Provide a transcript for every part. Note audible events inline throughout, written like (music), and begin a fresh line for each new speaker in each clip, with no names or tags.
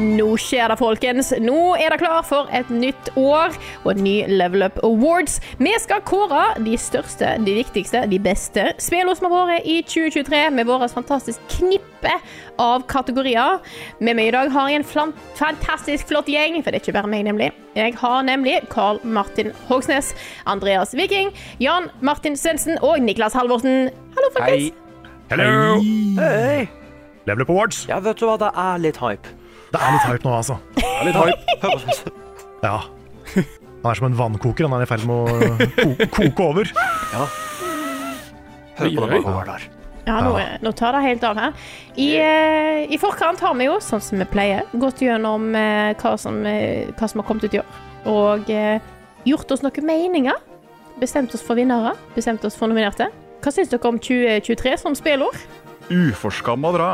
Nå skjer det, folkens. Nå er det klar for et nytt år og en ny Level Up Awards. Vi skal kåre de største, de viktigste, de beste spillene som har vært i 2023 med vårt fantastisk knippe av kategorier. Med meg i dag har jeg en flan- fantastisk flott gjeng, for det er ikke bare meg, nemlig. Jeg har nemlig Carl Martin Hogsnes, Andreas Viking, Jan Martin Svendsen og Niklas Halvorsen. Hallo, folkens.
Hello!
Hei!
Level Up Awards.
Ja, vet du hva, det er litt hype.
Det er litt hype nå, altså.
Det er
(laughs)
litt hype.
Ja. Han er som en vannkoker. Han er i ferd med å ko koke over.
Hør på den over der.
Ja, nå, nå tar det helt av her. I, eh, I forkant har vi jo, sånn som vi pleier, gått gjennom eh, hva, som, eh, hva som har kommet ut i år. Og eh, gjort oss noen meninger. Bestemt oss for vinnere. Bestemt oss for nominerte. Hva syns dere om 2023 som spillår?
Uforskamma bra.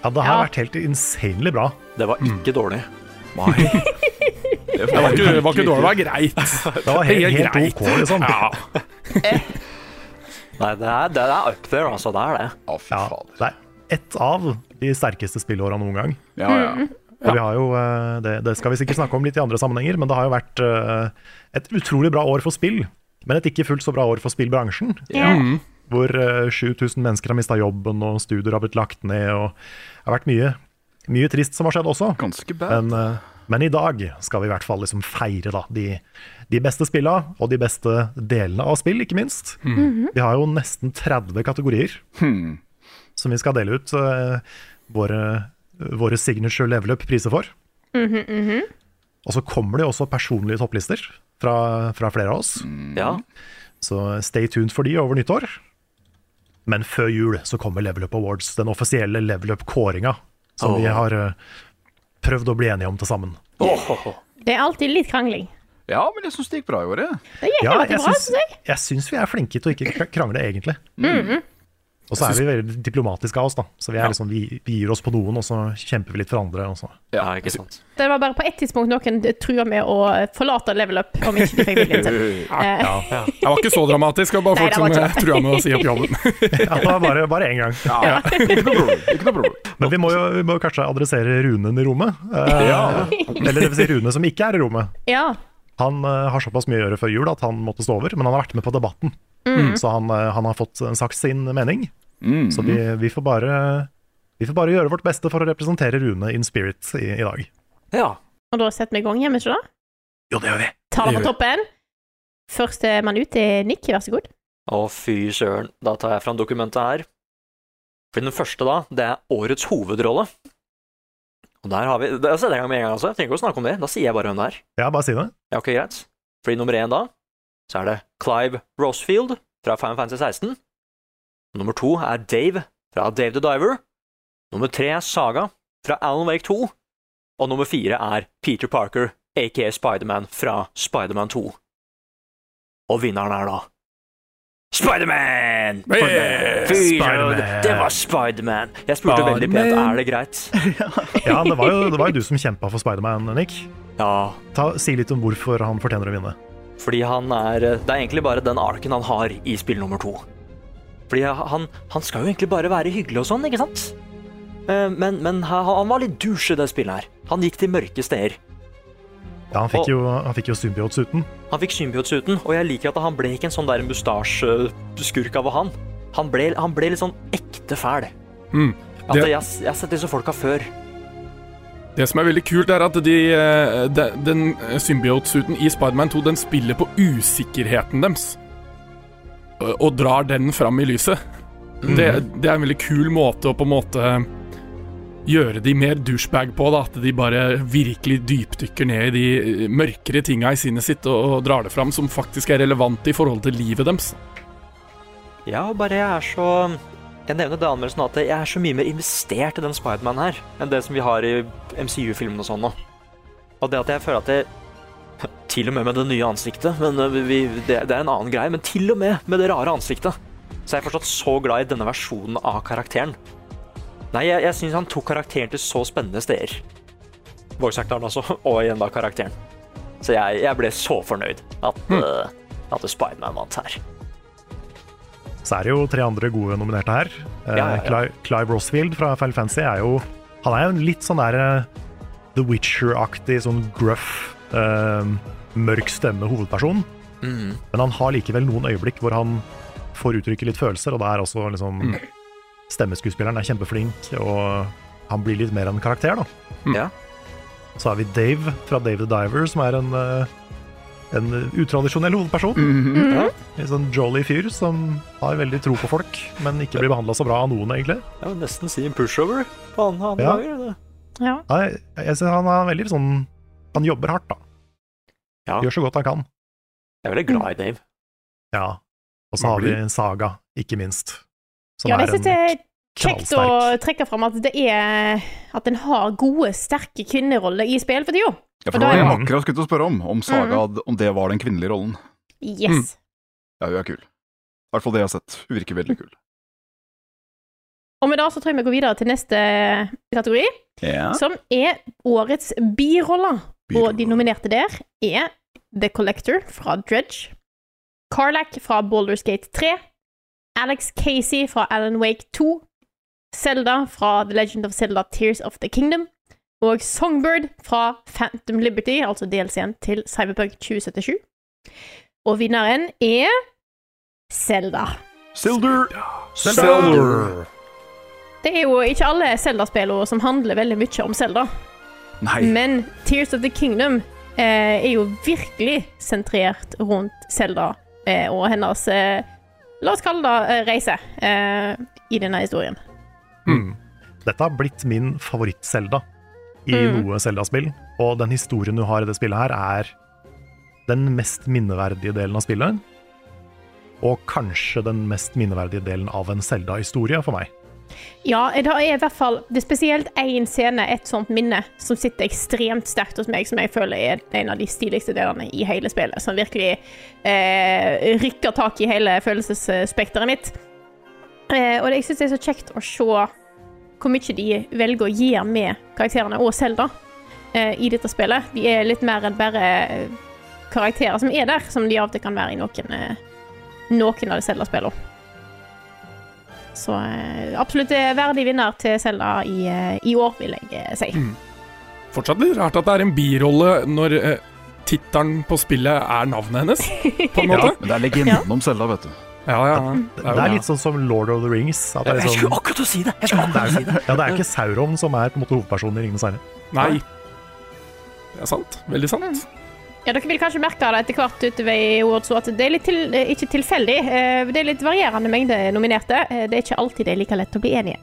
Ja, Det har
Ja.
vært helt insanely bra.
Det var ikke dårlig. Nei.
Det var ikke, det var ikke dårlig, det var greit.
(laughs) Det var helt,
Det er
helt
greit.
OK, liksom.
Ja.
Nei, det er, det er up there, altså. Det er det.
Å, fy
Ja,
fader.
det er ett av de sterkeste spillåra noen gang.
Ja, ja.
Og vi har jo, eh, det, det skal vi sikkert snakke om litt i andre sammenhenger, men det har jo vært eh, et utrolig bra år for spill. Men et ikke fullt så bra år for spillbransjen.
Mm.
Hvor eh, 7000 mennesker har mista jobben, og studier har blitt lagt ned, og det har vært mye, mye trist som har skjedd også.
Ganske bad.
Men, eh, men i dag skal vi i hvert fall liksom feire da, de, de beste spilla, og de beste delene av spill, ikke minst.
Mm.
Vi har jo nesten 30 kategorier som vi skal dele ut eh, våre, våre signature level up-priser for.
Mhm,
Og så kommer det jo også personlige topplister fra, fra flere av oss,
Ja.
så stay tuned for de over nyttår. Men før jul så kommer Level Up Awards, den offisielle Level Up-kåringa, som vi
Åh.
har eh, prøvd å bli enige om til sammen.
Åh.
Det er alltid litt krangling.
Ja, men jeg syns det gikk bra i år, jeg.
Det gikk
Ja,
relativt
jeg
bra,
syns,
syns jeg. Mhm.
jeg syns vi er flinke til å ikke kra- krangle, egentlig. Og så er vi veldig diplomatiske av oss, da. Så vi, er liksom, vi, vi gir oss på noen, og så kjemper vi litt for andre. Og så.
Ja, ikke sant.
Det var bare på ett tidspunkt noen trua med å forlate level up om ikke de fikk viljen til.
(laughs)
Eh,
Det var ikke så dramatisk, det var
Nei,
bare folk
det
som
var ikke
eh, trua med å si opp jobben.
Ja, det var bare, bare én gang.
Ja, ja. (laughs) Ikke noe problem. Ikke noe problem.
Men vi må jo vi må jo kanskje adressere Runen i rommet. Eh, Eller det vil si Rune som ikke er i rommet.
(laughs) Ja.
Han eh, har såpass mye å gjøre før jul at han måtte stå over, men han har vært med på debatten.
Mm.
Så han, eh, han har fått eh, sagt sin mening. Så vi, vi, får bare, vi får bare gjøre vårt beste for å representere Rune in spirit i, i dag.
Ja.
Og da setter vi i gang hjemme, ikke da?
Jo, det gjør vi.
Ta det
Det
på toppen. Førstemann ut er Nick, vær så god.
Å, fy søren. Da tar jeg fram dokumentet her. For den første, da, det er årets hovedrolle. Og der har vi Da setter jeg i gang med en gang, altså. Jeg trenger ikke å snakke om det. Da sier jeg bare hvem det er.
Ja, bare si det.
Ja, ok, greit. Fordi nummer én da, så er det Clive Rosefield fra Final Fantasy 16. Nummer to er Dave fra Dave the Diver. Nummer tre er Saga fra Alan Wake 2. Og nummer fire er Peter Parker, aka Spiderman fra Spiderman 2. Og vinneren er da Spiderman!
Hey,
Fy
Spiderman!
søren, det var Spiderman! Jeg spurte veldig pent
Spiderman.
er det greit.
Ja, det var jo, det var jo du som kjempa for Spiderman, Nick.
Ja,
Ta, si litt om hvorfor han fortjener å vinne.
Fordi han er Det er egentlig bare den arken han har i spill nummer to. Fordi han, han skal jo egentlig bare være hyggelig og sånn, ikke sant? Eh, Men, men han han var litt douche i det spillet her. Han gikk til mørke steder.
Ja, Han fikk jo, han fikk jo symbiotsuten.
Han fikk symbiotsuten, og jeg liker at han ble ikke en sånn der mustasjeskurk av han. Han ble, han ble litt sånn ekte fæl.
Mm.
At
Det-
jeg, jeg har sett disse folka før.
Det som er veldig kult, er at de, eh, de, den eh, symbiotsuten i Spiderman 2 den spiller på usikkerheten deres. Og, og
Mm.
drar den fram i lyset. Det, det er en veldig kul måte å på en måte eh, gjøre de mer douchebag på. da, At de bare virkelig dypdykker ned i de eh, mørkere tinga i sinnet sitt og, og drar det fram som faktisk er relevant i forhold til livet deres.
Ja, og bare jeg er så Jeg nevner det i anmeldelsen at jeg er så mye mer investert i den Spiderman her enn det som vi har i MCU-filmene og sånn nå. Og det at jeg føler at jeg Til og med med det nye ansiktet. Men eh, vi, vi- det, det er en annen greie. Men til og med med det rare ansiktet. Så jeg er fortsatt så glad i denne versjonen av karakteren. Nei, jeg, jeg syns han tok karakteren til så spennende steder. Voice-actoren også, (laughs) og igjen da karakteren. Så jeg, jeg ble så fornøyd at, eh, at Spiderman vant her.
Så er det jo tre andre gode nominerte her.
Ja,
Eh,
ja, ja.
Clive, Clive Rosfield fra Final Fantasy er jo Han er jo en litt sånn der eh, The Witcher-aktig, sånn gruff, eh, mørk stemme hovedperson.
Mm.
Men han har likevel noen øyeblikk hvor han får uttrykke litt følelser, og det er også liksom Stemmeskuespilleren er kjempeflink, og han blir litt mer en karakter, da.
Ja.
Så har vi Dave fra Dave the Diver, som er en, eh, en utradisjonell hovedperson. En sånn jolly fyr som har veldig tro på folk, men ikke blir behandla så bra av noen, egentlig.
Jeg vil nesten si en pushover på andre, andre
Ja.
dager. Det.
Ja.
Nei, Jeg, jeg synes han er veldig sånn Han jobber hardt, da.
Ja.
Gjør så godt han kan.
Jeg er veldig glad i Dave.
Ja. Og så
Man
har vi
blir-
en saga, ikke minst. Som
ja,
Sånn er
det synes jeg er
en
kjekt å trekke fram at det er At en har gode, sterke kvinneroller i spill for tida.
Ja,
Og da
for det var
er
jeg
det-
akkurat skulle til å spørre om, om Saga hadde- om det var den kvinnelige rollen.
Yes.
Mm.
Ja, hun er kul. I hvert fall det jeg har sett. Hun virker veldig kul.
Og med det så tror jeg vi går videre til neste kategori,
Ja.
som er årets biroller. Og de nominerte der er The Collector fra Dredge, Carlac fra Baldur's Gate 3, Alex Casey fra Alan Wake 2, Zelda fra The Legend of Zelda Tears of the Kingdom, og Songbird fra Phantom Liberty, altså DLC-en til Cyberpunk 2077. Og vinneren er Zelda.
Silder!
Selder.
Det er jo ikke alle Zelda-spillene som handler veldig mye om Zelda.
Nei.
Men Tears of the Kingdom eh, er jo virkelig sentrert rundt Selda eh, og hennes eh, La oss kalle det eh, reise eh, i denne historien.
Dette har blitt min favoritt-Selda i
Mm.
noe Selda-spill. Og den historien du har i det spillet her, er den mest minneverdige delen av spillet. Og kanskje den mest minneverdige delen av en Selda-historie for meg.
Ja, det er i hvert fall det er spesielt én scene, et sånt minne, som sitter ekstremt sterkt hos meg, som jeg føler er en av de stiligste delene i hele spillet. Som virkelig eh, rykker tak i hele følelsesspekteret mitt. Eh, og det, jeg syns det er så kjekt å se hvor mye de velger å gjøre med karakterene og Selda eh, i dette spillet. De er litt mer enn bare eh, karakterer som er der, som de av og til kan være i noen, eh, noen av de Selda-spillene. Så eh, absolutt eh, verdig vinner til Selda i, eh, i år, vil jeg eh, si.
Fortsatt litt rart at det er en birolle når eh, tittelen på spillet er navnet hennes, på en måte.
Men det er legenden om Selda, vet du.
Ja, ja.
Det er litt sånn som Lord of the Rings. At det, er sånn,
akkurat å si det! Jeg skulle
det, er, jo- (laughs) ja, det er ikke Sauron som er på en måte hovedpersonen i Ringenes herre.
Nei. Det er sant. Veldig sant.
Ja, dere vil kanskje merke det etter hvert utover i Awards at det er litt til, eh, ikke tilfeldig. Eh, Det er litt varierende mengde nominerte. Eh, Det er ikke alltid det er like lett å bli enige.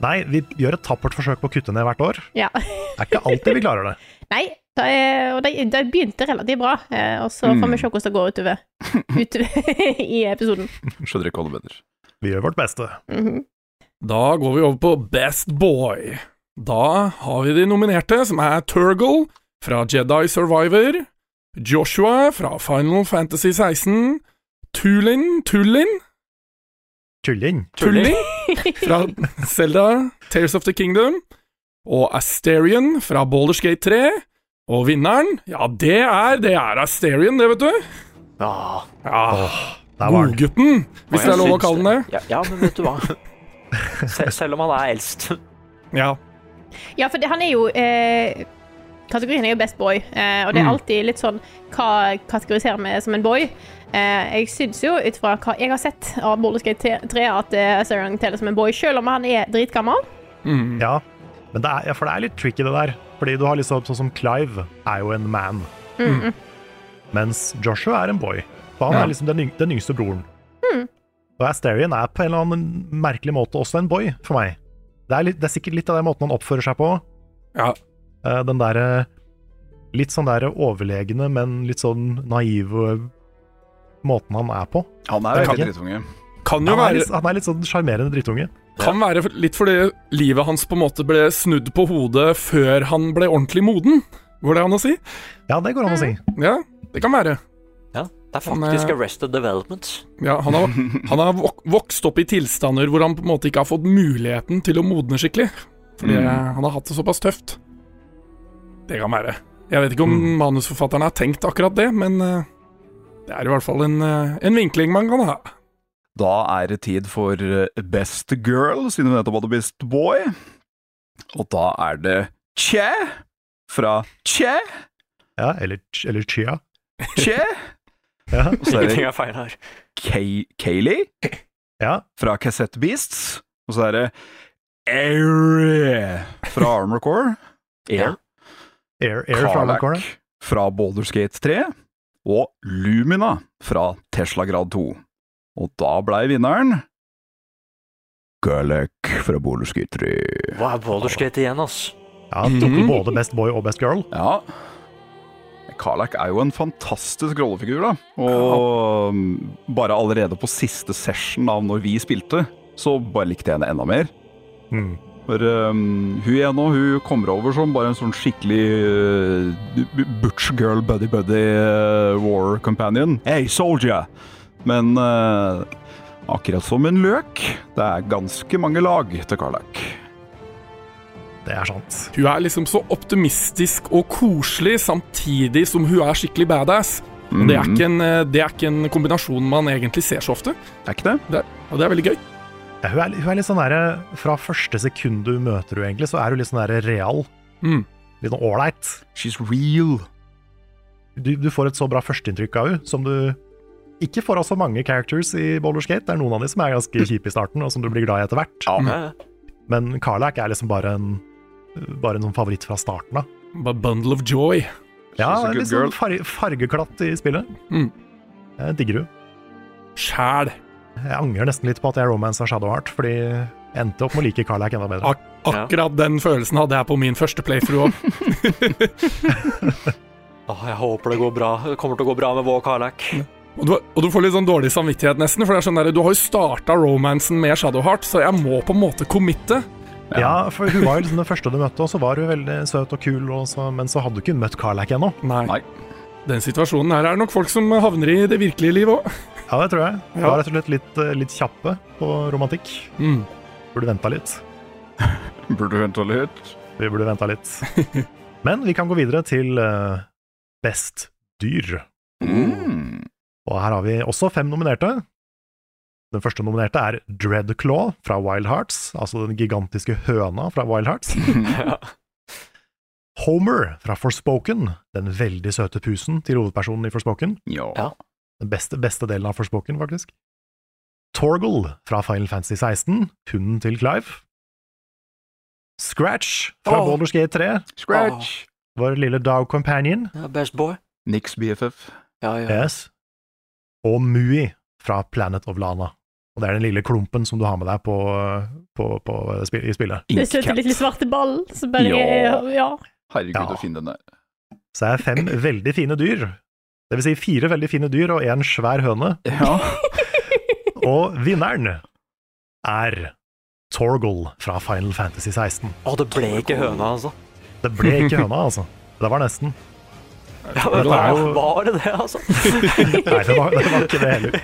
Nei, vi gjør et tappert forsøk på å kutte ned hvert år.
Ja. (laughs)
Det er ikke alltid vi klarer det.
Nei, det, er, og det, det begynte relativt bra, eh, og så får vi se hvordan det går utover, utover (laughs) i episoden.
Skjønner ikke hva det mener.
Vi gjør vårt beste.
Mhm.
Da går vi over på Best Boy. Da har vi de nominerte, som er Turgle fra Jedi Survivor, Joshua fra Final Fantasy 16, Tulin Tulin
Kylling.
Tulling fra Zelda Tears of the Kingdom, og Asterion fra Baldur's Gate 3, og vinneren, ja, det er, det er Asterion, det, vet du. Ja,
Der var den.
Godgutten, hvis det er lov å kalle den det.
Ja, ja, men vet du hva. Sel selv om han er eldst.
Ja.
Ja, for det, han er jo eh, Kategorien er jo Best Boy, eh, og det er
Mm.
alltid litt sånn Hva kategoriserer vi som en boy? Eh, jeg syns jo, ut fra hva jeg har sett av Baldur's Gate 3, at eh, Sarah teller som en boy, selv om han er dritgammel.
Ja. Men det er, ja, for det er litt tricky, det der. Fordi du har liksom sånn som Clive er jo en man. Mens Joshua er en boy. For han
Ja.
er liksom den, yng den yngste broren. Og Asterion er på en eller annen merkelig måte også en boy for meg. Det er, litt, det er sikkert litt av den måten han oppfører seg på.
Ja.
Eh, Den derre litt sånn der overlegne, men litt sånn naive måten han er på.
Han er
Jeg
veldig
kan-
drittunge.
Kan jo
Han er,
være,
litt- han er litt sånn sjarmerende drittunge.
kan være litt fordi livet hans på en måte ble snudd på hodet før han ble ordentlig moden. Går det an å si?
Ja, det går an å si.
Ja, det kan være.
Ja, det er
Han er-
faktisk Arrested Development.
Ja, han
(laughs)
har, han har vok- vokst opp i tilstander hvor han på en måte ikke har fått muligheten til å modne skikkelig. Fordi
Mm.
eh, han har hatt det såpass tøft. Det kan være. Jeg vet ikke om manusforfatteren har tenkt akkurat det, men eh, det er i hvert fall en, eh, en vinkling man kan ha.
Da er det tid for eh, Best Girl, siden vi nettopp hadde Best Boy. Og da er det Che fra Che,
Ja, eller, eller Chia.
Che.
Ja.
Og så er
Ingenting
det
er feil her.
Kay- Kaylee
ja.
fra Cassette Beasts. Og så er det Air fra
(laughs)
Armor Core. Air.
Air, air fra
Karlak
Alcorn.
fra Baldur's Gate 3 og Lumina fra Tesla Grad 2. Og da blei vinneren Garlek fra Baldur's Gate 3.
Hva er Baldur's Gate igjen, ass?
Ja, han tok
Mhm.
både Best Boy og Best Girl.
Ja. Karlak er jo en fantastisk rollefigur, da. Og um, bare allerede på siste session av når vi spilte, så bare likte jeg henne enda mer.
Mm.
For um, hun ene og hun kommer over som bare en sånn skikkelig uh, butch girl buddy buddy uh, war companion. Hey, soldier! Men uh, akkurat som en løk, det er ganske mange lag til Karlak.
Det er sant.
Hun er liksom så optimistisk og koselig, samtidig som hun er skikkelig badass. Og det er ikke en, eh, det er ikke en kombinasjon man egentlig ser så ofte,
Er ikke det?
det er, og det er veldig gøy.
Ja, hun, er, hun er litt sånn der, Fra første sekund du møter henne, egentlig, så er hun litt sånn der real.
Mm.
Litt sånn ålreit.
She's real.
Du, du får et så bra førsteinntrykk av henne som du ikke får av så mange characters i Baldur's Gate. Det er noen av de som er ganske kjipe i starten, og som du blir glad i etter hvert.
Ja,
Men Karlak er liksom bare en bare en sånn favoritt fra starten av.
Bare Bundle of joy.
Ja,
She's a good
litt
girl.
sånn farge, fargeklatt i spillet.
Mm.
Jeg digger hun.
Sjæl.
Jeg angrer nesten litt på at jeg romansa Shadowheart, fordi jeg endte opp med å like Karlak enda bedre.
Ak akkurat den følelsen hadde jeg på min første playthrough òg.
Åh, jeg håper det går bra. Det kommer til å gå bra med vår Karlak.
Og du, og du får litt sånn dårlig samvittighet, nesten. For det er sånn der, du har jo starta romansen med Shadowheart, så jeg må på en måte committe.
Ja, for hun var jo liksom den første du møtte, og så var hun veldig søt og kul, og så, men så hadde du ikke møtt Karlak ennå.
Nei.
Nei.
Den situasjonen her er det nok folk som havner i det virkelige liv òg.
Ja, det tror jeg. Hun
Ja.
var rett og slett litt, eh, litt kjappe på romantikk.
Mm.
Burde venta litt.
Burde hun ta litt?
Vi burde venta litt. Men vi kan gå videre til eh, Best dyr.
Mm.
Og her har vi også fem nominerte. Den første nominerte er Dreadclaw fra Wild Hearts, altså den gigantiske høna fra Wild Hearts.
(laughs) Ja.
Homer fra Forspoken, den veldig søte pusen til hovedpersonen i Forspoken.
(laughs) Ja.
Ja.
Den beste, beste delen av Forspoken, faktisk. Torgal fra Final Fantasy 16, hunden til Clive. Scratch fra
Åh.
Baldur's Gate 3,
Scratch.
vår lille dog companion.
Ja, Best boy.
Nix BFF.
Ja, ja.
Yes. Og Mui fra Planet of Lana. Og det er den lille klumpen som du har med deg på, på, på, spi- i spillet.
Den søte lille svarte ballen som bare
Ja.
Ja.
Herregud,
Ja.
å finne den der.
Så det er fem veldig fine dyr. Det vil si fire veldig fine dyr og én svær høne.
Ja.
Og vinneren er Torgal fra Final Fantasy 16.
Å, det ble ikke høna, altså.
Det ble ikke høna, altså. Det var nesten.
Ja, men
Det er jo-
Var det det, altså?
Nei, det var, det var ikke det heller.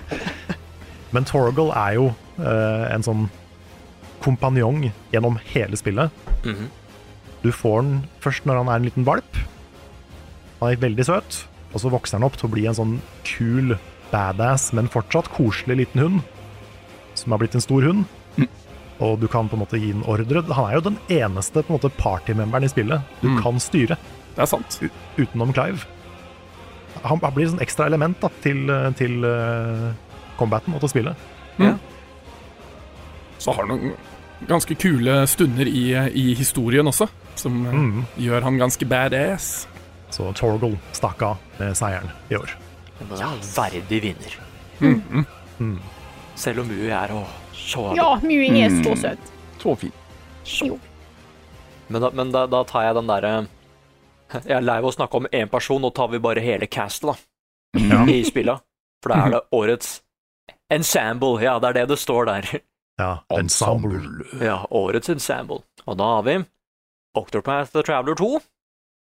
Men Torgal er jo eh, en sånn kompanjong gjennom hele spillet.
Mhm.
Du får den først når han er en liten valp. Han er veldig søt, og så vokser han opp til å bli en sånn kul, badass, men fortsatt koselig liten hund, som har blitt en stor hund. Og du kan på en måte gi den ordre. Han er jo den eneste på en måte partymemberen i spillet du kan styre
Det er sant.
utenom Clive. Han, han blir et sånn ekstra element da, til, til eh, combaten og til spillet.
Så har han noen ganske kule stunder i, i historien også, som eh,
Mm.
gjør han ganske badass.
Så Torgal stakk av med seieren i år.
Men det er en verdig vinner. Mm, Selv om hun er å, så er det
Mm.
ja Mui er så søt.
Så fin.
Jo.
Men, da, men da, da tar jeg den derre (laughs) Jeg er lei av å snakke om én person, nå tar vi bare hele castet, da. I spillet. For da er det årets ensemble. Ja, det er det det står der.
Ja, ensemble.
Ja, årets ensemble. Og da har vi Octopath The Traveler 2,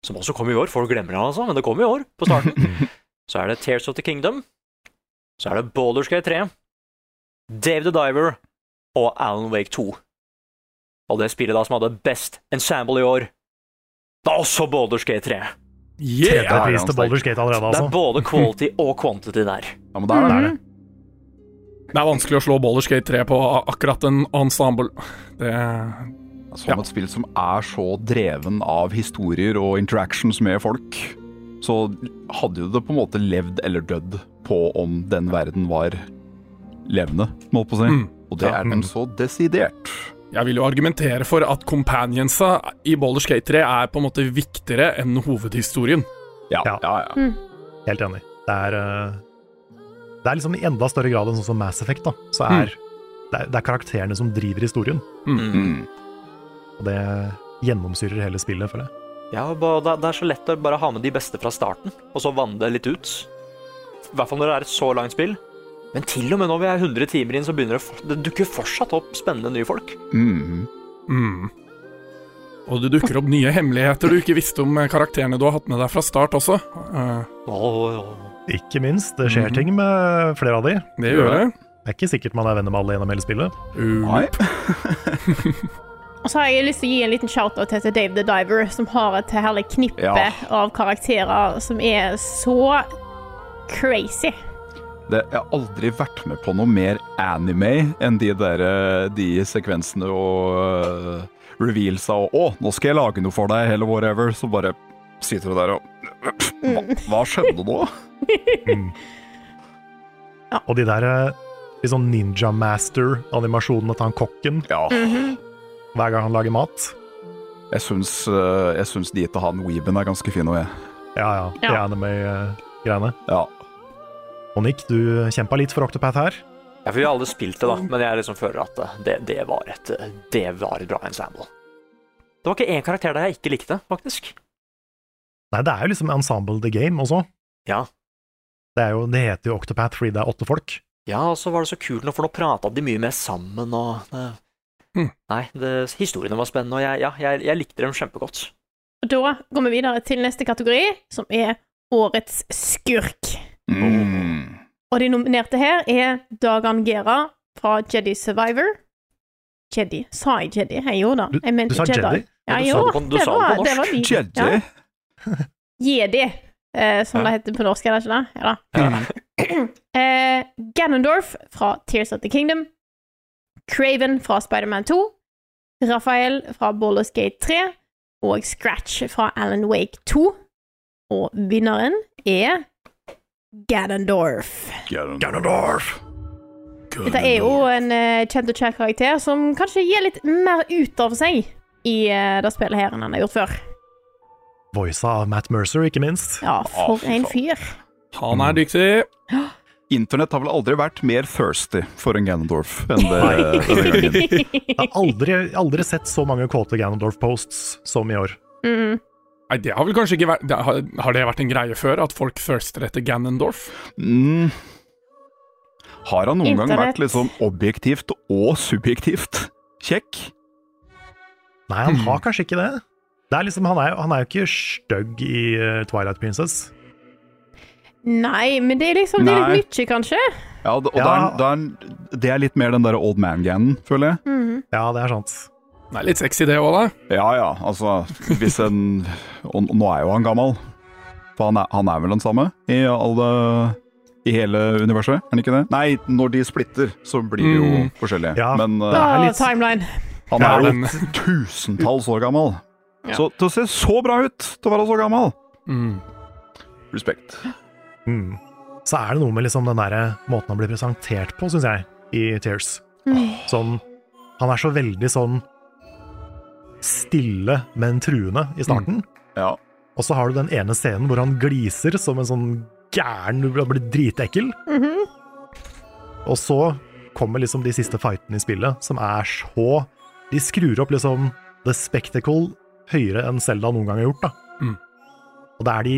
som også kom i år. Folk glemmer det, altså, men det kom i år, på starten. Så er det Tears of the Kingdom. Så er det Baldur's Gate 3, Dave the Diver og Alan Wake 2. Og det spillet da som hadde best ensemble i år, var også Baldur's Gate 3.
Yeah!
Tredje pris til Baldur's Gate allerede,
Det er
altså.
både quality og quantity der.
Ja, men det er det.
Det er det.
Det er vanskelig å slå Baldur's Gate 3 på a- akkurat en ensemble. Det
Som et spill som er så dreven av historier og interactions med folk, så hadde jo det på en måte levd eller dødd på om den verden var levende, må jeg på å si.
Mm.
Og det
Ja.
er den så desidert.
Jeg vil jo argumentere for at companionsa i Baldur's Gate 3 er på en måte viktigere enn hovedhistorien.
Ja, ja,
Ja.
ja.
Helt enig. Det er, eh, det er liksom i enda større grad enn sånn som Mass Effect, da. Så er, det, er, det er karakterene som driver historien,
Mm.
og det gjennomsyrer hele spillet, føler jeg.
Ja, ba- det det er så lett å bare ha med de beste fra starten, og så vanne det litt ut. I hvert fall når det er et så langt spill. Men til og med når vi er 100 timer inn, så begynner det, for- det dukker fortsatt opp spennende nye folk.
Mm.
Mm. Og det dukker opp nye hemmeligheter du ikke visste om eh, karakterene du har hatt med deg fra start også. Eh,
Ikke minst, det skjer ting med flere av de.
Det gjør det.
Det er ikke sikkert man er venner med alle gjennom hele spillet.
Uh,
Nei.
Og så har jeg lyst til å gi en liten shout-out til til Dave the Diver, som har et herlig knippe
Ja.
av karakterer som er så crazy.
Det, jeg har aldri vært med på noe mer anime enn de der eh, de sekvensene og eh, revealsa og 'Å, nå skal jeg lage noe for deg', eller whatever. Så bare sitter du der og hva, hva skjedde nå?
Og de der eh, litt sånn ninja master-animasjonene til han kokken
Ja.
hver gang han lager mat.
Jeg syns, eh, jeg syns de til han Weeben er ganske fine, og jeg.
Ja, ja. Det
Ja.
eh, anime-greiene.
Ja.
Monique, du kjempa litt for Octopath her.
Ja, for vi har alle spilt det, da, men jeg liksom føler at eh, det, det, var et, eh, det var et bra ensemble. Det var ikke én karakter der jeg ikke likte, faktisk.
Nei, det er jo liksom Ensemble the Game også.
Ja.
Det, er jo, det heter jo Octopath fordi det er åtte folk.
Ja, og så var det så kult, nå, for nå prata de mye mer sammen, og eh,
Hmm.
Nei, det, historiene var spennende, og jeg, ja, jeg, jeg likte dem kjempegodt.
Og da går vi videre til neste kategori, som er Årets skurk.
Mm.
Og de nominerte her er Dagan Gera fra Jedi Survivor. Jedi. Sa jeg Jedi? Jeg gjorde det. Jeg mente
du sa Jedi?
Ja, jeg
Men du sa det
gjorde
på-
det.
du sa det
var-
på
det var
Jedi.
ny. Ja. Jedi, eh, som det heter på norsk, er det ikke det? Ja da. (clears throat) Eh, Ganondorf fra Tears of the Kingdom. Craven fra Spiderman 2. Raphael fra Baldur's Gate 3. Og Scratch fra Alan Wake 2. Og vinneren er Ganondorf.
Ganondorf.
Dette er jo en eh, kjent og kjær karakter som kanskje gir litt mer ut av seg i eh, det spillet her enn han har gjort før.
Voisa av Matt Mercer, ikke minst.
Ja,
Å,
for
fy
en
faen.
fyr.
han er dyktig.
Internett har vel aldri vært mer thirsty for en Ganondorf enn det denne gangen.
Jeg har aldri, aldri sett så mange kåte Ganondorf-posts som i år.
Mm.
Nei, det har vel kanskje ikke vært det har, har det vært en greie før, at folk thirster etter Ganondorf?
Mm. Har han noen gang
Internett.
vært litt sånn objektivt og subjektivt kjekk?
Nei, han har kanskje ikke det. det er liksom, han, er, jo- han er jo ikke stygg i eh, Twilight Princess.
Nei, men det er liksom det er
Nei.
litt mye, kanskje.
Ja, og
Ja.
Det, er, det, er, det er litt mer den der old man-ganen, føler jeg.
Mhm.
Ja, det er sant.
Det er litt sexy, det òg, da.
Ja ja, altså hvis en Og nå er jo han gammel. For han er, han er vel den samme i alle i hele universet, er han ikke det? Nei, når de splitter, så blir de jo
Mm.
forskjellige.
Ja.
Men eh,
er
Åh,
litt-
timeline.
han
Ja,
er jo
men-
tusentalls år gammel. Så til å se så bra ut til å være så gammel
Mm.
Respekt.
Mm. Så er det noe med liksom den der måten han blir presentert på, syns jeg, i Tears. Sånn Han er så veldig sånn stille, men truende i starten.
Ja.
Og så har du den ene scenen hvor han gliser som en sånn gæren Han blir dritekkel. Og så kommer liksom de siste fightene i spillet, som er så De skrur opp liksom The Spectacle høyere enn Zelda noen gang har gjort. da.
Mm.
Og det er de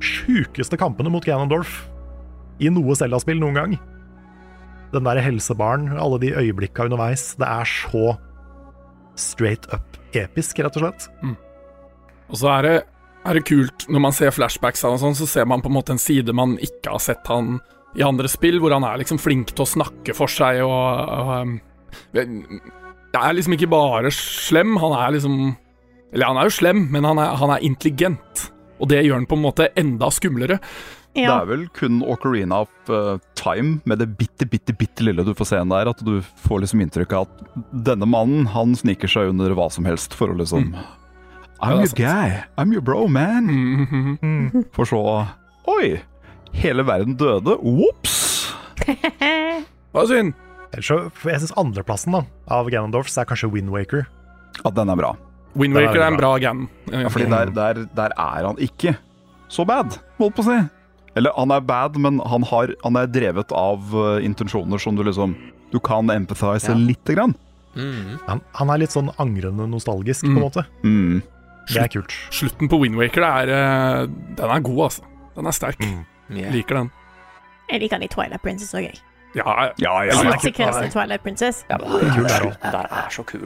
sjukeste kampene mot Ganondorf i noe Zelda-spill noen gang. Den der helsebaren, alle de øyeblikka underveis. Det er så straight up episk, rett og slett.
Og så er det, er det kult, når man ser flashbacks av og sånn, så ser man på en måte en side man ikke har sett han i andre spill, hvor han er liksom flink til å snakke for seg og, og um, Det er liksom ikke bare slem, han er liksom Eller han er jo slem, men han er, han er intelligent. Og det gjør han på en måte enda skumlere.
(laughs) Det er vel kun Ocarina of eh, Time, med det bitte, bitte bitte lille du får se der, at du får liksom inntrykk av at denne mannen han sniker seg under hva som helst for å liksom
Mm. Ja,
I'm
det er Mm.
your guy, I'm your bro, man. For så Oi! Hele verden døde. Ops!
Eh,
Hva er synd?
Ellers så, for Jeg syns andreplassen da, av Ganondorfs er kanskje Windwaker.
Ja, den er bra.
Windwaker er en bra gan.
Ja, fordi
Mm.
der, der, der er han ikke så bad, holdt på å si. Eller han er bad, men han, har, han er drevet av eh, intensjoner som du liksom Du kan empathize
Ja.
lite grann.
Han, han er litt sånn angrende nostalgisk, på en måte.
Mm.
Det er kult.
Slutten på Windwaker er eh, Den er god, altså. Den er sterk.
Mm.
Liker den.
Jeg liker den i Twilight Princess òg, jeg.
Ja,
Jeg
Altså,
liker sekvensen i Twilight Princess.
Kul der også.
Der er så kul.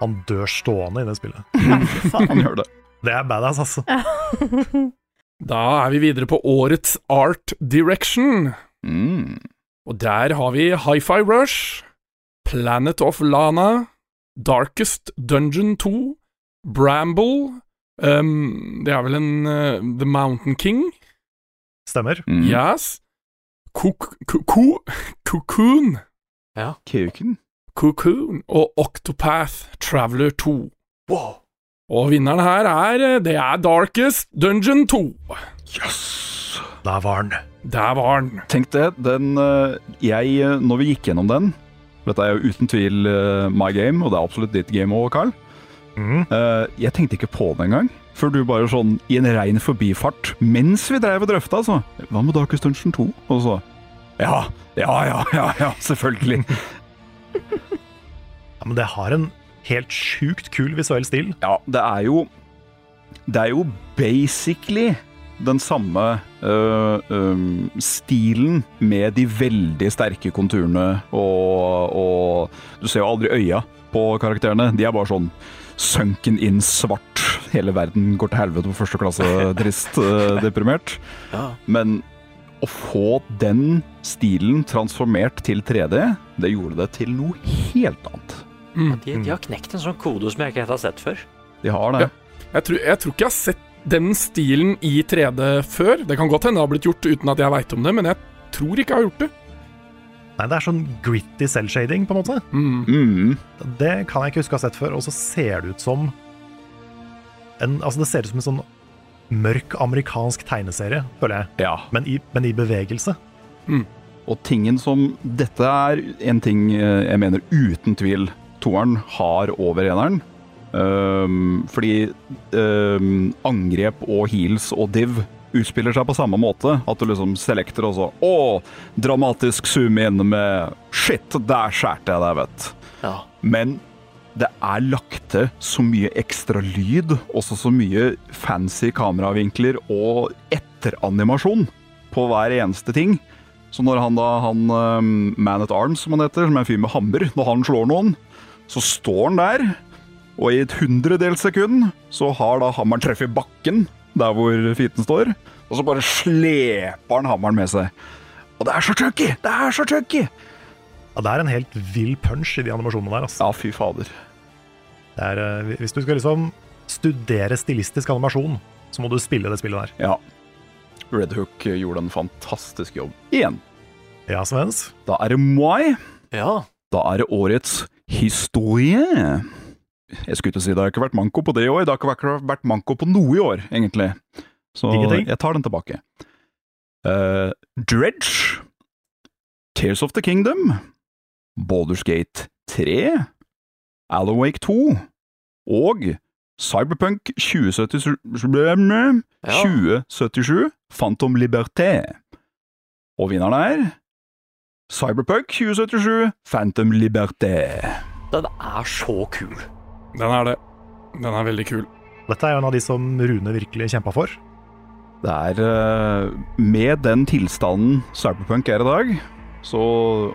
Han dør stående i det spillet.
(laughs) Han gjør det.
Det er badass, altså.
Da er vi videre på årets Art Direction.
Mm.
Og der har vi Hi-Fi Rush, Planet of Lana, Darkest Dungeon 2, Bramble ehm, Det er vel en eh, The Mountain King?
Stemmer.
Mm.
Yes. Kuk- ku- ku- Cocoon.
Kuken.
Cocoon og Octopath Traveler 2. Og vinneren her er eh, Det er Darkest Dungeon 2.
Yes!
Der var han.
Der var den.
Tenk det. Den eh, Jeg, eh, når vi gikk gjennom den Dette er jo uten tvil eh, my game, og det er absolutt ditt game òg, Carl.
Mm.
Eh, jeg tenkte ikke på det engang. Før du bare sånn i en rein forbifart, mens vi dreiv og drøfta, altså. Hva med Darkest Dungeon 2? Og så Ja, ja, ja, ja, ja selvfølgelig.
Ja, men det har en helt sjukt kul visuell stil.
Ja, det er jo Det er jo basically den samme øh, øhm, stilen med de veldig sterke konturene og, og Du ser jo aldri øya på karakterene. De er bare sånn sunken inn svart. Hele verden går til helvete på første klasse, trist, øh, deprimert. Men å få den stilen transformert til 3D, det gjorde det til noe helt annet.
Ja,
Mm,
de, de har knekt en sånn kode som jeg ikke helt har sett før.
De har det.
Jeg tror, jeg tror ikke jeg har sett den stilen i 3D før. Det kan godt hende det har blitt gjort uten at jeg veit om det, men jeg tror ikke jeg har gjort det.
Nei, Det er sånn gritty selvshading, på en måte.
Mm.
Mm.
Det kan jeg ikke huske å ha sett før. Og så ser det ut som en, Altså, det ser ut som en sånn mørk amerikansk tegneserie, føler jeg.
Ja.
Men i, men i bevegelse.
Og tingen som Dette er en ting eh, jeg mener uten tvil toeren har over eneren. Ehm, fordi ehm, angrep og heals og div utspiller seg på samme måte. At du liksom selekter og så Å, dramatisk zoom inn med Shit, der skjærte jeg deg, vet
Ja.
men det er lagt til så mye ekstra lyd, også så mye fancy kameravinkler og etteranimasjon på hver eneste ting. Så når han da, han eh, Man at Arms, som han heter, som er en fyr med hammer, når han slår noen, så står han der, og i et hundredels sekund så har da hammeren treffet bakken, der hvor fiten står, og så bare sleper han hammeren med seg. Og det er så chunky! Det er så chunky!
Ja, Det er en helt vill punch i de animasjonene der. altså.
Ja, fy fader.
Det er, eh, hvis du skal liksom studere stilistisk animasjon, så må du spille det spillet der.
Ja. Red Hook eh, gjorde en fantastisk jobb. Igjen.
Ja, Svens?
Da er det moi.
ja.
Da er det årets historie. Jeg skulle ikke si det har ikke vært manko på det i år. Det har ikke vært- vært manko på noe i år, egentlig. Så
Ingenting.
jeg tar den tilbake. Eh, Dredge. Tears of the Kingdom. Baldur's Gate 3. Alawake 2. Og Cyberpunk 2077
Ja.
2077 Phantom Liberté. Og vinneren er Cyberpunk 2077 Phantom Liberté.
Den er så kul.
Den er det. Den er veldig kul.
Dette er jo en av de som Rune virkelig kjempa for.
Det er eh, Med den tilstanden Cyberpunk er i dag, så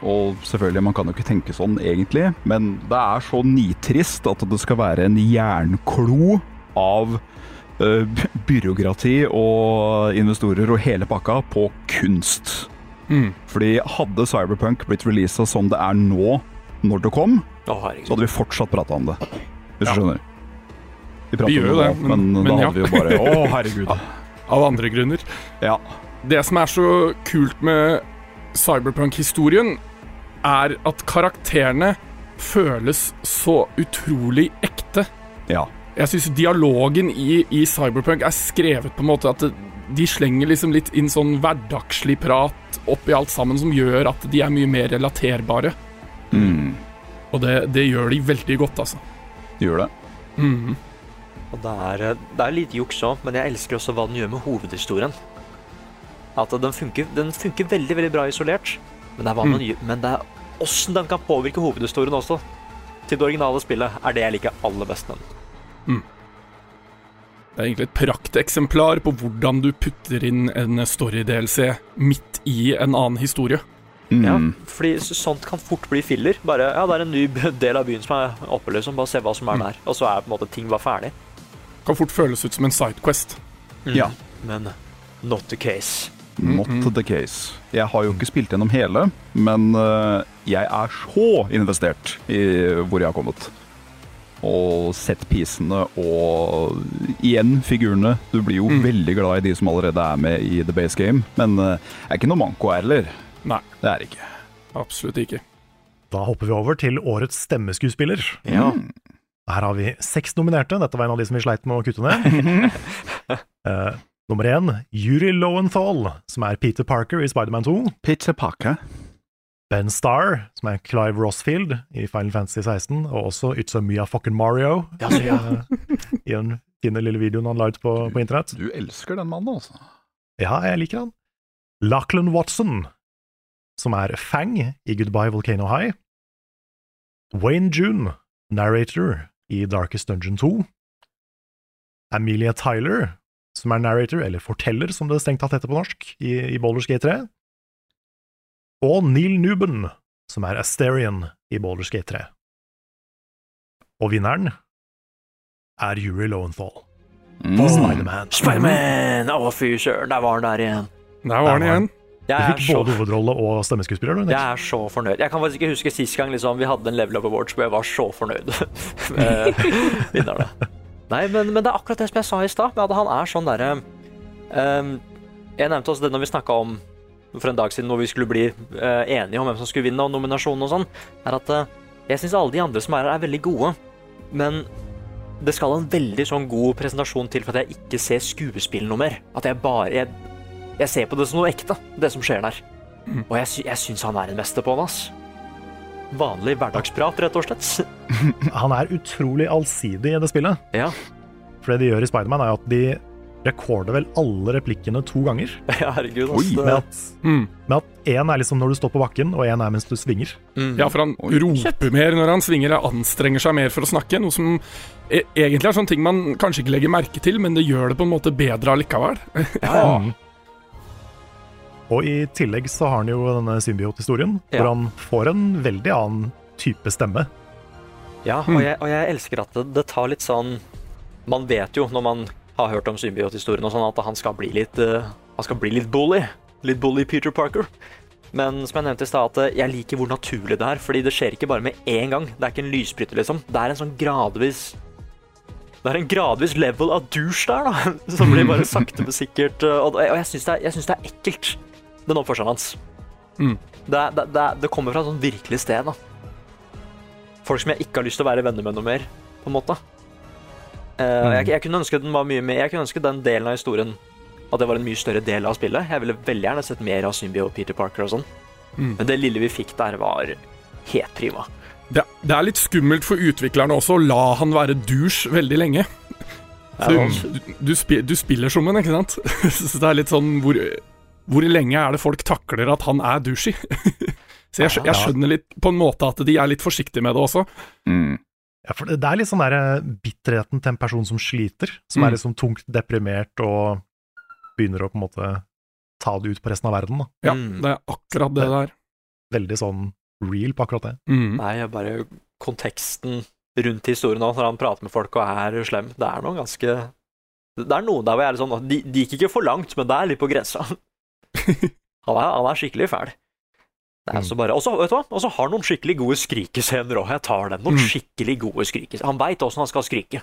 Og selvfølgelig, man kan jo ikke tenke sånn egentlig, men det er så nitrist at det skal være en jernklo av eh, by- byråkrati og investorer og hele pakka på kunst.
Mm.
Fordi hadde Cyberpunk blitt releasa som det er nå, når det kom,
Å, herregud.
så hadde vi fortsatt prata om det. Hvis du skjønner. prater
Vi gjør
om
jo det,
nå,
men-
men,
men
da
ja.
hadde vi jo
(laughs)
bare Å, herregud.
Av andre grunner.
Ja.
Det som er så kult med cyberpunk-historien, er at karakterene føles så utrolig ekte.
Ja.
Jeg syns dialogen i, i Cyberpunk er skrevet på en måte at det, de slenger liksom litt inn sånn hverdagslig prat oppi alt sammen, som gjør at de er mye mer relaterbare.
Mm,
Og det, det gjør de veldig godt, altså.
det gjør det.
Mhm.
Og det er, eh, det er litt juks òg, men jeg elsker også hva den gjør med hovedhistorien. At den funker, den funker veldig veldig bra isolert,
Mm.
men det er hva man gjør, men det er åssen den kan påvirke hovedhistorien også. Til det originale spillet er det jeg liker aller best med den.
Det er egentlig et prakteksemplar på hvordan du putter inn en story-DLC midt i en annen historie.
Ja,
Mm.
fordi så- sånt kan fort bli filler. Bare ja, det er en ny b- del av byen som er oppe, liksom. Bare se hva
Mm.
som er der. Og så er på en måte ting bare ferdig.
Kan fort føles ut som en sidequest.
Ja.
Men not the case.
Not the case. Jeg har jo ikke spilt gjennom hele, men eh, jeg er så investert i hvor jeg har kommet. Og sett pisene og igjen figurene. Du blir jo veldig glad i de som allerede er med i the base game, men eh, det er ikke noe manko her heller.
Nei,
Det er det ikke.
absolutt ikke.
Da hopper vi over til årets stemmeskuespiller.
Mm.
Her har vi seks nominerte. Dette var en av de som vi sleit med å kutte ned.
(laughs)
Eh, nummer én, Yuri Lowenthal, som er Peter Parker i Spiderman 2.
Pizza pakke.
Ben Starr, som er Clive Rossfield i Final Fantasy 16, og også It's a Mia Fucking Mario
Ja, så ja.
eh, (laughs) i den fine lille videoen han la ut på, på internett.
Du elsker den mannen, altså.
Ja, jeg liker han. Lachlan Watson, som er Fang i Goodbye Volcano High. Wayne June, narrator i Darkest Dungeon 2. Amelia Tyler, som er narrator, eller forteller, som det strengt tatt heter på norsk, i, i Baldur's Gate 3. Og Neil Nuben, som er Asterion i Baldur's Gate 3. Og vinneren er Yuri Lowenthal.
Mm.
Spiderman.
Spiderman! Å, fy søren, der var den der igjen.
Der var
Der var
den igjen.
Jeg
Du
er
fikk
så
både hovedrolle og stemmeskuespiller, du. Nick.
Jeg er så fornøyd. Jeg kan faktisk ikke huske sist gang liksom, vi hadde en level up awards hvor jeg var så fornøyd (laughs) med vinnerne. Nei, men, men det er akkurat det som jeg sa i stad. med at Han er sånn derre ehm, Jeg nevnte også det når vi snakka om for en dag siden hvor vi skulle bli eh, enige om hvem som skulle vinne, og nominasjonen og sånn, er at eh, jeg syns alle de andre som er her, er veldig gode. Men det skal en veldig sånn god presentasjon til for at jeg ikke ser skuespill noe mer. At jeg bare jeg, jeg ser på det som noe ekte, det som skjer der. Og jeg, sy jeg syns han er en mester på den, ass. Vanlig hverdagsprat, rett og slett.
Han er utrolig allsidig i det spillet.
(laughs) Ja,
For det de gjør i Spiderman, er jo at de rekorder vel alle replikkene to ganger.
herregud, ass.
Oi,
Det-
Med at,
Mm.
med at én er liksom når du står på bakken, og én er mens du svinger.
Ja, for han roper mer når han svinger og anstrenger seg mer for å snakke, noe som e egentlig er sånne ting man kanskje ikke legger merke til, men det gjør det på en måte bedre allikevel. (laughs)
Mm. Og i tillegg så har han jo denne symbiot-historien,
Ja.
hvor han får en veldig annen type stemme.
ja og, jeg, og jeg elsker at det, det tar litt sånn Man vet jo når man har hørt om symbiothistorien og sånn, at han skal bli litt eh, Han skal bli litt bully. Litt bully Peter Parker. Men som jeg nevnte i stad, at eh, jeg liker hvor naturlig det er. Fordi det skjer ikke bare med én gang. Det er ikke en lysbryter, liksom. Det er en sånn gradvis Det er en gradvis level av douche der, da. (laughs) Som blir bare sakte, men sikkert eh, Og, og jeg syns det, er- jeg synes det er ekkelt, den oppførselen hans.
Mm.
Det, er- det, det, er- det kommer fra et sånn virkelig sted, da. folk som jeg ikke har lyst til å være venner med noe mer, på en måte. Eh, jeg, jeg kunne ønske den var mye mer Jeg kunne ønske den delen av historien At det var en mye større del av spillet. Jeg ville veldig gjerne sett mer av Symbio og Peter Parker og sånn.
Mm.
Men det lille vi fikk der, var helt prima.
Det, det er litt skummelt for utviklerne også å la han være douche veldig lenge. Du, du, du, spi, du spiller som en, ikke sant? (laughs) Så det er litt sånn hvor, hvor lenge er det folk takler at han er douche i? (laughs) Så jeg, skj- jeg skjønner litt på en måte at de er litt forsiktige med det også.
Mm.
Ja, for det det er litt sånn der eh, bitterheten til en person som sliter, som
Mm.
er liksom tungt deprimert og begynner å på en måte ta det ut på resten av verden. Da.
Ja, det er akkurat det der. Mm.
Veldig sånn real på akkurat det.
Nei, jeg bare konteksten rundt historien hans når han prater med folk og er slem. Det er noe ganske Det er noe der hvor jeg er litt sånn at de, de gikk ikke for langt, men det er litt på
(laughs)
grensa. Han er, han er skikkelig fæl. Det
Mm.
er så bare, og så vet du hva? Og så har han noen skikkelig gode skrikescener òg. Jeg tar den. Noen
Mm.
skikkelig gode skrikescener. Han veit åssen han skal skrike.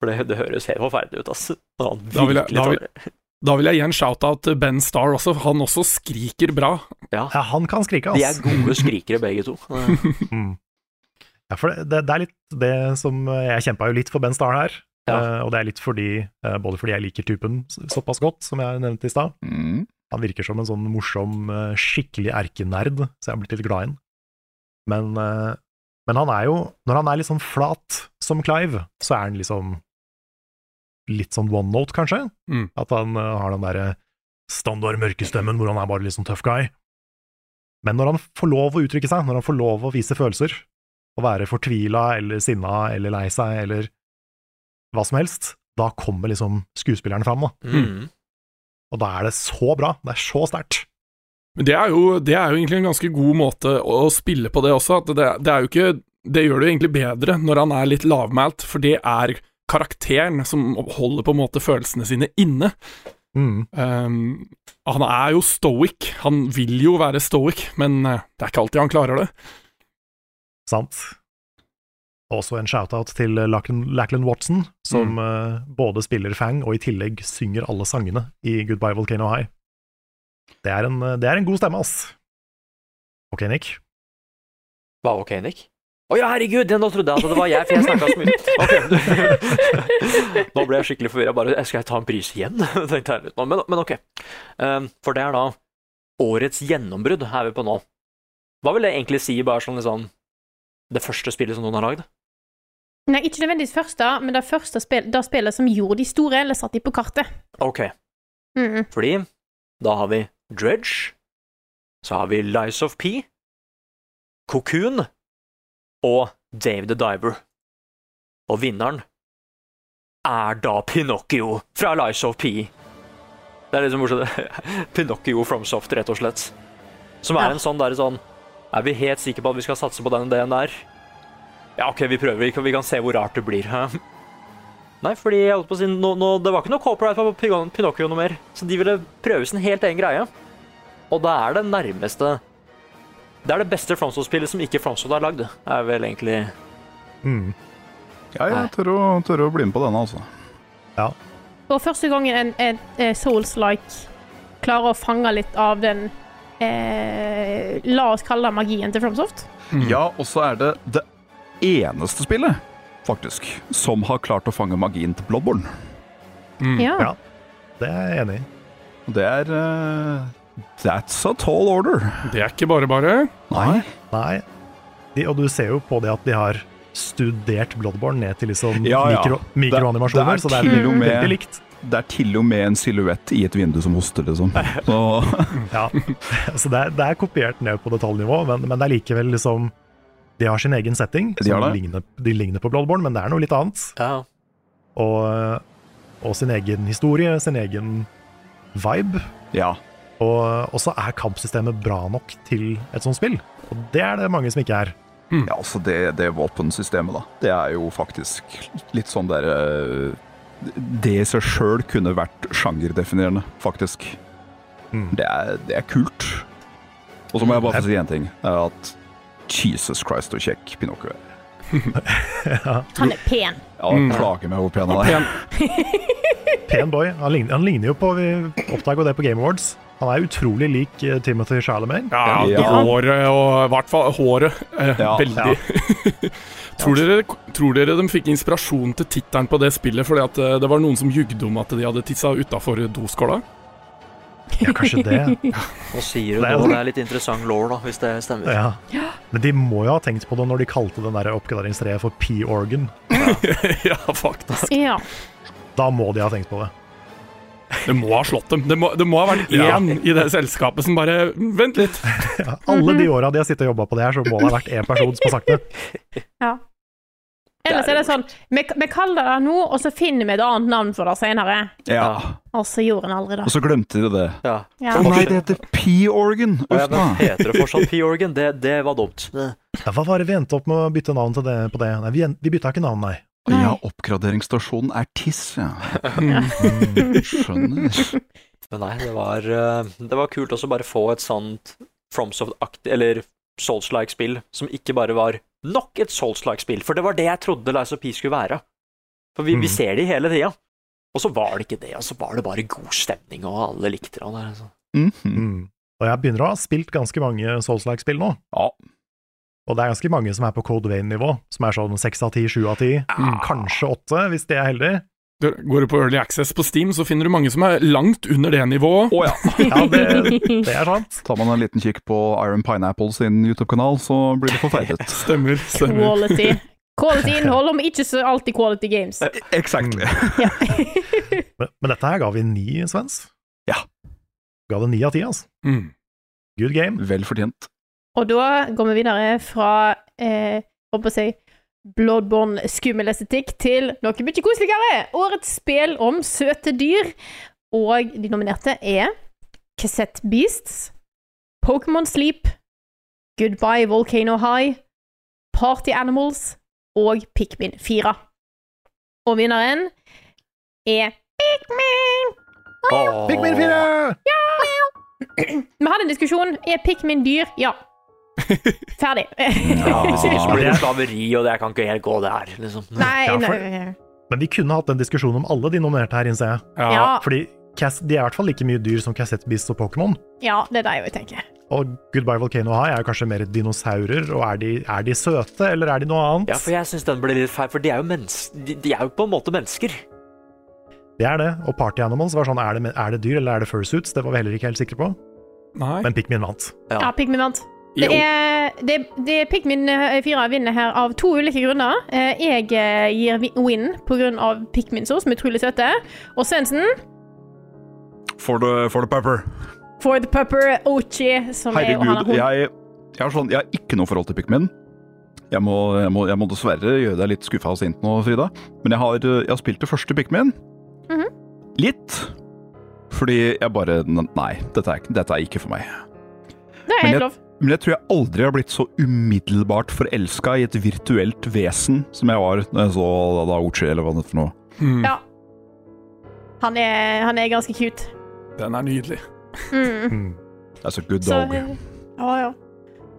For det, det høres helt forferdelig ut, ass. Når han
Da vil jeg-
virkelig
da
tar
vil-
det.
Da vil jeg gi en shout-out til Ben Starr også, han også skriker bra.
Ja, han kan skrike,
De
ass.
er gode skrikere, begge
(laughs)
to. Det-
Mm. Ja, for det, det, det er litt det som eh, Jeg kjempa jo litt for Ben Starr her.
Ja.
eh, og det er litt fordi, eh, både fordi jeg liker typen s- såpass godt, som jeg nevnte i stad.
Mm.
Han virker som en sånn morsom, eh, skikkelig erkenerd, så jeg har blitt litt glad i han. Men, eh, men han er jo Når han er litt sånn flat som Clive, så er han liksom litt sånn one note, kanskje.
Mm.
At han eh, har den derre standard mørkestemmen hvor han er bare litt sånn tough guy. Men når han får lov å uttrykke seg, når han får lov å vise følelser, å være fortvila eller sinna eller lei seg eller hva som helst, da kommer liksom skuespilleren fram, da.
Mm.
Og da er det så bra, det er så sterkt.
Men det er, jo, det er jo egentlig en ganske god måte å å spille på det også. At det, det er jo ikke Det gjør det jo egentlig bedre når han er litt lavmælt, for det er karakteren som holder på en måte følelsene sine inne.
Mm.
Ehm, han er jo stoic. Han vil jo være stoic, men eh, det er ikke alltid han klarer det.
Sant. Også en shout-out til eh, Lachlan, Lachlan Watson,
Mm.
som eh, både spiller Fang og i tillegg synger alle sangene i Goodbye Volcano High. Det er en, eh, det er en god stemme, ass. Ok, Nick.
Var ok, Nick? Å ja, herregud, ja, nå trodde jeg at det var jeg, for jeg snakka så mye. Ok. (laughs) Nå ble jeg skikkelig forvirra. Bare skal jeg ta en pris igjen? (laughs) tenkte jeg litt nå. Men, men ok. Um, for det er da årets gjennombrudd er vi på nå. Hva vil det egentlig si, bare sånn liksom Det første spillet som noen har lagd?
(laughs) Nei, ikke nødvendigvis første, men det første spill, det spillet som gjorde de store, eller satt de på kartet.
Ok.
Mm.
Fordi da har vi Dredge, så har vi Lies of P, Cocoon og Dave the Diver. Og vinneren er da Pinocchio fra Lies of P. Det er liksom morsomt. (laughs) Pinocchio from Soft, rett og slett. Som er
Ja.
en sånn der sånn Er vi helt sikre på at vi skal satse på den ideen der? Ja, OK, vi prøver. Vi kan, vi kan se hvor rart det blir. Hæ? Nei, fordi jeg holdt på å si nå- nå- Det var ikke noe copyright på Pin- Pinocchio noe mer. Så de ville prøve sin helt egen greie. Og det er det nærmeste Det er det beste Fromsdal-spillet som ikke Fromsdal har lagd, er vel egentlig
Mm.
Ja, jeg tør å, tør å bli med på denne, altså.
Og første gangen en, en, eh, Souls-like klarer å fange litt av den eh, La oss kalle det magien til Fromsoft.
Ja, og så er det det eneste spillet, faktisk, som har klart å fange magien til Bloodborne.
Ja.
Ja, det er jeg enig i.
Og Det er eh, That's a tall order.
Det er ikke bare bare.
Nei.
Nei. De, og du ser jo på det at de har studert Bloodborne ned til liksom
Ja, ja.
Mikro,
Det-
mikroanimasjoner,
det er
så det er
til og
veldig,
med-
veldig likt.
Det er til og med en silhuett i et vindu som hoster, liksom. Så,
Ja, (laughs) altså det, er, det er kopiert ned på detaljnivå, men, men det er likevel liksom De har sin egen setting.
De har
som
det.
Ligner, de ligner på Bloodborne, men det er noe litt annet.
Ja.
Og, og sin egen historie, sin egen vibe.
ja.
Og, og så er kampsystemet bra nok til et sånt spill. Og det er det mange som ikke er.
ja altså det, det våpensystemet, da. Det er jo faktisk litt sånn der eh, Det i seg sjøl kunne vært sjangerdefinerende, faktisk.
Mm.
Det, er, det er kult. Og så må jeg bare få si én ting. Det er at Jesus Christ og kjekk Pinocchio er.
Han er pen.
Ja, jeg plager meg hvor pen han er.
Pen.
Pen boy. Han ligner, han ligner jo på Vi oppdaga det på Game Awards. Han er utrolig lik eh, Timothy Charlemagne.
Ja,
Ja.
håret og i hvert fall håret. Eh,
Ja.
veldig. (laughs) tror, dere, tror dere de fikk inspirasjon til tittelen på det spillet fordi at eh, det var noen som jugde om at de hadde tissa utafor doskåla?
Ja, kanskje det.
Nå sier du
Det er
noe,
jo-
det er litt interessant law, da, hvis det stemmer.
(laughs) Ja. Men de må jo ha tenkt på det når de kalte den der oppgraderingstreet for P-organ.
ja, faktisk.
Ja.
Da må de ha tenkt på det.
Det må ha slått dem. Det må, det må ha vært én
Ja.
i det selskapet som bare Vent litt.
Alle de åra de har sittet og jobba på det her, så må det ha vært én person som har sagt det.
Ja. Ellers er det sånn vi, vi kaller det nå, og så finner vi et annet navn for det senere.
Ja.
Og så gjorde han aldri det.
Og så glemte de det.
Ja.
Ja.
Å nei, det heter P-organ!
Å ja,
Uff da.
men heter det fortsatt P-Organ? Det, det var dumt.
Ja, Hva var det vi endte opp med å bytte navn til det, på det? Nei, vi, en- vi bytta ikke navn, nei.
Ja, oppgraderingsstasjonen er TISS, ja. Mm, Skjønner.
Men nei, det var, eh, det var kult også bare få et sånt Fromsoft-aktig, eller Souls-like spill, som ikke bare var nok et Souls-like spill, for det var det jeg trodde Lies of P skulle være. For vi,
Mm.
vi ser de hele tida. Og så var det ikke det, og så var det bare god stemning, og alle likte det. og det er sånn.
Mhm.
Mm. Og jeg begynner å ha spilt ganske mange Souls-like-spill nå.
Ja.
Og det er ganske mange som er på Code Vein-nivå, som er sånn seks av ti, sju av ti,
Mm.
kanskje åtte, hvis de er heldige.
Du- Går du på Early Access på Steam, så finner du mange som er langt under det nivået.
Å ja.
Ja, det, det er sant.
Tar man en liten kikk på Iron Pineapple sin YouTube-kanal, så blir det forferdet.
(laughs) Stemmer. stemmer.
Quality. (laughs) Quality innhold, om ikke så alltid quality games.
Exactly.
Men, men dette her ga vi ni, Svens.
Ja.
Ga det ni av ti, altså.
Mm.
Good game.
(laughs) Vel fortjent.
Og da går vi videre fra eh, holdt på å si Bloodborne skummel estetikk til noe mye koseligere. Årets spill om søte dyr. Og de nominerte er Cassette Beasts, Pokémon Sleep, Goodbye Volcano High, Party Animals og Pikmin 4. Og vinneren er Pikmin!
Åh.
Pikmin 4!
(clears throat) Vi hadde en diskusjon. Er Pikmin dyr? Ja. Ferdig.
Ja, hvis
(laughs)
ikke så blir
Ja.
det slaveri, og det kan ikke helt gå, det her, liksom.
Nei,
Ja, for-
nei.
Men vi kunne hatt den diskusjonen om alle de nominerte her, innser jeg.
Ja.
Ja,
Fordi Cass, de er i hvert fall like mye dyr som Cassette Beast og Pokémon.
ja, det er det jeg tenker.
Og Goodbye Volcano High er kanskje mer dinosaurer, og er de, er de søte, eller er de noe annet?
Ja, for jeg syns den ble litt feil, for de er jo mennes... De, de er jo på en måte mennesker.
Det er det. Og Party Animals var sånn, er det, er det dyr, eller er det fursuits? Det var vi heller ikke helt sikre på.
Nei.
Men Pikmin vant.
Ja.
Ja, Pikmin vant. Det
Jo.
er, det, det er Pikmin 4 vinner her av to ulike grunner. Eh, Jeg eh, gir vi- win pga. Pikmin-sauce, som er utrolig søte. Og Svendsen
For the, for the pepper.
for the pupper Ochi, som er og han er
Herregud,
hund.
jeg, jeg, har sånn, jeg har ikke noe forhold til Pikmin. Jeg må, jeg, må, jeg må dessverre gjøre deg litt skuffa og sint nå, Frida. Men jeg har, eh, jeg har spilt det første Pikmin.
Mhm.
Litt. Fordi jeg bare Nei, dette er, ikke- dette er ikke for meg.
Det er
Men
helt
jeg-
lov.
Men jeg tror jeg aldri har blitt så umiddelbart forelska i et virtuelt vesen som jeg var da jeg så Daochi, eller hva det er for noe.
Mm.
Ja. Han er, han er ganske cute.
Den er nydelig.
Mm.
That's a good
Så,
dog.
eh, ja, ja.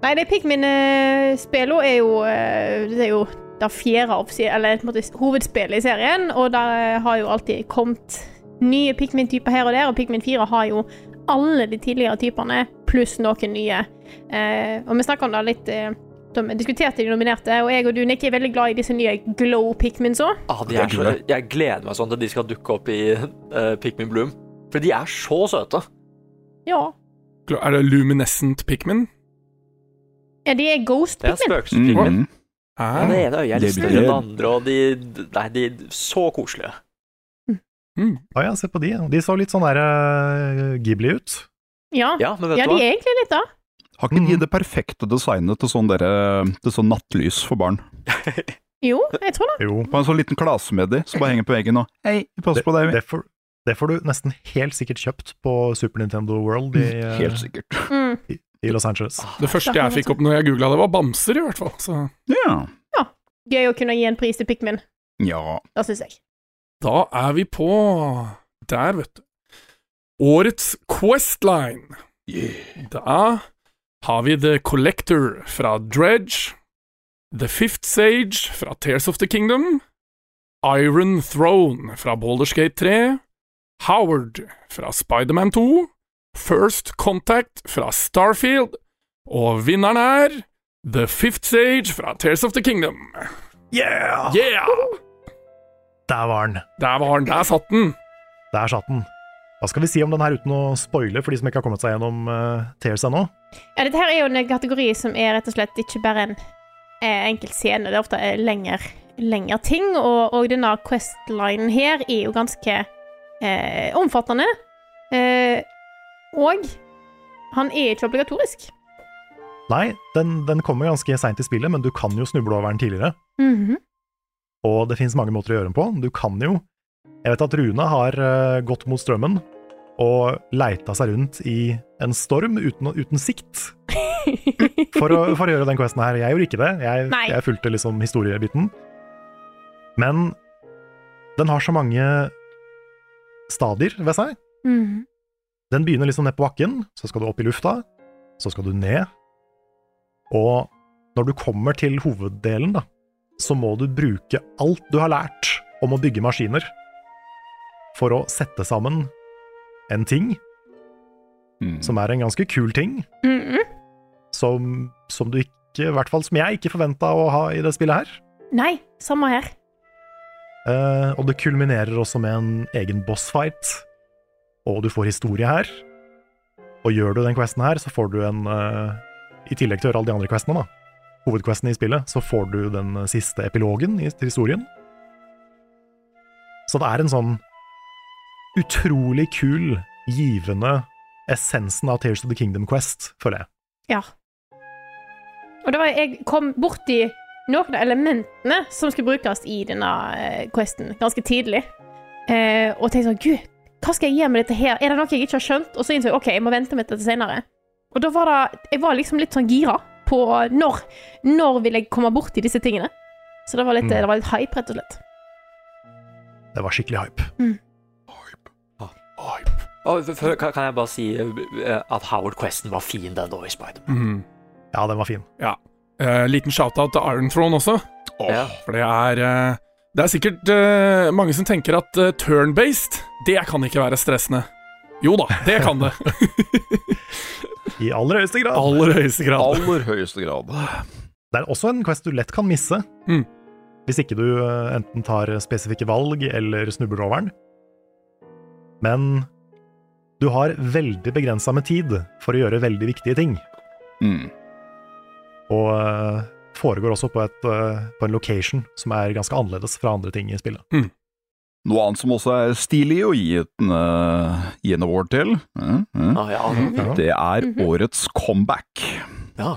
Nei, det Pikmin-spillet er jo eh, Det er jo det fjerde av, se- eller, på en måte, hovedspillet i serien, og der har jo alltid kommet nye Pikmin-typer her og der, og Pikmin 4 har jo alle de tidligere typene, pluss noen nye. Eh, og vi snakka om det litt eh, da vi diskuterte de nominerte, og jeg og du, Nick, er veldig glad i disse nye Glow Pikmin så.
Ah, de
Det er
er så,
kule.
jeg gleder meg sånn til de skal dukke opp i eh, Pikmin Bloom. For de er så søte.
Ja.
Er det Luminescent Pikmin?
ja. De er Ghost
Det er
Pikmin.
spøkelsespigmen.
Mhm.
Ja, det ene øyet er litt
Det
større enn det
blir-
andre, og de Nei, de er så koselige.
Mm.
Å ja, se på de. De så litt sånn der eh, Ghibli ut.
Ja.
Ja, men vet
ja,
du
de
hva?
er egentlig litt det.
Har ikke de
Mhm.
det perfekte designet til sånn, dere, til sånn nattlys for barn?
Jo, jeg tror det.
Jo.
På en sånn liten klase med de, som bare henger på veggen og Hei, pass
Det,
på deg.
det, får, det får du nesten helt sikkert kjøpt på Super Nintendo World i, eh,
Helt sikkert.
Mm.
i Los Angeles.
Det første jeg fikk opp når jeg googla det, var bamser, i hvert fall. Så
Ja.
Gøy å kunne gi en pris til Pikmin.
ja.
Det syns jeg.
da er vi på Der, vet du. Årets Questline. Da har vi The Collector fra Dredge, The Fifth Sage fra Tears of the Kingdom, Iron Throne fra Baldersgate 3, Howard fra Spiderman 2, First Contact fra Starfield, og vinneren er The Fifth Sage fra Tears of the Kingdom.
Yeah!
Yeah!
Der var den.
Der var den, der satt den.
Der satt den. Hva skal vi si om den her uten å spoile for de som ikke har kommet seg gjennom uh, Tears ennå?
Ja, dette her er jo en kategori som er rett og slett ikke bare en eh, enkel scene. Det er ofte eh, lengre, lengre ting, og, og denne Quest-linen her er jo ganske eh, eh, omfattende. Eh, og han er ikke obligatorisk.
Nei, den, den kommer ganske seint i spillet, men du kan jo snuble over den tidligere.
Mhm.
Og det finnes mange måter å gjøre den på. Du kan jo Jeg vet at Rune har eh, gått mot strømmen og leita seg rundt i en storm uten, uten sikt for å, for å gjøre den questen her. Jeg gjorde ikke det. Jeg,
Nei.
jeg fulgte liksom historiebiten. Men den har så mange stadier ved seg.
Mhm.
Den begynner liksom ned på bakken, så skal du opp i lufta, så skal du ned. Og når du kommer til hoveddelen, da, så må du bruke alt du har lært om å bygge maskiner for å sette sammen en ting
Mm.
som er en ganske kul ting,
Mhm.
som, som du ikke, i hvert fall som jeg ikke forventa å ha i det spillet her.
Nei, samme her.
Eh, og det kulminerer også med en egen bossfight, og du får historie her. Og gjør du den questen her, så får du en eh, I tillegg til å gjøre alle de andre questene, da, hovedquesten i spillet, så får du den siste epilogen i, til historien. Så det er en sånn utrolig kul, givende essensen av Tears of the Kingdom Quest, føler jeg.
Ja. Og det var jeg kom borti noen av elementene som skulle brukes i denne eh, questen, ganske tidlig. Eh, og tenkte sånn Gud, hva skal jeg gjøre med dette her? Er det noe jeg ikke har skjønt? Og så innså jeg OK, jeg må vente med dette senere. Og da var det Jeg var liksom litt sånn gira på når, når vil jeg komme borti disse tingene. Så det var litt,
Mm.
det var litt hype, rett og slett.
Det var skikkelig hype.
Og f- f- kan kan jeg bare si eh, at Howard Questen var fin den da i Spider-Man.
Mhm.
Ja, den var fin.
Ja. Eh, liten shout-out til Iron Throne også.
Ja.
For det er eh, Det er sikkert eh, mange som tenker at eh, turn-based, det kan ikke være stressende. Jo da, det kan det.
I aller høyeste grad.
Aller høyeste grad.
Aller høyeste grad.
Det er også en quest du lett kan misse.
Mm.
Hvis ikke du eh, enten tar spesifikke valg eller snubler over den. Men du har veldig begrensa med tid for å gjøre veldig viktige ting.
Mm.
Og eh, foregår også på, et, eh, på en location som er ganske annerledes fra andre ting i spillet.
Noe annet som også er stilig å gi, et, eh, gi en award til, eh, eh,
Ah, ja.
Mm.
det er årets comeback.
Ja.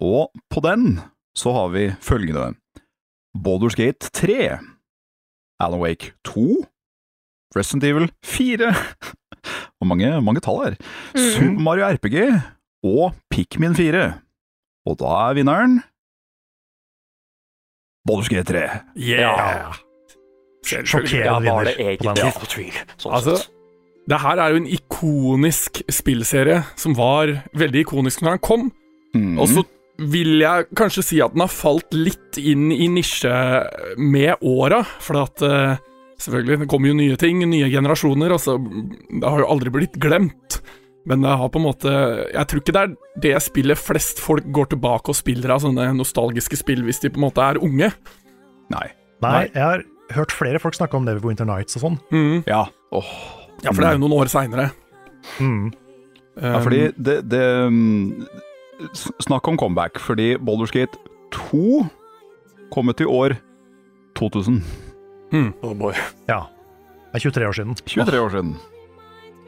Og på den så har vi følgende Baldur's Gate 3, Alan Wake 2, Resident Evil 4 (laughs) Og mange, mange tall her. Super Mario RPG og Pikmin 4. Og da er vinneren Baldur's Gate 3.
Yeah! Selvfølgelig.
Ja,
Sjokkerende
var
vinner.
det
på den.
egentlig ja. tvil? Sånn
Altså,
sett.
det her er jo en ikonisk spillserie som var veldig ikonisk når den kom.
Mhm.
Og så vil jeg kanskje si at den har falt litt inn i nisje med åra, for at eh, Selvfølgelig, det kommer jo nye ting, nye generasjoner, altså Det har jo aldri blitt glemt. Men det har på en måte Jeg tror ikke det er det spillet flest folk går tilbake og spiller av sånne nostalgiske spill hvis de på en måte er unge.
Nei.
Nei, jeg har hørt flere folk snakke om Neverwinter Nights og sånn.
Mhm.
Ja.
Ja, for det er jo noen år seinere.
Mm.
Ja, fordi det, det mm, s- Snakk om comeback, fordi Baldur's Gate 2 kom ut i år 2000.
Oh boy.
Ja. Det er 23 år siden.
23 år siden.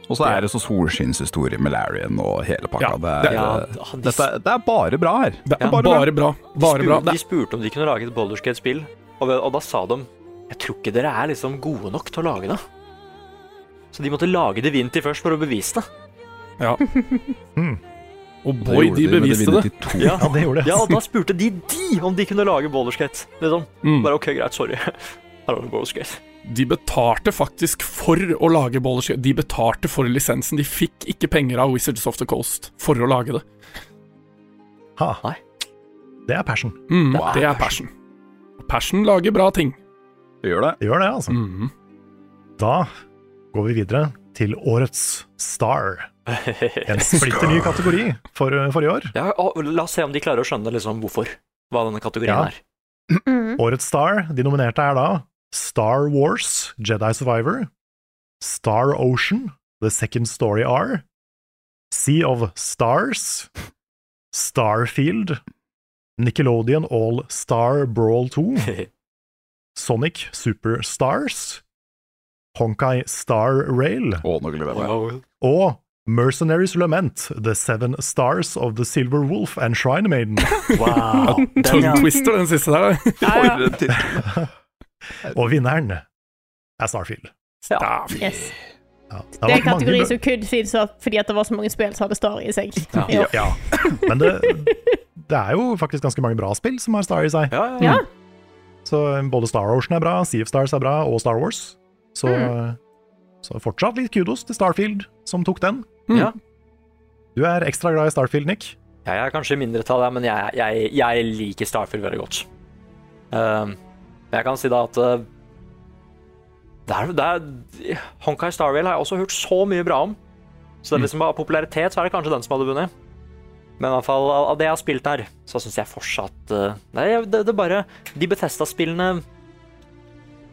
Og så er det så solskinnshistorie med Larian og hele pakka.
Ja,
det, er,
Ja,
det,
han, de,
dette, er- det er bare bra her.
Det er
Ja,
bare,
bare
bra. Bare
spurte,
bra. Det
de spurte om de kunne lage et Baldur's Gate-spill, og, og da sa de Jeg tror ikke dere er liksom gode nok til å lage det. Så de måtte lage Divinity først for å bevise det.
Ja.
Mm.
Og boy,
gjorde
de
med
beviste det.
Divinity 2.
Ja,
Ja, det
(laughs)
gjorde
ja
jeg.
og da spurte de de om de kunne lage Baldur's Gate. Liksom.
Mm.
Bare OK, greit, sorry. (laughs) Her har du Baldur's Gate.
De betalte faktisk for å lage Baldur's Gate. De betalte for lisensen. De fikk ikke penger av Wizards of the Coast for å lage det.
Ha.
Nei.
Det er passion.
Mm,
Det er
det er passion. Passion lager bra ting.
Det gjør det.
Det gjør det, altså.
Mm.
Da går vi videre til årets Star. En splitter ny kategori for, for i år.
Ja, og la oss se om de klarer å skjønne liksom hvorfor. Hva denne kategorien
Ja.
er. (laughs)
Mhm.
Årets Star, de nominerte er da Star Wars, Jedi Survivor, Star Ocean, The Second Story R, Sea of Stars, Starfield, Nickelodeon All
(laughs)
Star Brawl 2, Sonic Superstars, Honkai Star Rail. Og Mercenaries Lament, The Seven Stars of the Silver Wolf and
(laughs)
Shrine Maiden.
Wow. Tongue twister, den siste der. (laughs)
For en Og vinneren er Starfield.
Ja.
Yes.
Ja,
Det er en
mange
kategori
lø-
som kun fins opp fordi at det var så mange spill som hadde Star i seg. I
Ja.
år.
ja. Men det, det er jo faktisk ganske mange bra spill som har Star i seg.
Ja, ja.
Ja.
Så um, både Star Ocean er bra, Sea of Stars er bra, og Star Wars. Så,
Mm.
så fortsatt litt kudos til Starfield, som tok den.
ja.
Du er ekstra glad i Starfield, Nick.
Jeg er kanskje i mindretall her, men jeg, jeg, jeg liker Starfield veldig godt. Ehm, men jeg kan si da at eh, det er, det er, Honkai Starwheel har jeg også hørt så mye bra om. Så det er liksom av popularitet så er det kanskje den som hadde vunnet. Men i hvert fall av av det jeg har spilt her, så syns jeg fortsatt eh, Nei, det, det er bare De Bethesda-spillene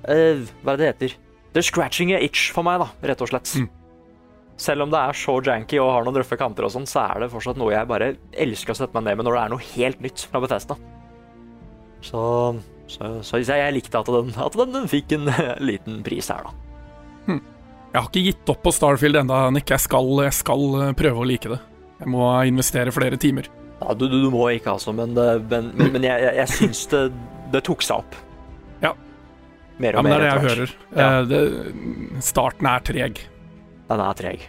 eh, Hva er det det heter? Det er scratching a itch for meg, da, rett og slett. Selv om det er så janky og har noen røffe kanter og sånn, så er det fortsatt noe jeg bare elsker å sette meg ned med når det er noe helt nytt fra Bethesda. Så, så, så jeg, jeg likte at den, at den, den fikk en eh, liten pris her, da.
Jeg har ikke gitt opp på Starfield enda, Nick. Jeg skal, jeg skal eh, prøve å like det. Jeg må investere flere timer.
Ja, du, du, du må ikke, altså, men, det- men, men, men jeg, jeg, jeg syns det, det tok seg opp.
Ja.
Mer
Ja,
og
men det
mer.
er det jeg
etter
hører.
Ja.
Eh, Det, starten er treg.
hvert. Den er treg.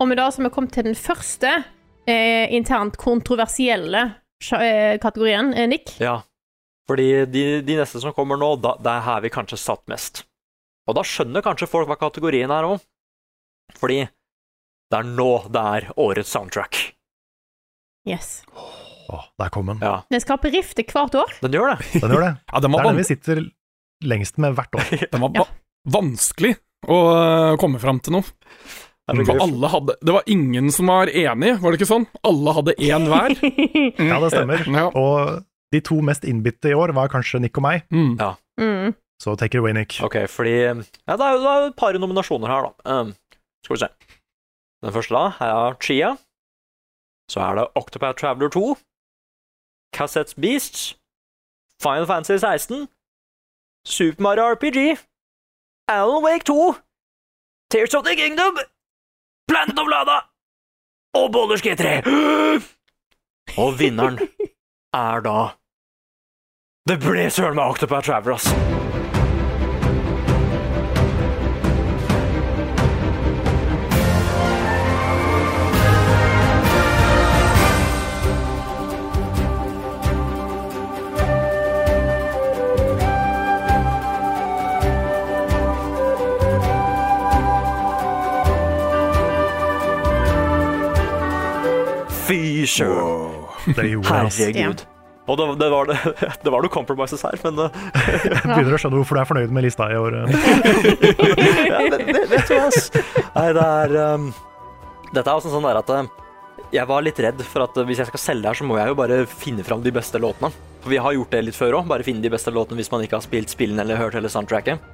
Og med det som er kommet til den første eh, internt kontroversielle sja- eh, kategorien, eh, Nick.
Ja. Fordi de, de neste som kommer nå, da, det er her vi kanskje satt mest. Og da skjønner kanskje folk hva kategorien er òg. Fordi det er nå det er årets soundtrack.
Yes.
Å, der kom den.
Ja,
Den skaper rifter hvert år.
den gjør det.
Den gjør det.
Ja, den
Det
var,
er den
van
vi sitter lengst med hvert år.
den var
Ja.
va vanskelig å eh, komme fram til noe. For Mm. alle hadde, det var ingen som var enig, var det ikke sånn? Alle hadde én hver.
Ja, det stemmer.
Ja.
Og de to mest innbitte i år var kanskje Nick og meg,
(laughs) Mm.
(laughs) Mm.
så take it away, Nick.
Ok, fordi ja, det er jo det er jo et par nominasjoner her, da. Um, skal vi se. Den første da her er Chia. Så er det Octopath Traveler 2. Cassettes Beasts. Final Fantasy 16. Super Mario RPG. Alan Wake 2. Tears of the Kingdom. Planet of Lada. Og Baldur's G3. (gasps) Og vinneren er da Det ble søren meg Octopath Traveler, ass. Fy søren.
Det gjorde oss.
Herregud. Og det, det, var det, (laughs) det var noen compromises her, men eh,
Jeg begynner å skjønne hvorfor du er fornøyd med lista i år. Nick.
ja, det, det, Vet du hva, ass. Nei, det er um, Dette er også sånn der at eh, jeg var litt redd for at eh, hvis jeg skal selge her, så må jeg jo bare finne fram de beste låtene. For vi har gjort det litt før òg, bare finne de beste låtene hvis man ikke har spilt spillene eller hørt hele soundtracket.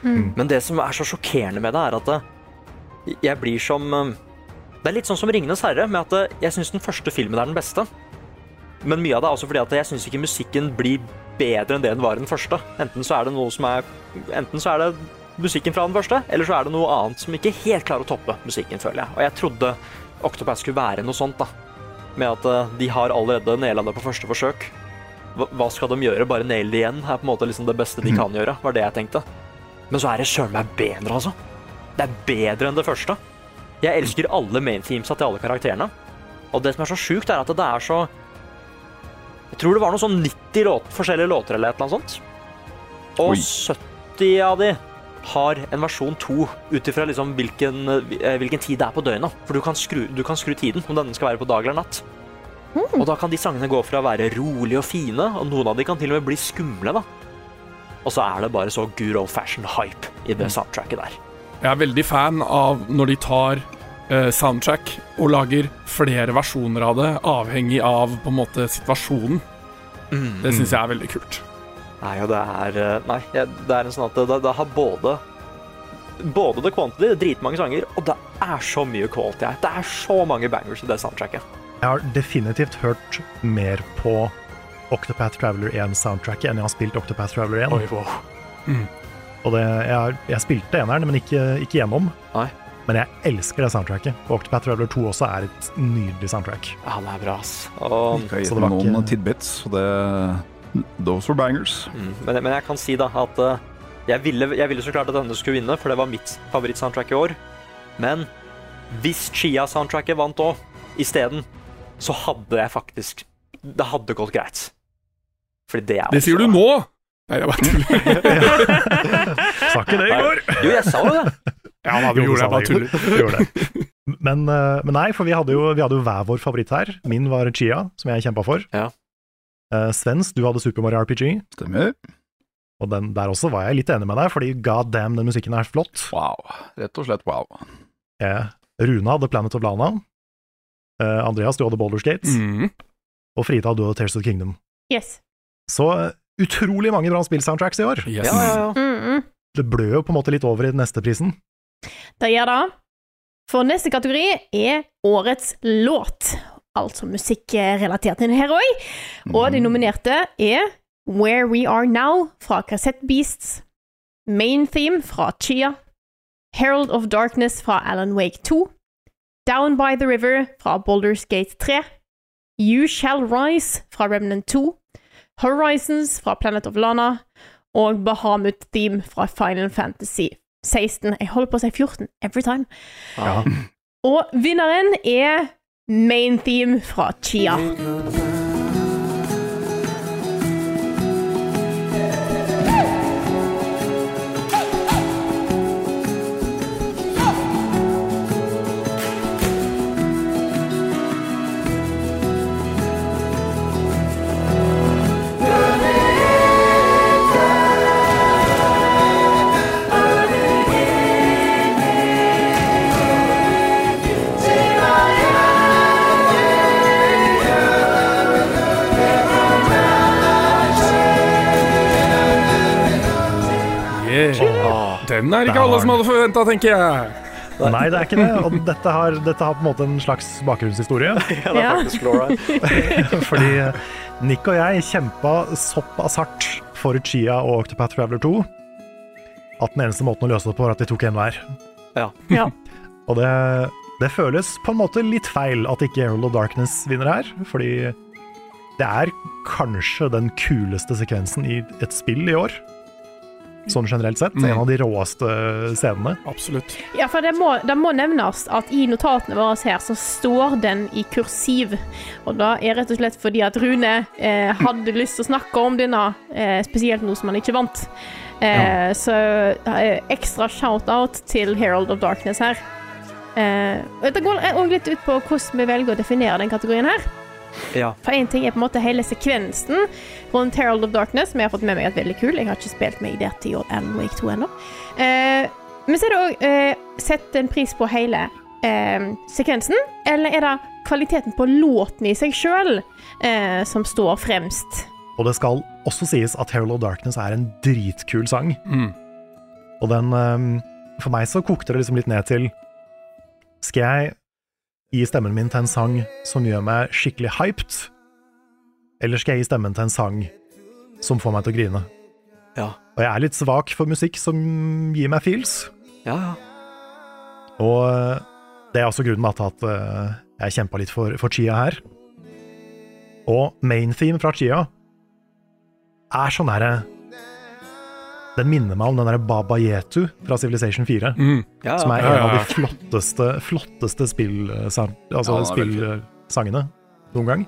Men det som er så sjokkerende med det, er at eh, jeg blir som eh, Det er litt sånn som 'Ringenes herre', med at eh, jeg syns den første filmen er den beste. Men mye av det er også fordi at jeg syns ikke musikken blir bedre enn det den var i den første. Enten så er det noe som er Enten så er det musikken fra den første, eller så er det noe annet som ikke helt klarer å toppe musikken, føler jeg. Og jeg trodde Octopath skulle være noe sånt, da. Med at eh, de har allerede naila det på første forsøk. Hva hva skal de gjøre? Bare naile det igjen? Er på en måte liksom det beste de kan gjøre, var det jeg tenkte. Men så er det søren meg bedre, altså. Det er bedre enn det første. Jeg elsker alle main teamsa til alle karakterene. Og det som er så sjukt, er at det er så Jeg tror det var noe sånn 90 låt, forskjellige låter eller et eller annet sånt. Og
Oi.
70 av de har en versjon 2 ut ifra liksom hvilken, eh, hvilken tid det er på døgnet. For du kan, skru, du kan skru tiden, om denne skal være på dag eller natt. Og da kan de sangene gå fra å være rolige og fine, og noen av de kan til og med bli skumle, da. Og så er det bare så good old fashion hype i det soundtracket der.
Jeg er veldig fan av når de tar eh, soundtrack og lager flere versjoner av det, avhengig av på en måte situasjonen.
Mm.
Det syns jeg er veldig kult.
Nei, og det er eh, Nei, jeg- det er en sånn at det, det- det har både Både det quantity, det er dritmange sanger, og det er så mye quality her. Det er så mange bangers i det soundtracket.
Jeg har definitivt hørt mer på Octopath Traveler 1-soundtracket enn jeg har spilt Octopath Traveler 1.
wow.
Og Og det, jeg, jeg spilte eneren, men ikke, ikke gjennom.
Nei.
Men jeg elsker det soundtracket. Og Octopath Traveler 2 også er et nydelig soundtrack.
Ja, det er bra, ass. Og,
Jeg har
Så
gitt
det var
meg
ikke-
noen tidbits, og det Those were bangers.
mm, men, men jeg kan si da at eh, jeg ville, jeg ville så klart at denne skulle vinne, for det var mitt favorittsoundtrack i år. Men hvis Chia-soundtracket vant òg, isteden, så hadde jeg faktisk Det hadde gått greit. Fordi det er
Det sier du nå! Nei, jeg bare tuller.
Sa ikke det i går!
Jo, jeg sa jo (laughs) det.
(laughs) Ja, da, vi
Jo,
gjorde
du
det, jeg bare
sa det,
tuller.
Vi gjorde det. Men, eh, men nei, for vi hadde, jo, vi hadde jo hver vår favoritt her. Min var Chia, som jeg kjempa for.
Ja.
Eh, Svens, du hadde Super Mario RPG,
Stemmer.
og den, der også var jeg litt enig med deg, fordi god damn, den musikken er flott.
Wow. Rett og slett wow.
Eh, Rune hadde Planet of Lana. Eh, Andreas, du hadde Boulder Skates.
(laughs) Mm.
Og Frida, du hadde Tears of the Kingdom.
Yes.
Så eh, utrolig mange bra spillsoundtracks i år.
Yes.
Ja, ja, ja.
Mm -mm.
Det blør jo på en måte litt over i den neste prisen.
Det gjør det. For neste kategori er årets låt. Altså musikk eh, relatert til den her òg. Og de nominerte er Where We Are Now fra Cassette Beasts, Main Theme fra Chia, Herald of Darkness fra Alan Wake 2, Down by the River fra Boulders Gate 3, You Shall Rise fra Remnant 2, Horizons fra Planet of Lana og Bahamut Theme fra Final Fantasy 16. Jeg holder på å si 14 every time.
Ja.
Og vinneren er Main Theme fra Chia.
Yeah. Den er ikke alle som hadde forventa, tenker jeg.
Nei, det er ikke det. Og dette har, dette har på en måte en slags bakgrunnshistorie.
Ja, det er
Ja.
faktisk Flora.
(laughs) Fordi eh, Nick og jeg kjempa såpass hardt for Chia og Octopath Traveler 2 at den eneste måten å løse det på, var at de tok en hver.
Ja.
Ja.
Og det, det føles på en måte litt feil at ikke Errol of Darkness vinner her, fordi det er kanskje den kuleste sekvensen i et spill i år. Sånn generelt sett. En av de råeste scenene.
Absolutt.
Ja, for det må, det må nevnes at i notatene våre her så står den i kursiv. Og det er rett og slett fordi at Rune eh, hadde lyst til å snakke om denne, eh, spesielt nå som han ikke vant. Eh, Så eh, ekstra shout-out til Herald of Darkness her. Eh, og det går òg litt ut på hvordan vi velger å definere den kategorien her.
Ja.
For én ting er på en måte hele sekvensen rundt Herald of Darkness, som jeg har fått med meg at er veldig kul. Jeg har ikke spilt meg der til Odd Alan Wake 2 ennå. Eh, men så er det òg eh, Sett en pris på hele eh, sekvensen, eller er det kvaliteten på låten i seg sjøl eh, som står fremst?
Og det skal også sies at Herald of Darkness er en dritkul sang.
Mm.
Og den ehm, For meg så kokte det liksom litt ned til Skal jeg gi stemmen min til en sang som gjør meg skikkelig hyped, eller skal jeg gi stemmen til en sang som får meg til å grine?
Ja.
Og jeg er litt svak for musikk som gir meg feels.
Ja, ja.
Og eh, det er også grunnen da, til at eh, jeg kjempa litt for, for Chia her. Og main theme fra Chia er sånn herre Den minner meg om den derre Baba Yetu fra Civilization 4.
Mm.
ja,
Som
ja.
er
Ja,
en
ja,
av
ja.
de flotteste, flotteste spill, eh, sa- altså
Ja, den er veldig
spillsangene noen gang.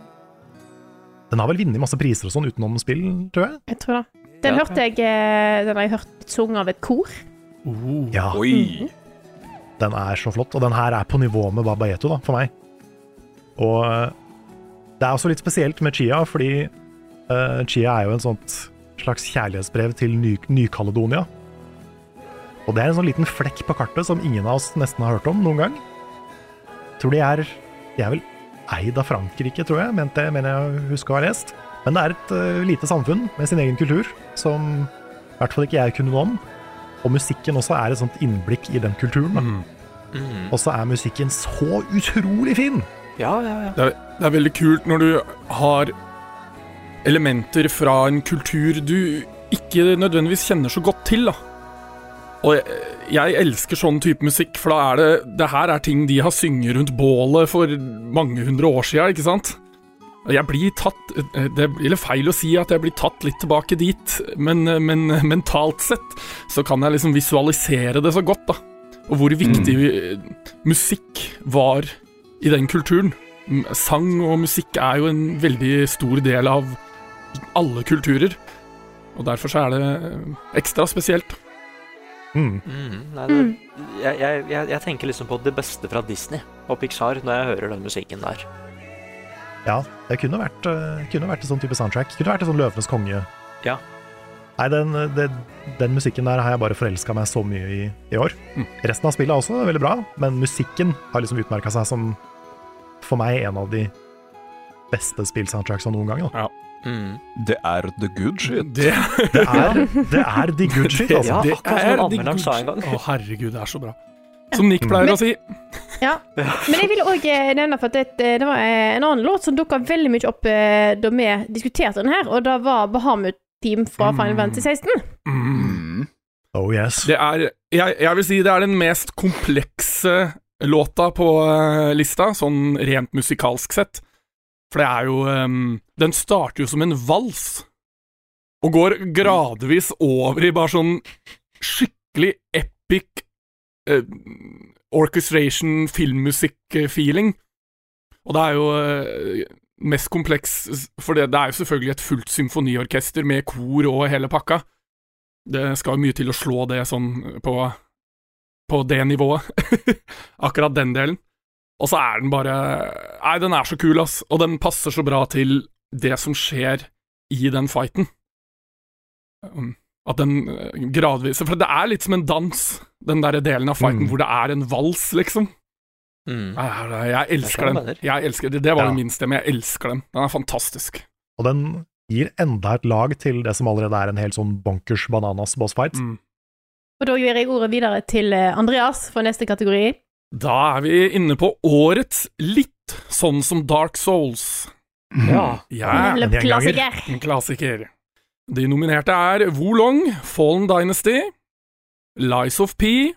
Den har vel vunnet masse priser og sånn utenom spill, tror jeg.
Jeg tror det. Den
Ja.
hørte jeg eh, Den har jeg hørt sunget av et kor.
Ja,
Oi!
Den er så flott, og den her er på nivå med Baba Yeto, da, for meg. Og eh, det er også litt spesielt med Chia, fordi eh, Chia er jo en sånt slags kjærlighetsbrev til Ny- Ny-Kaledonia. og det er en sånn liten flekk på kartet som ingen av oss nesten har hørt om noen gang. Tror de er De er vel eid av Frankrike, tror jeg, mente jeg, mener jeg å huske å ha lest. Men det er et eh, lite samfunn med sin egen kultur, som i hvert fall ikke jeg kunne noe om. Og musikken også er et sånt innblikk i den kulturen. da. Og så er musikken så utrolig fin!
ja, ja, ja.
Det er, det er veldig kult når du har elementer fra en kultur du ikke nødvendigvis kjenner så godt til, da. Og jeg, jeg elsker sånn type musikk, for da er det Det her er ting de har synget rundt bålet for mange hundre år sia, ikke sant? Og Jeg blir tatt Det blir litt feil å si at jeg blir tatt litt tilbake dit, men, men mentalt sett så kan jeg liksom visualisere det så godt, da. Og hvor viktig vi- musikk var i den kulturen. M- Sang og musikk er jo en veldig stor del av alle kulturer. Og derfor så er det eh, ekstra spesielt.
Mm, nei, det, jeg, jeg, jeg, jeg tenker liksom på det beste fra Disney og Pixar når jeg hører den musikken der.
Ja, det kunne vært, eh, kunne vært en sånn type soundtrack. Kunne vært en sånn Løvenes konge.
Ja.
Nei, den, eh, det- den musikken der har jeg bare forelska meg så mye i i år. Resten av spillet er også veldig bra, men musikken har liksom utmerka seg som for meg en av de beste spillsoundtracksene noen gang. Da.
Det er the good shit.
Det,
Det, er, det er the good shit, altså.
Ja, akkurat som en
de
anmelderen sa en
gud-
gang.
Å, herregud, det er så bra. Som Nick pleier å si.
Ja. Men jeg vil òg nevne for at det, det var eh, en annen låt som dukka veldig mye opp eh, da vi diskuterte den her, og det var Bahamut Team fra Final Fantasy 16.
Mm.
Oh yes.
Det er jeg, jeg vil si det er den mest komplekse låta på eh, lista, sånn rent musikalsk sett. For det er jo ehm, Den starter jo som en vals, og går gradvis over i bare sånn skikkelig epic eh, orchestration, filmmusikk-feeling. Og det er jo eh, mest kompleks For det, det er jo selvfølgelig et fullt symfoniorkester med kor og hele pakka. Det skal jo mye til å slå det sånn på, på det nivået. (laughs) Akkurat den delen. Og så er den bare Nei, den er så kul, ass. Og den passer så bra til det som skjer i den fighten. Um, At den eh, gradvis For det er litt som en dans, den der delen av fighten
Mm.
hvor det er en vals, liksom.
Mm.
Nei, nei, Jeg
Jeg
elsker
skjønner hva
den.
du mener.
Jeg elsker, det, det var
Ja.
jo min stemme. Jeg elsker den. Den er fantastisk.
Og den gir enda et lag til det som allerede er en helt sånn bonkers bananas bossfight.
Mm.
Og da gir jeg ordet videre til eh, Andreas for neste kategori.
Da er vi inne på årets litt sånn som Dark Souls.
Ja.
Ja,
Level up
en gjenganger.
klassiker.
en klassiker. De nominerte er Wolong, Fallen Dynasty, Lies of P,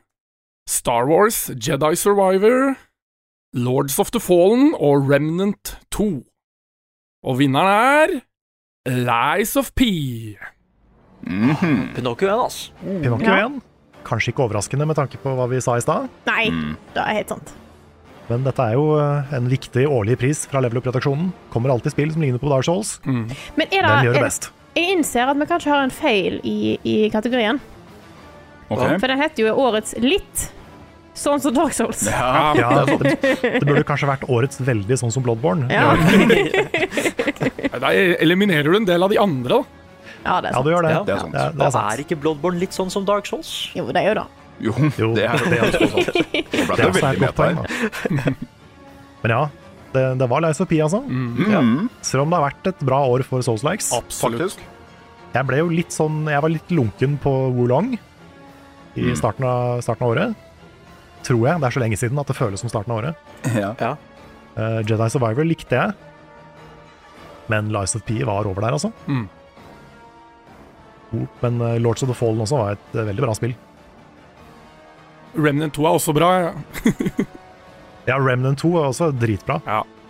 Star Wars, Jedi Survivor, Lords of the Fallen og Remnant 2. Og vinneren er Lies of P.
Pinocchio igjen, ass.
Pinocchio
Ja.
igjen. Kanskje ikke overraskende med tanke på hva vi sa i stad,
Nei,
Mm.
det er helt sant.
men dette er jo eh, en viktig årlig pris fra Level Up-redaksjonen. Kommer alltid spill som ligner på Dark Souls.
Men er
Den
det
gjør det
jeg,
best.
jeg innser at vi kanskje har en feil i, i kategorien.
Ok.
For den heter jo Årets litt. Sånn som Dark Souls.
Ja.
Ja, det, det burde kanskje vært årets veldig sånn som Bloodborne.
Ja,
Da eliminerer du en del av de andre, da.
ja det er
Ja,
sant.
du gjør det.
Ja.
Det er sant.
Det, det
Da
er sant.
er ikke Bloodborne litt sånn som Dark Souls?
Jo, det er jo det.
Jo, (laughs)
Jo.
det er det. Er,
(laughs)
det
Det
ble
er også
veldig
et godt
meta
poeng,
her.
da. Men ja, det, det var Lies of Pi, altså.
Mm.
Selv om det har vært et bra år for Souls-likes.
Absolutt.
Faktisk.
Jeg ble jo litt sånn Jeg var litt lunken på Wulong i starten av, starten av året. Tror jeg. Det er så lenge siden at det føles som starten av året.
Ja.
Eh, Jedi Survivor likte jeg, men Lies of P var over der, altså.
Mm.
Jo, Men eh, Lords of the Fallen også var et eh, veldig bra spill.
Remnant 2 er også bra. ja.
Ja, Remnant 2 er også dritbra.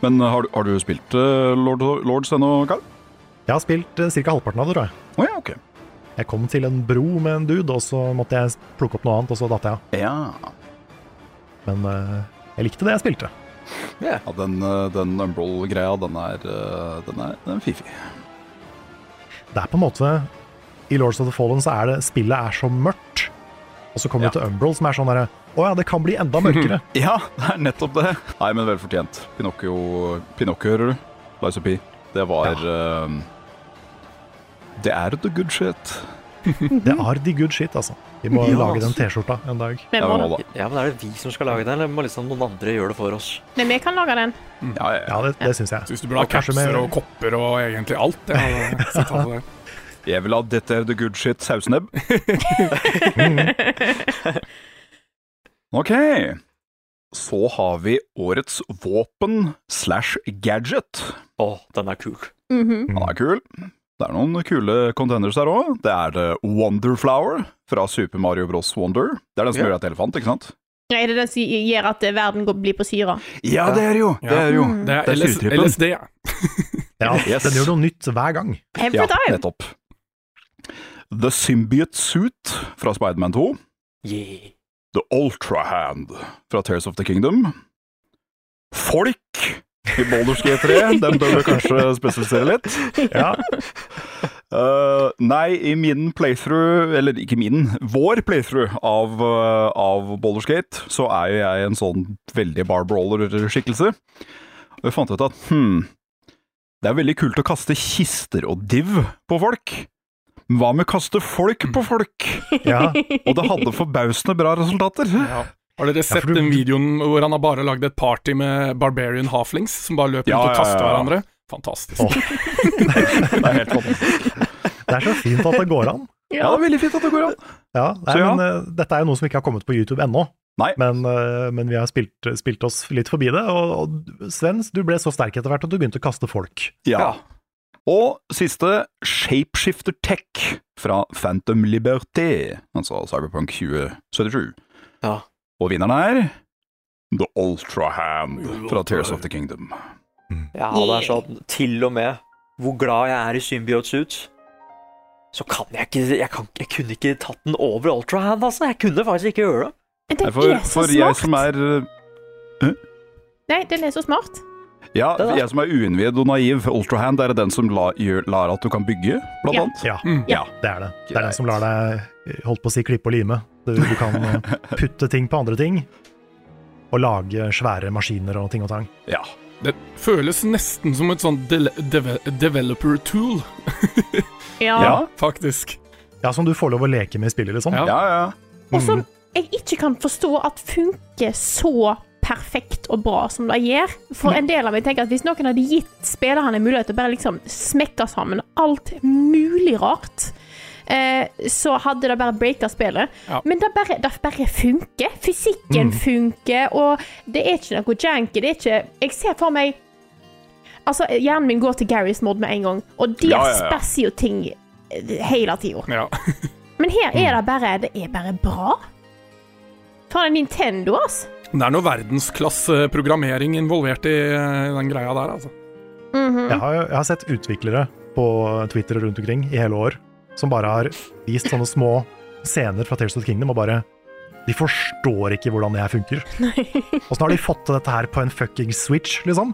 Men har, du- har du spilt eh, Lord, Lords ennå, Carl?
Jeg har spilt uh, ca. halvparten av det, tror jeg.
Å ja, ok.
Jeg kom til en bro med en dude, og så måtte jeg plukke opp noe annet, og så datt jeg av.
Ja.
Men eh, jeg likte det jeg spilte.
ja den eh, den Umbral-greia, den er eh, Den er, den er fiffig.
Det er på en måte I Lords of the Fallen så er det Spillet er så mørkt, og så kommer
Ja.
du til Umbral, som er sånn derre Å ja, det kan bli
(laughs)
enda mørkere.
Ja, det er nettopp det. Nei, men vel fortjent. Pinocchio, Pinocchio hører du? Lies of P. Det var eh, Det er the good shit.
det er the good shit, altså. Vi må
Ja,
lage den
altså.
T-skjorta en dag.
Vi,
Ja,
må,
men,
det.
hva da?
Ja, men er det vi som skal lage den, eller må liksom noen andre gjøre det for oss?
Nei, vi kan lage den.
ja, ja, ja.
Ja, det, det syns jeg.
Syns du burde ha
Og kanskje
capser
med-
og kopper og egentlig alt. Ja, så ta det.
Jeg vil ha 'Dette er the good shit' (laughs) sausnebb. Ok. Så har vi årets våpen slash gadget.
Å, den er kul.
Mhm.
Mm. Den er kul. Det er noen kule contenders der òg. Det er eh, Wonderflower fra Super Mario Bros. Wonder. Det er den som
Ja.
gjør deg til elefant, ikke sant?
Er det den som gjør at eh, verden går, blir på syra?
Ja, det er det jo! Det er, jo.
Mm. Det er LS
surtrippen.
LSD, ja.
Ja,
Yes.
Den gjør noe nytt hver gang.
Every time.
nettopp. The Symbiote Suit fra Spiderman 2. The Ultra Hand fra Tears of the Kingdom. Folk i Baldur's G3. Den bør vi kanskje spesifisere litt.
Ja.
Eh, nei, i min playthrough, eller ikke min, vår playthrough av, uh, av Baldur's Gate, så er jo jeg en sånn veldig barbrawler-skikkelse. Og jeg fant ut at hm, det er veldig kult å kaste kister og div på folk. Men Hva med å kaste folk på folk?
Ja.
Og det hadde forbausende bra resultater.
Ja. Har dere sett den videoen hvor han har bare lagd et party med Barbarian Halflings, som bare løper
Ja,
rundt
ja,
og
ja,
kaster
ja.
hverandre? Fantastisk.
Det er helt fantastisk.
Det er så fint at det går an.
Ja, det er veldig fint at det går an.
Ja, nei,
Så ja.
Men, eh, dette er jo noe som ikke har kommet på YouTube ennå,
Nei.
men, eh, men vi har spilt, spilt oss litt forbi det. Og, og Sven, du ble så sterk etter hvert at du begynte å kaste folk.
(laughs) Ja. Og siste, Shapeshifter Tech fra Phantom Liberté, altså Cyberpunk 2077.
Ja.
Og vinneren er The Ultra Hand fra Tears of the Kingdom.
Ja, det er sånn Til og med hvor glad jeg er i Symbiote Suits, så kan jeg ikke Jeg, kan, jeg kunne ikke tatt den over Ultrahand, altså. Jeg kunne faktisk ikke gjøre det.
Men Den
Nei, For,
er så smart!
for jeg som er
Nei, den er så smart.
ja,
Det da.
jeg som er uinnvidd og naiv, Ultra Hand er den som la, gjør, lar at du kan bygge, blant
Ja.
annet.
Ja,
Mm.
Ja.
det er det. Det er den som lar deg eh, holdt på å si klippe og lime. Du, du kan eh, putte ting på andre ting, og lage svære maskiner og ting og tang.
Ja.
Det føles nesten som et sånn del deve developer tool,
Ja.
Ja.
faktisk.
Ja, Som du får lov å leke med i spillet, liksom.
Ja.
ja, ja.
Og
Mm.
som jeg ikke kan forstå at funker så perfekt og bra som det gjør. For en del av meg tenker at hvis noen hadde gitt spillerne en mulighet til å bare liksom smekke sammen alt mulig rart, eh, så hadde det bare breaka spillet.
Ja.
Men det bare, det bare funker. Fysikken
Mm.
funker, og det er ikke noe janky. Det er ikke Jeg ser for meg Altså, hjernen min går til Garys mod med en gang, og der
Ja, ja, ja.
spesser jo ting eh, hele tida.
Ja. (laughs)
Men her er det bare Det er bare bra. Faen, det er Nintendo, ass.
Det er noe verdensklasse programmering involvert i eh, den greia der, altså.
Jeg har, jeg har sett utviklere på Twitter rundt omkring i hele år som bare har vist sånne små scener fra Tales of the Kingdom og bare De forstår ikke hvordan det her funker. Åssen har de fått til dette her på en fucking switch, liksom?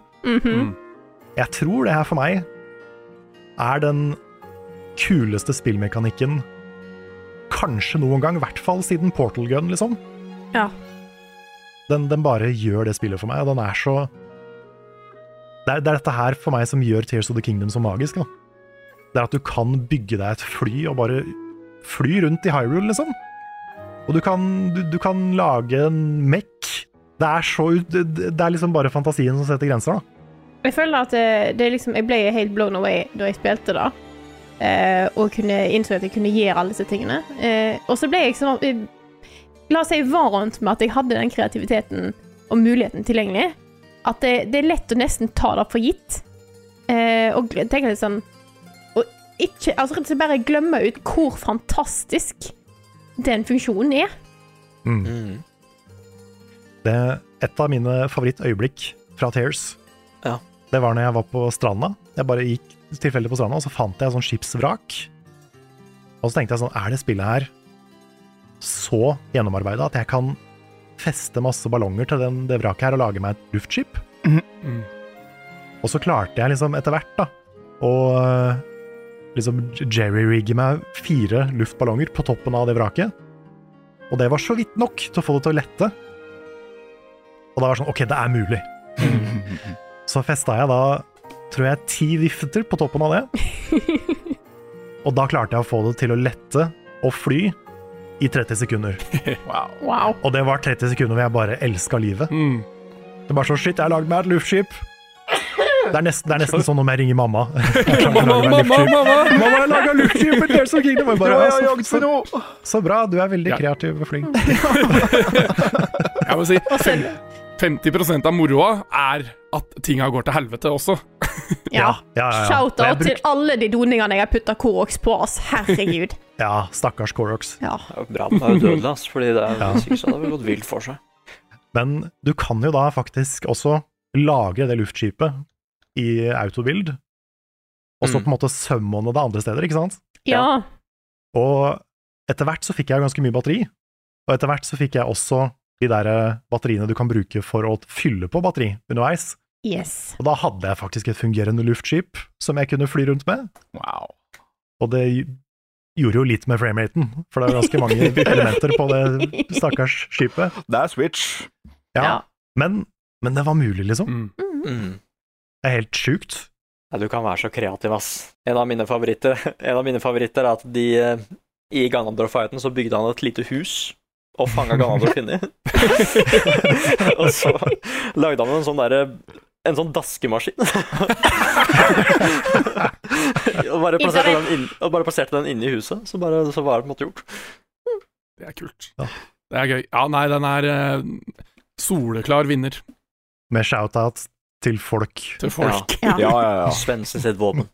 Jeg tror det her for meg er den kuleste spillmekanikken kanskje noen gang, i hvert fall siden Portal Gun, liksom.
Ja.
Den, den bare gjør det spillet for meg, og den er så det er, det er dette her for meg som gjør Tears of the Kingdom så magisk. Da. Det er at du kan bygge deg et fly og bare fly rundt i Hyrule, liksom. Og du kan, du, du kan lage en mech. Det er så ut- det, det er liksom bare fantasien som setter grenser, da.
Jeg føler at eh, det er liksom Jeg ble helt blown away da jeg spilte det. eh, og kunne, innså at jeg kunne gjøre alle disse tingene. Eh, og så ble jeg liksom eh, La oss si jeg var vant med at jeg hadde den kreativiteten og muligheten tilgjengelig. At det, det er lett å nesten ta det for gitt. Eh, og gl- tenke litt sånn Og ikke Altså rett og slett bare glemme ut hvor fantastisk den funksjonen er.
Mm. Mhm.
Det, et av mine favorittøyeblikk fra Tears,
Ja.
det var når jeg var på stranda. Jeg bare gikk tilfeldig på stranda, og så fant jeg sånn skipsvrak. Og så tenkte jeg sånn, er det spillet her så gjennomarbeidet at jeg kan feste masse ballonger til den, det vraket her og lage meg et luftskip? Og så klarte jeg liksom etter hvert da, å øh, liksom jerry-rigge meg fire luftballonger på toppen av det vraket. Og det var så vidt nok til å få det til å lette. Og da var det sånn, ok, det er mulig.
(laughs)
så festa jeg da, tror jeg, ti vifter på toppen av det.
(laughs)
og da klarte jeg å få det til å lette og fly i 30 sekunder.
Wow.
Og det var 30 sekunder hvor jeg bare elska livet.
Mm.
Det var sånn, shit, jeg har lagd meg et luftskip. Det er nesten, det er nesten sånn om jeg ringer
(laughs)
mamma. Jeg har
Mamma,
laget meg et
mamma,
luftskip.
mamma!
Mamma, jeg laga luftskip i Tears of Kingdom! Jeg bare,
Ja,
ja,
jeg har jagd for
så,
noe!
så, så bra, du er veldig
Ja.
kreativ og flink.
Jeg må si,
Og så,
50 av moroa er at tinga går til helvete også.
Ja.
Ja, ja, ja. Og jeg
Shout-out
bruk-
til alle de doningene jeg har putta Korox på, ass.
(laughs)
Herregud.
Ja, stakkars Korox.
Ja.
Det er jo Bra den er jo dødelig, ass, fordi det er,
Ja.
hvis ikke så hadde det vel gått vilt for seg.
Men du kan jo da faktisk også lagre det luftskipet i autobild, og så
Mm.
på en måte summone det andre steder, ikke sant?
ja.
Og etter hvert så fikk jeg ganske mye batteri, og etter hvert så fikk jeg også de der eh, batteriene du kan bruke for å fylle på batteri underveis.
Yes.
Og da hadde jeg faktisk et fungerende luftskip som jeg kunne fly rundt med,
Wow.
og det gjorde jo litt med frameraten, for det er jo ganske mange elementer på det stakkars skipet.
Det er Switch.
Ja,
Ja.
Men, men det var mulig, liksom.
Mm.
Mm.
Det er helt sjukt.
Ja, du kan være så kreativ, ass. En av mine favoritter, (laughs) en av mine favoritter er at de eh, I Ganondorf-fighten så bygde han et lite hus og fanga Ganondorf inni. (laughs) og så lagde han en sånn derre En sånn daskemaskin. (laughs) og, bare plasserte den inn, og bare plasserte den inni huset. Så, bare, så var det på en måte gjort.
Det er kult.
Ja.
Det er gøy. Ja, nei, den er eh, soleklar vinner
Med shout-out til folk.
til folk.
Ja.
Ja, ja,
(laughs)
ja.
Svendsen sitt våpen.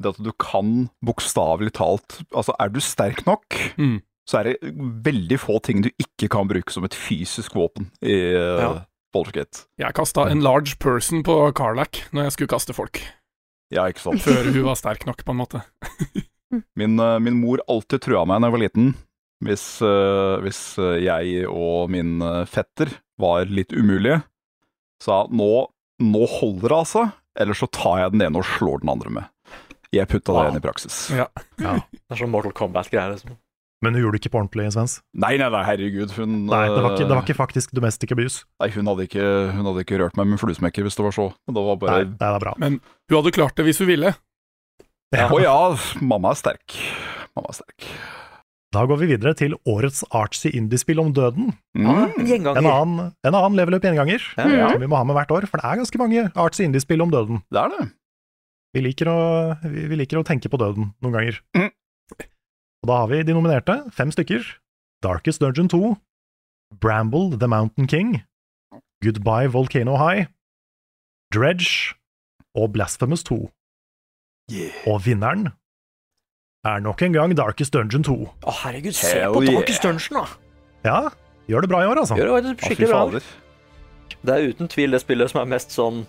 Det at du kan bokstavelig talt Altså, er du sterk nok,
Mm.
så er det veldig få ting du ikke kan bruke som et fysisk våpen i uh,
Ja.
Baldur's Gate.
Jeg kasta en large person på Carlac når jeg skulle kaste folk,
Ja, ikke sant.
før hun var sterk nok, på en måte.
Min, eh, min mor alltid trua meg da jeg var liten. Hvis, eh, hvis eh, jeg og min eh, fetter var litt umulige, sa nå, nå holder det altså, eller så tar jeg den ene og slår den andre med. Jeg putta det
Wow.
igjen i praksis.
Ja.
Det er sånn Mortal Kombat-greier. liksom.
Men du gjorde det ikke på ordentlig, Svens.
Nei, nei, nei, herregud, hun
Nei, det var ikke, det var
eh,
ikke faktisk domestic abuse.
nei, hun, hadde ikke, hun hadde ikke rørt meg med fluesmekker hvis det var så. Men det var bare
Nei, nei, det er bra.
Hun hadde klart det hvis hun ville.
Å
Ja.
ja, mamma er sterk. Mamma er sterk.
Da går vi videre til årets artsy indiespill om døden.
Mm.
En
Gjenganger.
annen, en annen level up gjenganger,
Ja, ja.
som vi må ha med hvert år, for det er ganske mange artsy indiespill om døden.
Det er det.
Vi liker, å, vi, vi liker å tenke på døden noen ganger.
Mhm.
Og da har vi de nominerte, fem stykker. Darkest Dungeon 2, Bramble The Mountain King, Goodbye Volcano High, Dredge og Blasphemous 2. Og vinneren er nok en gang Darkest Dungeon 2.
Å, herregud, se
Hell
på
yeah.
Darkest Dungeon, da!
Ja, gjør det bra i år, altså.
Gjør det
Ja,
skikkelig bra.
fader.
Det er uten tvil det spillet som er mest sånn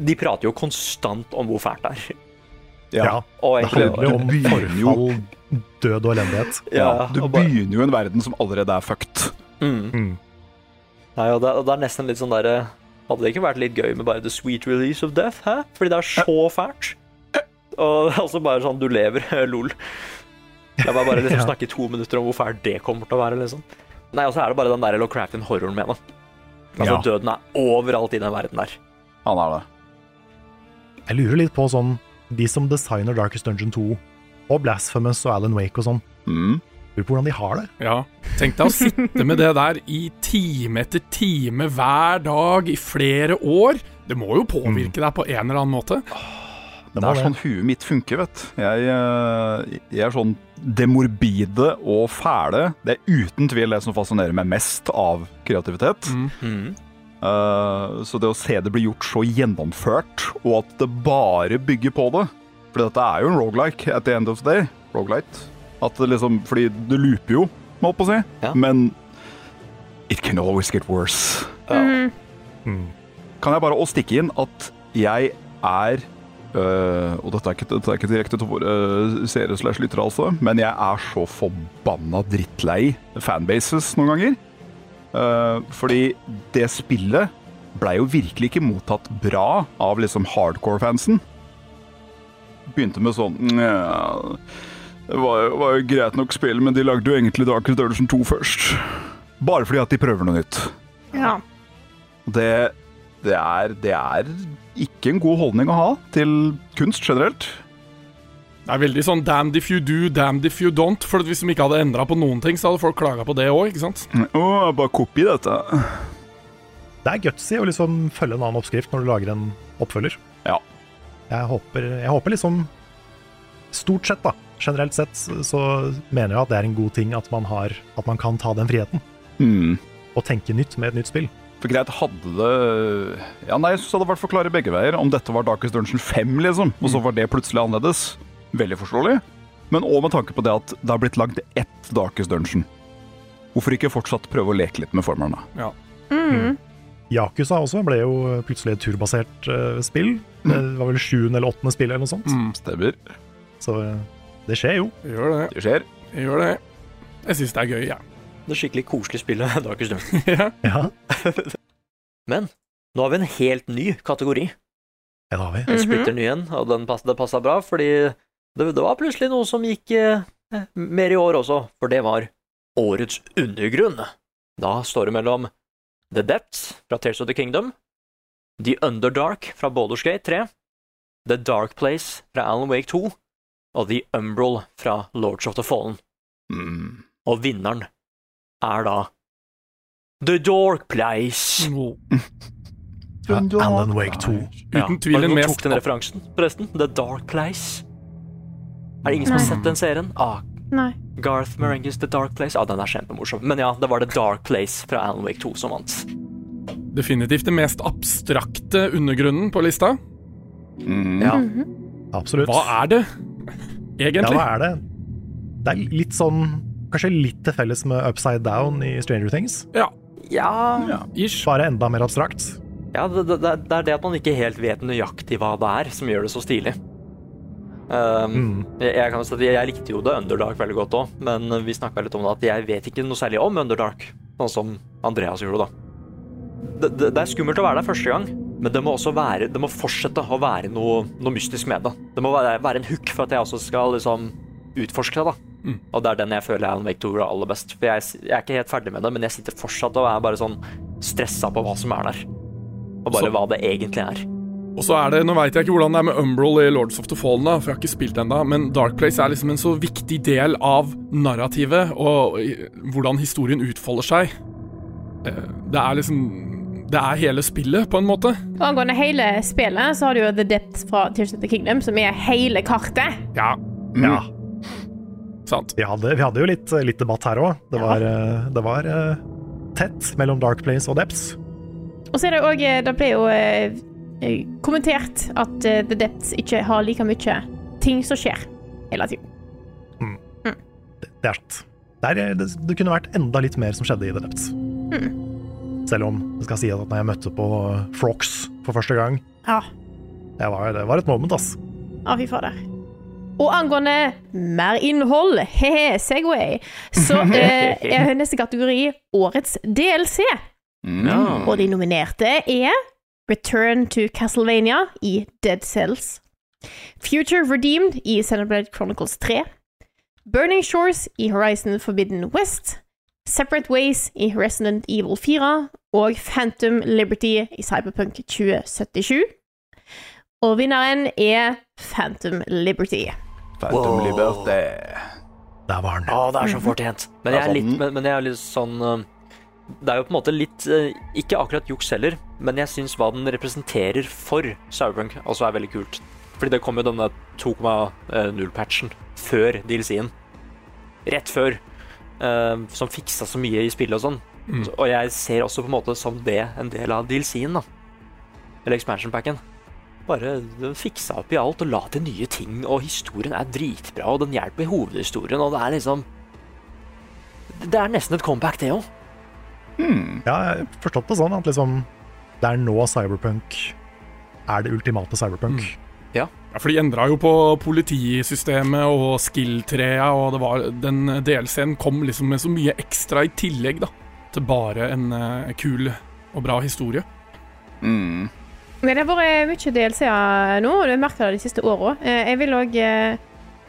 De prater jo konstant om hvor fælt det er. (laughs)
Ja.
Ja,
Og
det handler jo
egentlig
om
Det begynner jo-
forfall, død og elendighet.
ja,
Du
og bare,
begynner jo i en verden som allerede er fucked.
mm.
Mm.
Nei, og det, og det er nesten litt sånn derre Hadde det ikke vært litt gøy med bare The Sweet Release of Death? Hæ? Fordi det er så fælt. Og (laughs) altså bare sånn Du lever, (laughs) lol. Jeg bare,
(laughs)
bare liksom
Ja.
snakke i to minutter om hvor fælt det kommer til å være, liksom. Nei, og så er det bare den der Locrafton-horroren med, da. Altså,
Ja.
døden er overalt i den verden der.
Han er det.
Jeg lurer litt på sånn De som designer Darkest Dungeon 2 og Blasphemous og Alan Wake og sånn,
Mm.
lurer på hvordan de har det.
Ja. Tenk deg å sitte med det der i time etter time hver dag i flere år. Det må jo påvirke deg på en eller annen måte.
Det
må
er
det.
sånn huet mitt funker, vet du. Jeg, eh, jeg er sånn Det morbide og fæle, det er uten tvil det som fascinerer meg mest av kreativitet. Eh, så det å se det bli gjort så gjennomført, og at det bare bygger på det For dette er jo en rogelike at the end of the day. Rogelite. At det liksom Fordi det looper jo, må jeg på å si.
Ja.
Men it can always get worse. Kan jeg bare også stikke inn at jeg er øh, Og dette er ikke, dette er ikke direkte til våre øh, seere slash lyttere, altså, men jeg er så forbanna drittlei fanbases noen ganger. Eh, fordi det spillet blei jo virkelig ikke mottatt bra av liksom hardcore-fansen. Begynte med sånn Nja Det var jo, var jo greit nok spill, men de lagde jo egentlig Darkest Dungeon 2 først. Bare fordi at de prøver noe nytt.
ja.
Det, det, er, det er ikke en god holdning å ha til kunst generelt.
Det er veldig sånn damned if you do, damned if you don't. For hvis de ikke hadde endra på noen ting, så hadde folk klaga på det òg, ikke sant?
Mm. Å, jeg bare kopi dette.
Det er gutsy å liksom følge en annen oppskrift når du lager en oppfølger.
Ja.
Jeg håper, jeg håper liksom Stort sett, da. Generelt sett så mener jeg at det er en god ting at man, har, at man kan ta den friheten
Mm.
og tenke nytt med et nytt spill.
For greit, hadde det Ja, nei, jeg syns det hadde vært forklare begge veier. Om dette var Darkest Dungeon 5, liksom, og så var det plutselig annerledes. Veldig forståelig. Men òg med tanke på det at det har blitt lagd ett Darkest Dungeon. Hvorfor ikke fortsatt prøve å leke litt med formelen, da?
Ja.
Yakuza også ble jo plutselig et turbasert eh, spill.
Mm.
Det var vel sjuende eller åttende spill eller noe sånt.
Stemmer. Mm.
Så eh, det skjer jo.
Gjør det.
Det skjer.
Gjør det. Jeg syns det er gøy, jeg.
Det skikkelig koselige spillet (laughs) Darkest Dungeon.
Ja.
Ja,
Men nå har vi en helt ny kategori.
det har vi.
En splitter ny en, og den pass, det passa bra, fordi det, det var plutselig noe som gikk eh, mer i år også, for det var Årets undergrunn. Da står det mellom The Depths fra Tears of the Kingdom, The Underdark fra Baldur's Gate 3, The Dark Place fra Alan Wake 2 og The Umbral fra Lords of the Fallen.
Mm.
Og vinneren er da The Dark Place.
Oh.
Ja, Alan Wake 2.
Ja,
Uten tvil
var det
den
noen
mest
tok den referansen, forresten. The Dark Place. Er det ingen som har
Nei.
sett den serien? Ah,
Nei.
Garth Marenghi's The Dark Place. Ah, den er kjempemorsom. Men ja, det var The Dark Place fra Alan Wake 2 som vant.
Definitivt den mest abstrakte undergrunnen på lista.
Ja.
Absolutt.
Hva er det,
Ja,
egentlig?
hva er det? Det er litt sånn Kanskje litt til felles med Upside Down i Stranger Things.
Ja,
Ja,
ish.
Bare enda mer abstrakt.
ja det, det, det det er det at man ikke helt vet nøyaktig hva det er, som gjør det så stilig. Um, jeg, jeg, kan jo si at jeg, jeg likte jo The Underdark veldig godt òg, men vi snakka litt om det at jeg vet ikke noe særlig om Underdark, sånn som Andreas gjorde, da. Det, det, det er skummelt å være der første gang, men det må også være, det må fortsette å være noe, noe mystisk med det. Det må være, være en hook for at jeg også skal liksom utforske det, da. Og det er den jeg føler Alan Wake 2 gjorde aller best. For jeg, jeg er ikke helt ferdig med det, men jeg sitter fortsatt og er bare sånn stressa på hva som er der. Og bare
Så-
hva det egentlig er.
Og så er det, Nå veit jeg ikke hvordan det er med Umbral i Lords of the Fallen, da, for jeg har ikke spilt ennå, men Dark Place er liksom en så viktig del av narrativet og i- hvordan historien utfolder seg. Eh, Det er liksom Det er hele spillet, på en måte.
Og angående hele spillet, så har du jo The Depths fra Tears of the Kingdom, som er hele kartet.
Ja.
Mm.
Ja,
Sant.
vi hadde, vi hadde jo litt, litt debatt her òg. Det var, eh, det var eh, tett mellom Dark Place og Depths.
Og så er det òg Det ble jo eh, eh, kommentert at eh, The Depths ikke har like mye ting som skjer hele tiden.
Det er sant. Det, er, det, det kunne vært enda litt mer som skjedde i The Depths. Selv om det skal sies at når jeg møtte på Frox for første gang,
Ja.
det var, det var et moment, ass.
Å, fy fader. Og angående mer innhold, (laughs) he-he, Segway,
(laughs)
så eh, er neste kategori Årets DLC.
Mm.
Og de nominerte er Return to Castlevania i Dead Cells, Future Redeemed i Xenoblade Chronicles 3, Burning Shores i Horizon Forbidden West, Separate Ways i Resident Evil 4 og Phantom Liberty i Cyberpunk 2077. Og vinneren er Phantom Liberty.
Phantom Liberty.
Der var den.
Å, det er så fortjent. Men jeg er litt, men, men jeg er litt sånn eh, Det er jo på en måte litt eh, Ikke akkurat juks heller, men jeg syns hva den representerer for Cyberpunk, også er veldig kult. Fordi det kom jo denne 2,0-patchen før DLC-en. Rett før. eh, som fiksa så mye i spillet og sånn. Så- Og jeg ser også på en måte som det en del av DLC-en, da. Eller expansion packen. Bare fiksa opp i alt og la til nye ting, og historien er dritbra, og den hjelper i hovedhistorien, og det er liksom Det er nesten et comeback, det òg.
Ja, jeg har forstått det sånn at liksom Det er nå Cyberpunk er det ultimate Cyberpunk.
Mm. Ja, For de endra jo på politisystemet og skill-trea, og det var, den DLC-en kom liksom med så mye ekstra i tillegg da, til bare en eh, kul og bra historie.
Men det har vært eh, mye DLC-er nå, og du merker det de siste åra. Jeg vil òg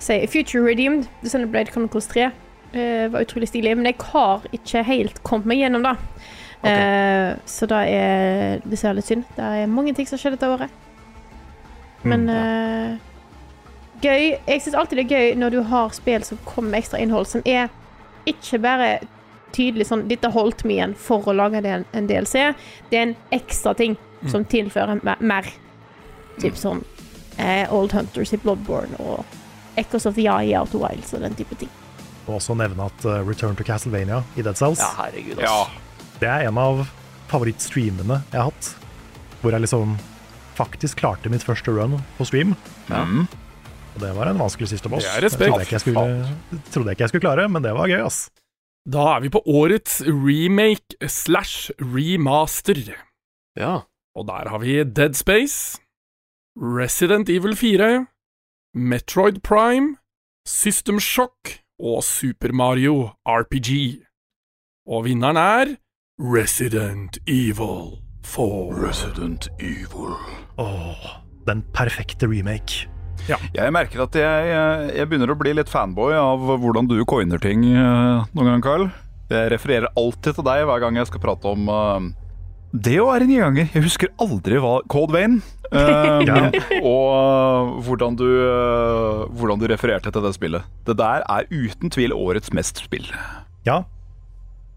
si Future Redeemed, The Sunnyblade Chronicles 3, eh, var utrolig stilig, men jeg har ikke helt kommet meg gjennom det. Eh, Så det er dessverre litt synd. Det er mange ting som har skjedd dette året. Men eh, gøy Jeg syns alltid det er gøy når du har spill som kommer med ekstra innhold, som er ikke bare tydelig sånn Dette holdt vi igjen for å lage det en DLC. Det er en ekstra ting som tilfører me- mer. Typ sånn eh, Old Hunters i Bloodborne og Echoes of the Eye i Out Wilds og den type ting.
Og også nevne at eh, Return to Castlevania i Dead Cells,
Ja, herregud, ass.
det er en av favorittstreamene jeg har hatt. Hvor jeg liksom faktisk klarte mitt første run på stream.
Mm.
Og det var en vanskelig siste boss.
Det er respekt.
Trodde jeg ikke jeg skulle, trodde jeg ikke jeg skulle klare, men det var gøy, ass.
Da er vi på årets remake slash remaster.
Ja.
Og der har vi Dead Space, Resident Evil 4, Metroid Prime, System Shock og Super Mario RPG. Og vinneren er Resident Evil 4.
Resident Evil.
Åh, den perfekte remake.
Jeg merker at jeg, eh, jeg- jeg begynner å bli litt fanboy av hvordan du coiner ting eh, noen gang, Carl. Jeg refererer alltid til deg hver gang jeg skal prate om eh, det å være nyeganger. Jeg husker aldri hva Code Vein eh,
Ja.
Og eh, hvordan du, eh, hvordan du refererte til det spillet. Det der er uten tvil årets mest spill.
Ja.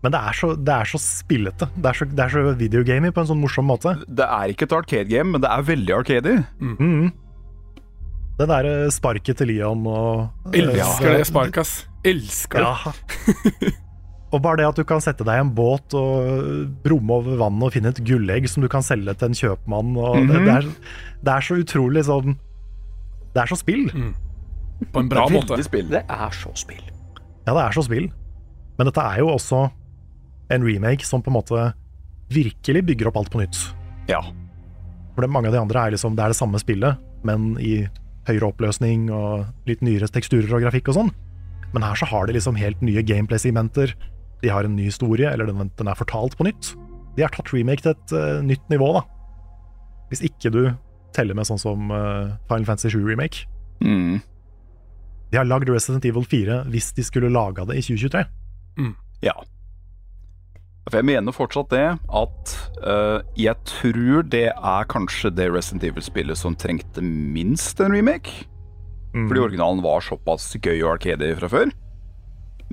Men det er så, det er så spillete. Det er så, det er så videogamey på en sånn morsom måte.
Det er ikke et arcade game, men det er veldig arcady.
Det derre eh, sparket til Leon og eh,
Elsker det sparket, ass. Elsker det.
Ja. (laughs) Og bare det at du kan sette deg i en båt og bromme over vannet og finne et gullegg som du kan selge til en kjøpmann og det, det, er, det er så utrolig sånn Det er så spill.
På en bra måte.
Veldig spill.
Det er så spill.
Ja, det er så spill. Men dette er jo også en remake som på en måte virkelig bygger opp alt på nytt.
Ja.
For det, mange av de andre er liksom, det er det samme spillet, men i høyere oppløsning og litt nyere teksturer og grafikk og sånn. Men her så har de liksom helt nye gameplay-segmenter. De har en ny historie, eller den, den er fortalt på nytt. De har tatt remake til et eh, nytt nivå, da. Hvis ikke du teller med sånn som eh, Final Fantasy 7 Remake.
Mm.
De har lagd Resident Evil 4 hvis de skulle laga det i 2023.
Ja. For jeg mener fortsatt det at eh, jeg tror det er kanskje det Resident Evil-spillet som trengte minst en remake. Fordi originalen var såpass gøy og arcade fra før.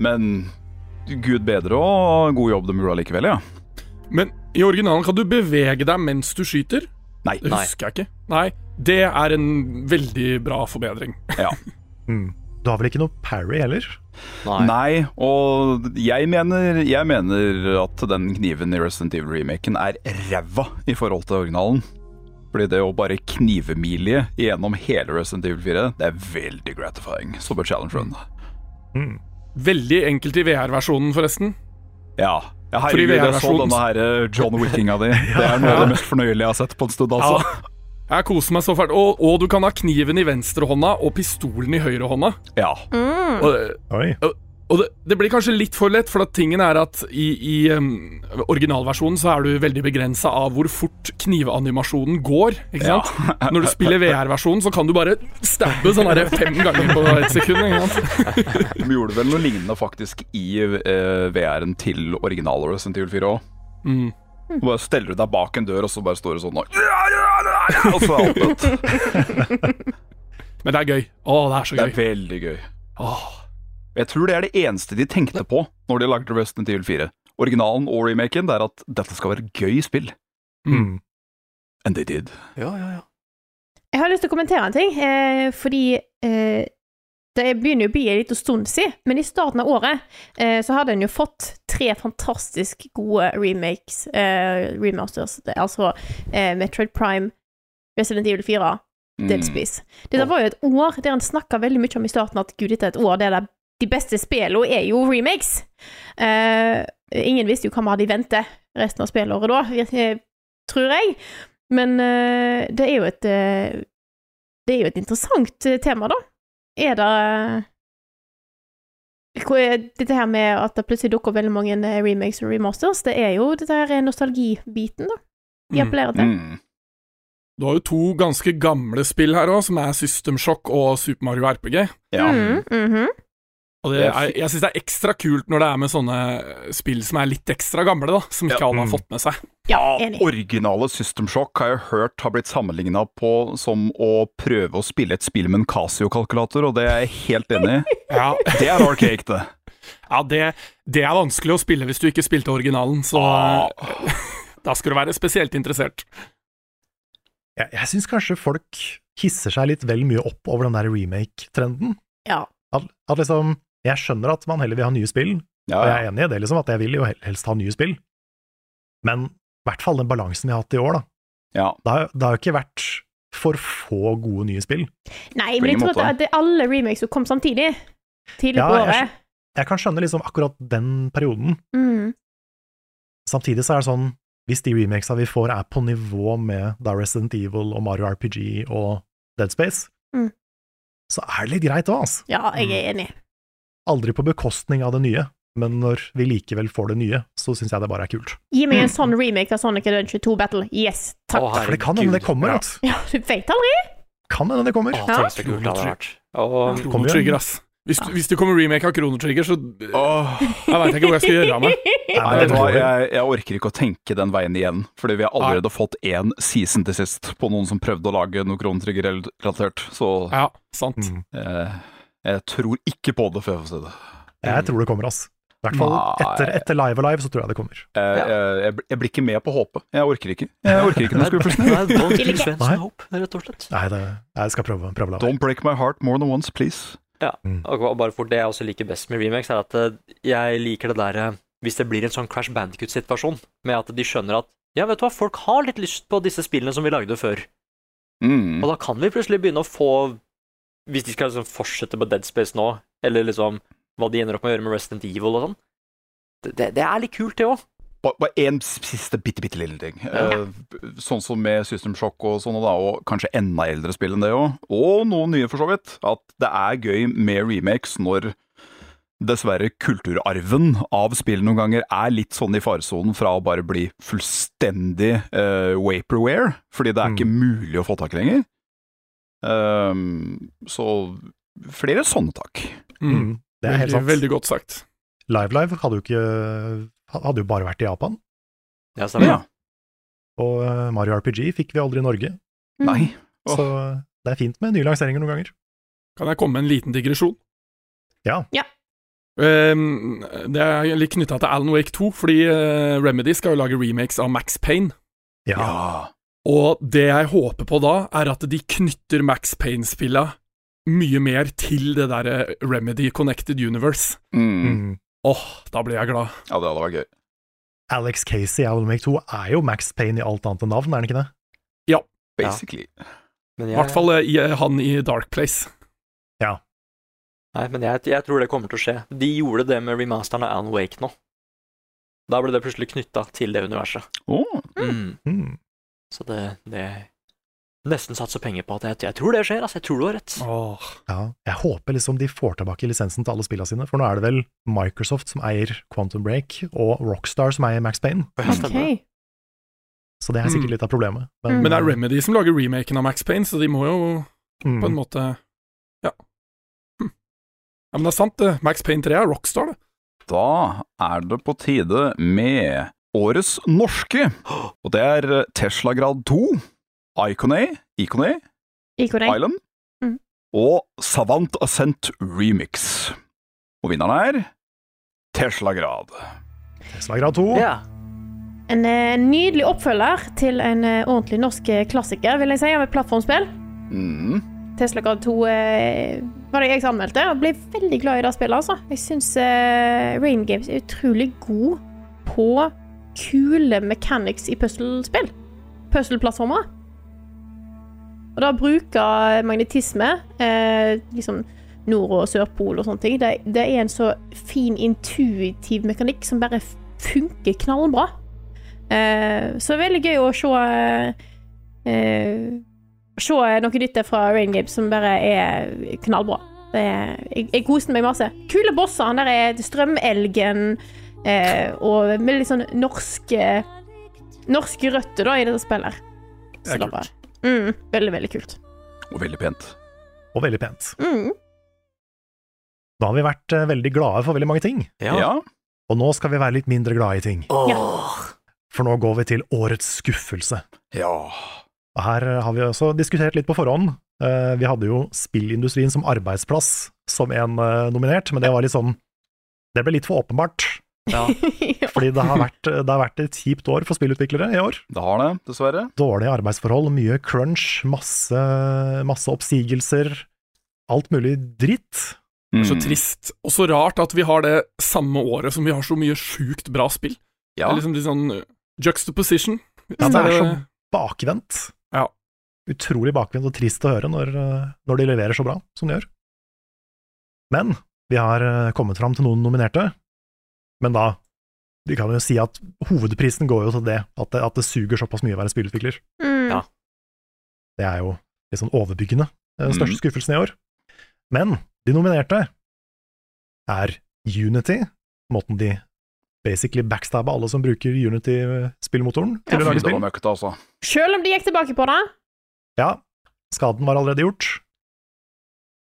Men gud bedre og god jobb de gjorde allikevel, ja.
Men i originalen kan du bevege deg mens du skyter.
Nei.
Det husker jeg ikke. Nei, det er en veldig bra forbedring.
Ja.
Du har vel ikke noe parry heller?
Nei.
Nei, og jeg mener, jeg mener at den kniven i Resident Evil-remaken er ræva i forhold til originalen. Fordi det å bare knivemilje gjennom hele Resident Evil 4, det er veldig gratifying som et challenge run.
Veldig enkelt i VR-versjonen, forresten.
Ja. ja
Fordi
herregud, jeg så
VR-versjonen-
denne her eh, John Wickinga di. Det er noe av det mest fornøyelige jeg har sett på en stund, altså.
Ja. Jeg koser meg så fælt. Og, og du kan ha kniven i venstrehånda og pistolen i høyrehånda.
Ja. Mm.
Og,
Oi.
og det, det blir kanskje litt for lett, for at tingen er at i, i em, originalversjonen så er du veldig begrensa av hvor fort knivanimasjonen går. Ikke
Ja. (laughs)
sant? Når du spiller VR-versjonen, så kan du bare stabbe sånn her fem ganger på ett sekund. Ikke sant?
De gjorde vel noe lignende faktisk i eh, VR-en til original Resident Evil 4 òg. Mm. Bare steller du deg bak en dør, og så bare står du sånn og, og så er alt dødt.
Men det er gøy. Å, det er så
Det er
gøy.
veldig gøy. Jeg tror det er det eneste de tenkte på når de lagde Resident Evil 4. Originalen og remaken det er at dette skal være gøy spill.
Mm.
And they did.
Ja, ja, ja.
Jeg har lyst til å kommentere en ting, eh, fordi eh, det begynner jo å bli en liten stund siden, men i starten av året eh, så hadde en jo fått tre fantastisk gode remakes, eh, remasters, det, er altså eh, Metroid Prime, Resident Evil 4,
Mm.
Dead Space. Dette var jo et år der en snakka veldig mye om i starten at gud, dette er et år der det- de beste spillene er jo remakes. Eh, ingen visste jo hva vi hadde i vente resten av spillåret da, (laughs) vir- eh, tror jeg. Men eh, det er jo et eh, Det er jo et interessant eh, tema, da. Er det eh, Hvor er Dette her med at det plutselig dukker opp veldig mange eh, remakes og remasters, det er jo dette her nostalgibiten, da. De
Mm.
appellerer til.
Mm.
Du har jo to ganske gamle spill her òg, som er System Shock og Super Mario RPG.
Ja.
Mm, mhm.
Og det er, jeg syns det er ekstra kult når det er med sånne spill som er litt ekstra gamle, da. Som ikke
Ja.
alle har fått med seg.
Ja, enig.
Originale System Shock har jeg hørt har blitt sammenligna på som å prøve å spille et spill med en Casio-kalkulator, og det er jeg helt enig i.
(laughs) Ja,
Det er arcade, det.
Ja, det, det er vanskelig å spille hvis du ikke spilte originalen, så Ah. (laughs) da skal du være spesielt interessert.
Jeg, jeg syns kanskje folk hisser seg litt vel mye opp over den der remake-trenden.
Ja.
At, at liksom Jeg skjønner at man heller vil ha nye spill,
Ja,
og jeg
ja.
er enig i det, liksom, at jeg vil jo hel- helst ha nye spill. Men I hvert fall den balansen vi har hatt i år, da. Det, har, det har jo ikke vært for få gode nye spill.
Nei,
På
men jeg
ingen
trodde
måte.
at det- alle remakes som kom samtidig. Tidlig på
jeg,
året.
skj- jeg kan skjønne liksom akkurat den perioden.
Mm.
Samtidig så er det sånn, hvis de remakesa vi får er på nivå med da Resident Evil og Mario RPG og Dead Space,
Mm.
så er det litt greit òg, altså.
Ja, jeg er enig.
Aldri på bekostning av det nye, men når vi likevel får det nye, så syns jeg det bare er kult.
Gi meg en
Mm.
sånn remake av Sonic Adventure 2 Battle. Yes, takk.
For det kan hende det kommer,
altså.
vet du.
Ja, du vet aldri.
Kan hende det kommer.
Å, tenk så
kult det hadde vært.
Og
Chrono Trigger, ass. Hvis, hvis det kommer remake av Chrono Trigger, så Jeg veit ikke hvor jeg skal gjøre (laughs) av meg.
Nei, vet du hva, jeg, jeg orker ikke å tenke den veien igjen, fordi vi har allerede fått én season til sist på noen som prøvde å lage noe kronetrigger-relatert, så
Ja, sant.
Mm.
eh, jeg tror ikke på det før jeg får se det.
Jeg tror det kommer, ass. I hvert fall etter,
Nei.
etter Live Alive så tror jeg det kommer.
Jeg, jeg, jeg, bl- jeg blir ikke med på håpet. Jeg orker ikke. Jeg orker (laughs) ikke den skuffelsen.
Don't
Eller
kill
ikke.
Svensen Hope, rett og slett.
Nei, det, jeg skal prøve, prøve å la være.
Don't break my heart more than once, please.
Ja, og bare for det jeg også liker best med remakes, er at eh, jeg liker det derre Hvis det blir en sånn Crash Bandicut-situasjon, med at de skjønner at ja, vet du hva, folk har litt lyst på disse spillene som vi lagde før.
Mm.
Og da kan vi plutselig begynne å få Hvis de skal liksom fortsette på Dead Space nå, eller liksom hva de ender opp med å gjøre med Resident Evil og sånn det, det, det er litt kult, det òg.
Ba- Bare én siste bitte, bitte lille ting. Eh, b- sånn som med System Shock og sånne, da, og kanskje enda eldre spill enn det òg. Og noen nye, for så vidt. At det er gøy med remakes når dessverre kulturarven av spill noen ganger er litt sånn i faresonen fra å bare bli fullstendig eh, vaporware, fordi det er ikke mulig å få tak i lenger. Ehm, så flere sånne tak.
Mm.
Det er helt
Veldig,
sant.
veldig godt sagt.
Live Live hadde jo ikke Hadde jo bare vært i Japan.
Ja, stemmer.
Ja.
Og eh, Mario RPG fikk vi aldri i Norge,
Nei. Åh.
så eh, det er fint med nye lanseringer noen ganger.
Kan jeg komme med en liten digresjon?
Ja.
Ja.
Ehm, det er litt knytta til Alan Wake 2, fordi eh, Remedy skal jo lage remakes av Max Payne.
Ja.
Ja.
Og det jeg håper på da, er at de knytter Max Payne-spilla mye mer til det derre Remedy Connected Universe.
Mm.
Mm.
Åh, da blir jeg glad.
ja, det hadde vært gøy.
Alex Casey i Alan Wake 2 er jo Max Payne i alt annet enn navn, er han ikke det?
Ja.
Basically.
Men
I
jeg,
hvert fall eh, i- han i Dark Place.
nei, men jeg, jeg tror det kommer til å skje. De gjorde det med remasteren av Alan Wake nå. Da ble det plutselig knytta til det universet.
Åh.
Mm.
Mm.
Så det, det Nesten satser penger på at jeg, jeg tror det skjer, altså. Jeg tror du har rett.
Åh.
Ja. Jeg håper liksom de får tilbake lisensen til alle spillene sine, for nå er det vel Microsoft som eier Quantum Break, og Rockstar som eier Max Payne,
Stemmer.
Ok.
så det er
Mm.
sikkert litt av problemet.
Men det er Remedy som lager remaken av Max Payne, så de må jo
Mm.
på en måte Ja. Hm. Ja, Men det er sant, det. Max Payne 3 er Rockstar, det.
Da er det på tide med årets norske, og det er Tesla Grad 2, Icone, Icone,
Ikonek.
Island
Mm.
Mhm.
og Savant Ascent Remix. Og vinneren er Tesla Grad.
Tesla Grad 2.
Ja.
En eh, nydelig oppfølger til en eh, ordentlig norsk eh, klassiker, vil jeg si, av et plattformspill.
Mm.
Tesla Grad 2 eh, var det jeg som anmeldte, og ble veldig glad i det spillet, altså. Jeg syns eh, Rain Games er utrolig god på kule mechanics i puzzlespill. Puzzle-plattformer. Og da bruker magnetisme, eh, liksom nord- og sørpol og sånne ting, det, det er en så fin intuitiv mekanikk som bare f- funker knallbra. Eh, så det er veldig gøy å se eh, eh, se noe nytt fra Rain Games som bare er knallbra. Det er, jeg, jeg koste meg masse. Kule bosser. Han der er Strømelgen eh, og med litt sånn norske Norske røtter da i dette spillet. Så
Det er
det er bra. Mm, veldig, veldig kult.
Og veldig pent.
Og veldig pent.
(laughs) Mm.
Nå har vi vært eh, veldig glade for veldig mange ting,
Ja.
og nå skal vi være litt mindre glade i ting,
Åh.
for nå går vi til årets skuffelse.
Ja.
Og her eh, har vi også diskutert litt på forhånd. Eh, Vi hadde jo spillindustrien som arbeidsplass som en eh, nominert, men det var litt sånn Det ble litt for åpenbart,
Ja.
ja.
fordi det har vært, eh, det har vært et kjipt år for spillutviklere i år.
Det har det, dessverre.
Dårlige arbeidsforhold, mye crunch, masse, masse oppsigelser, alt mulig dritt.
Det er så
Mm.
trist. Og så rart at vi har det samme året som vi har så mye sjukt bra spill.
Ja.
Det er liksom litt sånn Juxtaposition. Sånn
Ja, det er så bakvendt.
Ja.
Utrolig bakvendt og trist å høre når, eh, når de leverer så bra som de gjør. Men vi har eh, kommet fram til noen nominerte. Men da Vi kan jo si at hovedprisen går jo til det at det, at det suger såpass mye å være spillutvikler.
Mm.
Ja.
Det er jo litt sånn overbyggende. eh, Den
Mm.
største skuffelsen i år. Men de nominerte er Unity, måten de basically backstabba alle som bruker Unity-spillmotoren til å
Fy,
lage
det
spill.
var møkkete, altså.
Selv om de gikk tilbake på det.
Ja, skaden var allerede gjort.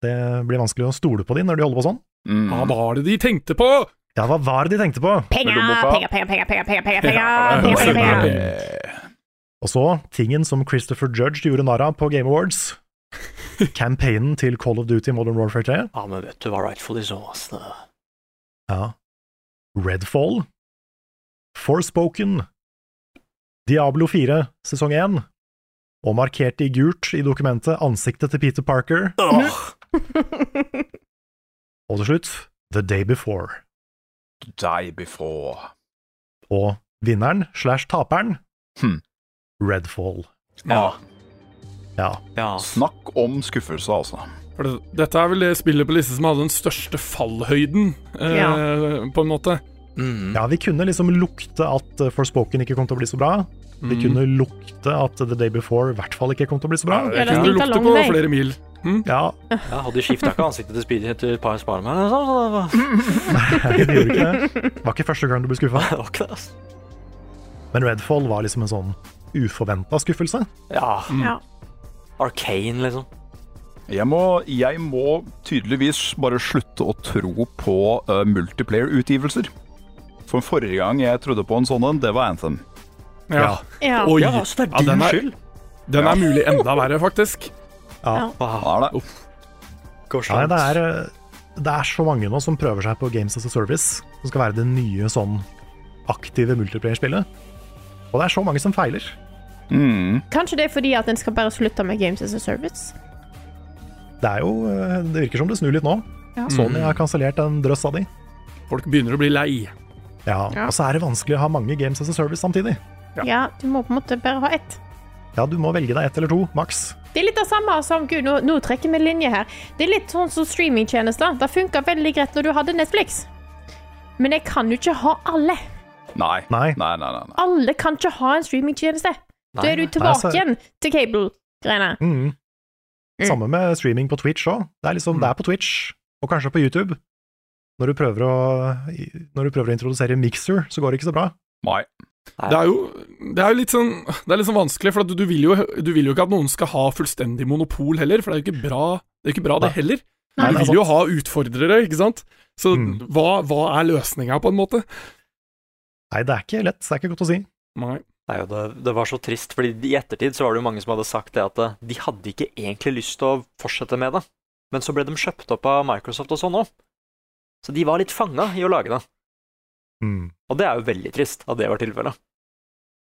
Det blir vanskelig å stole på de når de holder på sånn.
Mm.
Hva var det de tenkte på?
Ja, hva var det de tenkte på?
Penger,
Lommeboka.
penger, penger, penger, penger, penger, penger, penger,
Ja, det
penger,
var
penger.
det.
Eh,
Og så tingen som Christopher Judge gjorde narr av på Game Awards. Campaignen til Call of Duty Modern Warfare 3.
Ja, men vet du hva rightfully so, ass. Det-
Ja. Redfall. Forspoken. Diablo 4 sesong 1. Og markerte i gult i dokumentet ansiktet til Peter Parker.
Åh,
(laughs) Og til slutt The Day Before.
Die before.
Og vinneren slash taperen
Hmm.
Redfall.
Ja.
Ja.
Ja.
Snakk om skuffelse, altså.
For det, dette er vel det spillet på lista som hadde den største fallhøyden, eh, på en måte.
Mm.
ja, vi kunne liksom lukte at eh, Forspoken ikke kom til å bli så bra. Vi kunne lukte at The Day Before i hvert fall ikke kom til å bli så bra.
Ja, det
Kunne
stilte
lukte
lang
på
vei.
flere mil.
Ja,
ja hadde skifta ikke ansiktet til Speedy etter et par Spiderman, liksom. Så det var,
Mhm.
vi gjorde ikke det. Det var ikke første gang du ble skuffa.
det var ikke det, ass.
Men Redfall var liksom en sånn uforventa skuffelse.
Ja.
Mm. Ja.
Arcane, liksom.
Jeg må, jeg må tydeligvis bare slutte å tro på eh, multiplayer-utgivelser. For forrige gang jeg trodde på en sånn en, det var Anthem.
Ja.
Ja.
Oi.
Ja, så det
Ja,
er
den
din
er-
skyld.
Den er mulig enda verre, faktisk.
Wow.
Ja, det.
Går så
Nei, det
langt.
er, eh, det er så mange nå som prøver seg på Games as a Service, som skal være det nye sånn aktive multiplayer-spillet. Og det er så mange som feiler.
Mm.
Kanskje det er fordi at en skal bare slutte med Games as a Service?
Det er jo, eh, det virker som det snur litt nå.
Ja.
Sony har kansellert en drøss av de.
Folk begynner å bli lei.
Ja,
Ja.
Og så er det vanskelig å ha mange Games as a Service samtidig.
Ja. du må på en måte bare ha ett.
Ja, du må velge deg ett eller to, maks.
Det er litt det samme som Gud, nå, nå trekker vi linje her. Det er litt sånn som streamingtjenester. Det funka veldig greit når du hadde Netflix. Men jeg kan jo ikke ha alle.
Nei.
Nei.
Nei, nei, nei, nei.
Alle kan ikke ha en streamingtjeneste. Da
Nei, altså-
er du
nei.
tilbake
Nei, så-
igjen til cable-greiene.
Mm.
Mm.
Samme med streaming på Twitch òg. Det er liksom, det er på Twitch, og kanskje på YouTube. Når du prøver å, når du prøver å introdusere Mixer, så går det ikke så bra.
Nei.
Det er jo det er jo litt sånn Det er litt sånn vanskelig, for at du, du, vil jo, du vil jo ikke at noen skal ha fullstendig monopol heller, for det er jo ikke bra, det, er ikke bra det heller.
Nei,
Du
det er
vil jo ha utfordrere, ikke sant? Så
Mm.
hva, hva er løsninga, på en måte?
Nei, det er ikke lett. Det er ikke godt å si.
Nei.
Nei, og det, det var så trist, fordi i ettertid så var det jo mange som hadde sagt det at eh, de hadde ikke egentlig lyst til å fortsette med det, men så ble de kjøpt opp av Microsoft og sånn òg. Så de var litt fanga i å lage det,
Mm.
og det er jo veldig trist at det var tilfellet.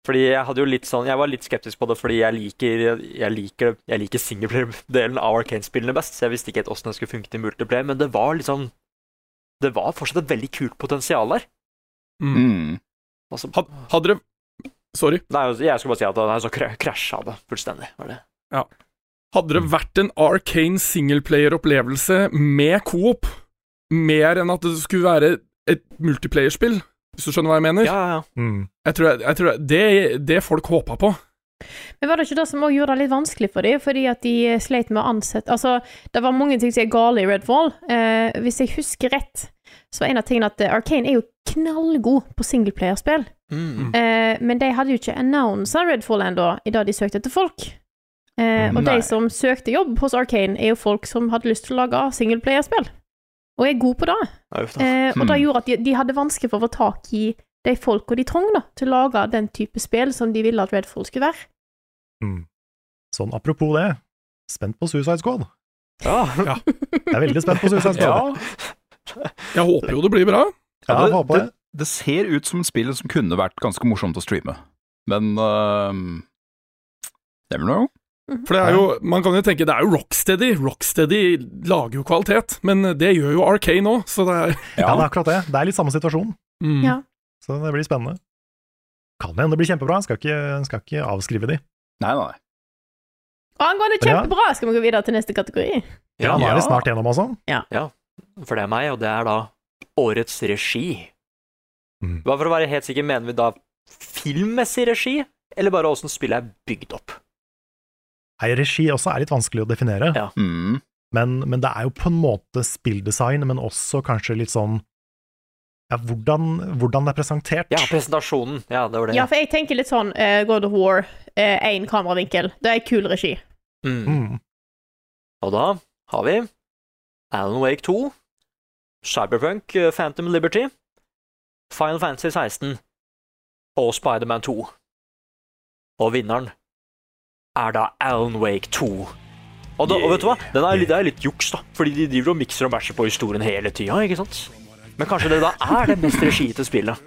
Fordi jeg hadde jo litt sånn, jeg var litt skeptisk på det fordi jeg liker, jeg liker, jeg liker singleplayer-delen av Arcane-spillene best, så jeg visste ikke helt åssen det skulle funke til multiplayer, men det var liksom Det var fortsatt et veldig kult potensial der.
Mm.
Mm.
Altså,
Had- Hadde dere Sorry.
nei, altså, jeg skulle bare si at nei, så kra- krasja det fullstendig. Var det.
Hadde
Mm.
det vært en arcane singleplayer-opplevelse med coop, mer enn at det skulle være et multiplayerspill, hvis du skjønner hva jeg mener?
Ja, ja, ja.
Mm.
Jeg tror, jeg, jeg tror det, det folk håpa på.
Men var det ikke det som også gjorde det litt vanskelig for dem, fordi at de sleit med å ansette Altså, det var mange ting som er gale i Redfall. Eh, hvis jeg husker rett, så var en av tingene at eh, Arcane er jo knallgod på singleplayerspill.
Mm.
Eh, men de hadde jo ikke annonsa Redfall ennå i det de søkte etter folk. Eh, og
Nei.
de som søkte jobb hos Arcane, er jo folk som hadde lyst til å lage singleplayerspill, og er gode på det.
Ja, uff da.
Eh, og
Hmm.
det gjorde at de, de hadde vanskelig for å få tak i de folka de trong da, til å lage den type spill som de ville at Redfall skulle være.
Sånn apropos det, spent på Suicide Squad.
(laughs) Ja.
Jeg er veldig spent på (laughs) Suicide Squad.
Jeg håper jo det blir bra.
ja, jeg håper det.
det, det ser ut som et spill som kunne vært ganske morsomt å streame, men eh, uh, Never know.
For det er jo, man kan jo tenke det er jo Rocksteady. Rocksteady lager jo kvalitet, men det gjør jo Arcane òg, så det er
Ja, det er akkurat det. Det er litt samme situasjon,
mm.
Ja.
så det blir spennende. Kan hende det blir kjempebra. Skal ikke, skal ikke avskrive de.
Nei, nei.
Angående kjempebra, skal vi gå videre til neste kategori?
Ja, nå er vi snart gjennom, altså.
Ja, for det er meg, og det er da årets regi. Bare for å være helt sikker, mener vi da filmmessig regi, eller bare åssen spillet er bygd opp?
Nei, regi også er litt vanskelig å definere,
Ja.
Mm.
men, men det er jo på en måte spilldesign, men også kanskje litt sånn ja, hvordan, hvordan det er presentert.
Ja, presentasjonen. Ja, det var det.
Ja, for jeg tenker litt sånn eh, God of War, eh, én kameravinkel. Det er kul regi.
Mm.
Mm.
Og da har vi Alan Wake 2, Cyberpunk eh, Phantom Liberty, Final Fantasy 16 og Spiderman 2. Og vinneren er da Alan Wake 2. Og, da, og vet du hva? Den er, litt- det er litt juks, da, fordi de driver og mikser og bæsjer på historien hele tida, ikke sant? Men kanskje det da er det mest regiete spillet.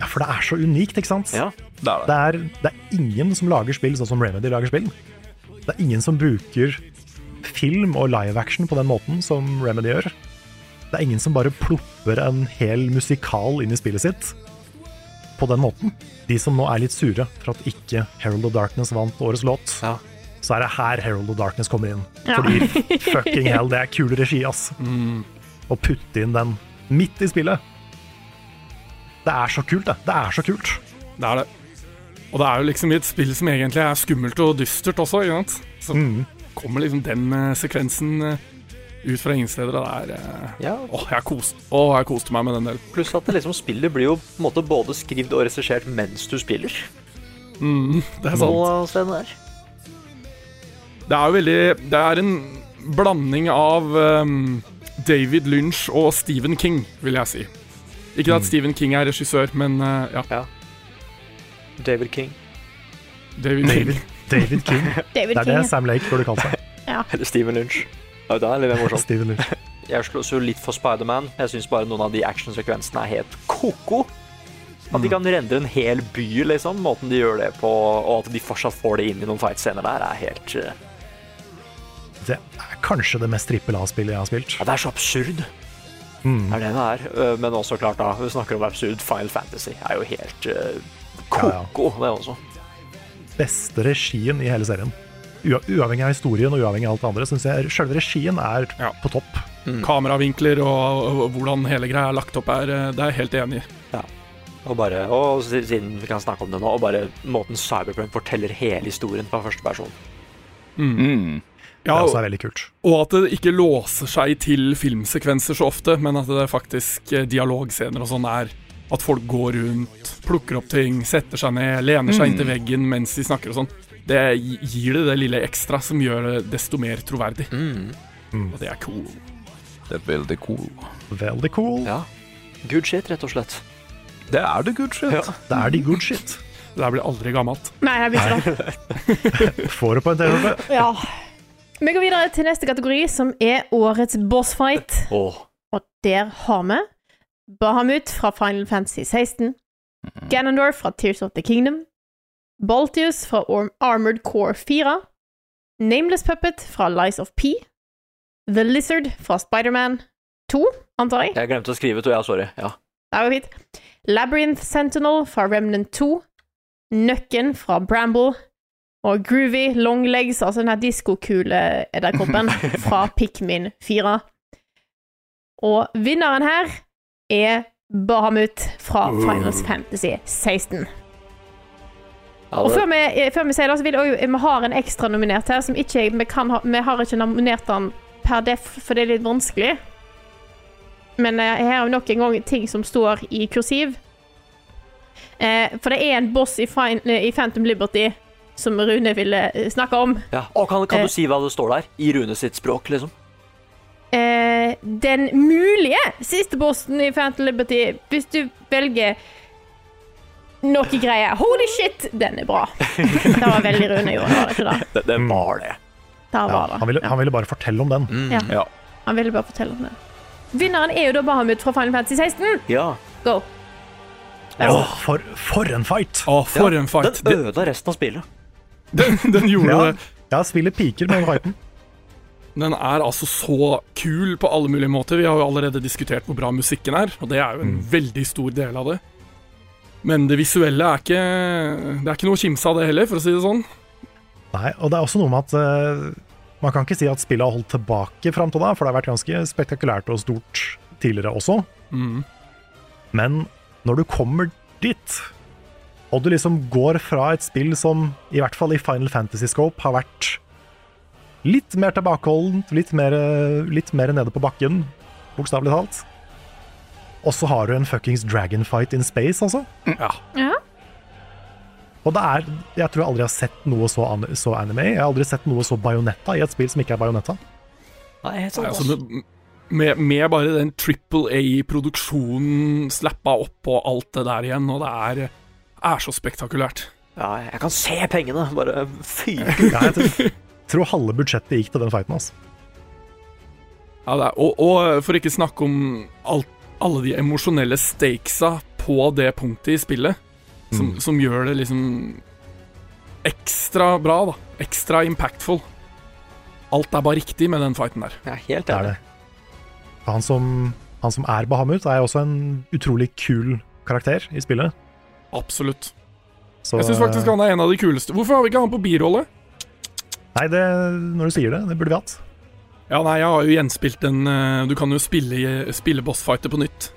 ja, for det er så unikt, ikke sant?
Ja.
Det er det.
Det, er, det er ingen som lager spill sånn som Remedy lager spill. Det er ingen som bruker film og live action på den måten som Remedy gjør. Det er ingen som bare plopper en hel musikal inn i spillet sitt på den måten. De som nå er litt sure for at ikke Herald of Darkness vant årets låt,
Ja.
så er det her Herald of Darkness kommer inn. Fordi fucking hell, det er kul regi, ass. Å putte inn den midt i spillet. Det er så kult, det. Det er så kult.
Det er det. Og det er jo liksom i et spill som egentlig er skummelt og dystert også, ikke sant? Så kommer liksom den eh, sekvensen eh, ut fra ingen steder, og det er eh,
Ja,
Åh, jeg koste åh, jeg koste meg med den delen.
Pluss at det liksom spillet blir jo på en måte både skrevet og regissert mens du spiller.
Mm, (laughs) det er sant.
Og Sven der.
Det er jo veldig Det er en blanding av ehm, David Lynch og Stephen King, vil jeg si. Ikke at Stephen King er regissør, men eh, ja.
David King.
David, David. King.
David King.
David
Det er
King.
det Sam Lake burde kalt seg.
Eller Steven Lynch. Ja, da er det litt morsomt.
Steven Lynch.
Jeg slås jo litt for Spiderman. Jeg syns bare noen av de actionsekvensene er helt ko-ko. At de kan rendre en hel by, liksom. Måten de gjør det på, og at de fortsatt får det inn i noen fightscener der, er helt eh,
Det er kanskje det mest trippel A-spillet jeg har spilt.
Ja, det er så absurd. Det er det det er. Eh, Men også, klart, da, vi snakker om absurd. Final Fantasy er jo helt eh,
Ja, ja.
ko-ko, det også.
Beste regien i hele serien. Ua uavhengig av historien og uavhengig av alt det andre, syns jeg sjølve regien er
Ja.
på topp.
Mm. Kameravinkler og, og hvordan hele greia er lagt opp, er eh, Det er jeg helt enig i.
Og bare, og si- siden vi kan snakke om det nå, og bare måten Cyberpunk forteller hele historien på første person.
Mm.
Det
Ja,
også er veldig kult.
og at det ikke låser seg til filmsekvenser så ofte, men at det faktisk eh, dialogscener og sånn er at folk går rundt, plukker opp ting, setter seg ned, lener seg inntil veggen mens de snakker og sånn. Det gi- gir det det lille ekstra som gjør det desto mer troverdig. Og det er cool.
Det er veldig cool.
Veldig cool.
Ja. Good shit, rett og slett.
Det er det good shit.
Det er de good shit.
Det der blir aldri gammelt.
Nei, jeg blir ikke det.
Får det på en TV.
Ja. Vi går videre til neste kategori, som er årets bossfight.
Åh.
Og der har vi Bahamut fra Final Fantasy 16, Ganondorf fra Tears of the Kingdom, Baltius fra Or- Armored Core 4, Nameless Puppet fra Lies of P, The Lizard fra Spiderman 2, antar jeg.
Jeg glemte å skrive ut, og ja, sorry. Ja.
Det var fint. Labyrinth Sentinel fra Remnant 2, Nøkken fra Bramble, og Groovy Longlegs, altså den her diskokule-edderkoppen, fra Pikmin 4. Og vinneren her er Bahamut fra Finals Fantasy 16.
Ja,
Og
det,
før vi, eh, før vi sier det, så vil jeg også, vi har en ekstra nominert her, som ikke jeg, vi, kan ha, vi har ikke nominert den per def, for det er litt vanskelig. Men eh, her er jo nok en gang ting som står i kursiv. Eh, for det er en boss i, fin, eh, i Phantom Liberty som Rune ville eh, snakke om.
ja. Å, kan, kan
Eh.
du si hva det står der? I Rune sitt språk, liksom.
Eh, den mulige siste bossen i Phantom Liberty, hvis du velger noe greier. Holy shit, den er bra. Det var veldig Rune gjorde, var det ikke (laughs) det?
Det, det var det.
Der
Ja,
var det.
han, ville, han ville bare fortelle om den.
Ja.
Ja.
Han ville bare fortelle om det. Vinneren er jo da Bahamut fra Final Fantasy 16.
Ja.
Go!
Åh, for, for en fight!
Å, for en
Den
fight! Den,
øda resten av spillet.
den, den gjorde
Ja,
det. (laughs)
ja spillet piker med den fighten.
Den er altså så kul på alle mulige måter. Vi har jo allerede diskutert hvor bra musikken er, og det er jo en veldig stor del av det. Men det visuelle er ikke Det er ikke noe å kimse av det heller, for å si det sånn.
Nei, og det er også noe med at eh, man kan ikke si at spillet har holdt tilbake fram til da, for det har vært ganske spektakulært og stort tidligere også.
Mm.
Men når du kommer dit, og du liksom går fra et spill som, i hvert fall i Final Fantasy Scope, har vært litt mer tilbakeholdent, litt mer, litt mer nede på bakken, bokstavelig talt, og så har du en fuckings dragonfight in space, altså.
Ja.
Ja.
Og det er, jeg tror jeg aldri har sett noe så, an så anime. Jeg har aldri sett noe så Bayonetta i et spill som ikke er Bayonetta.
Nei, helt
sånn.
sant.
Nei, altså,
ass.
med, med, med bare den Triple A-produksjonen slappa opp og alt det der igjen, og det er, er så spektakulært.
Ja, jeg kan se pengene bare fyke ut.
Ja, jeg tror, tror halve budsjettet gikk til den fighten, altså.
Ja, det er, og, og for ikke snakke om alt, alle de emosjonelle stakesa på det punktet i spillet, som, som gjør det liksom ekstra bra, da. Ekstra impactful. Alt er bare riktig med den fighten der.
Jeg er helt
Det er
enig.
det. Han som, han som er Bahamut, er også en utrolig kul karakter i spillet.
Absolutt.
Så, eh,
Jeg syns faktisk han er en av de kuleste. Hvorfor har vi ikke han på birolle?
Nei, det, når du sier det, det burde vi hatt.
Ja, nei, jeg har jo gjenspilt den eh, Du kan jo spille, spille bossfighter på nytt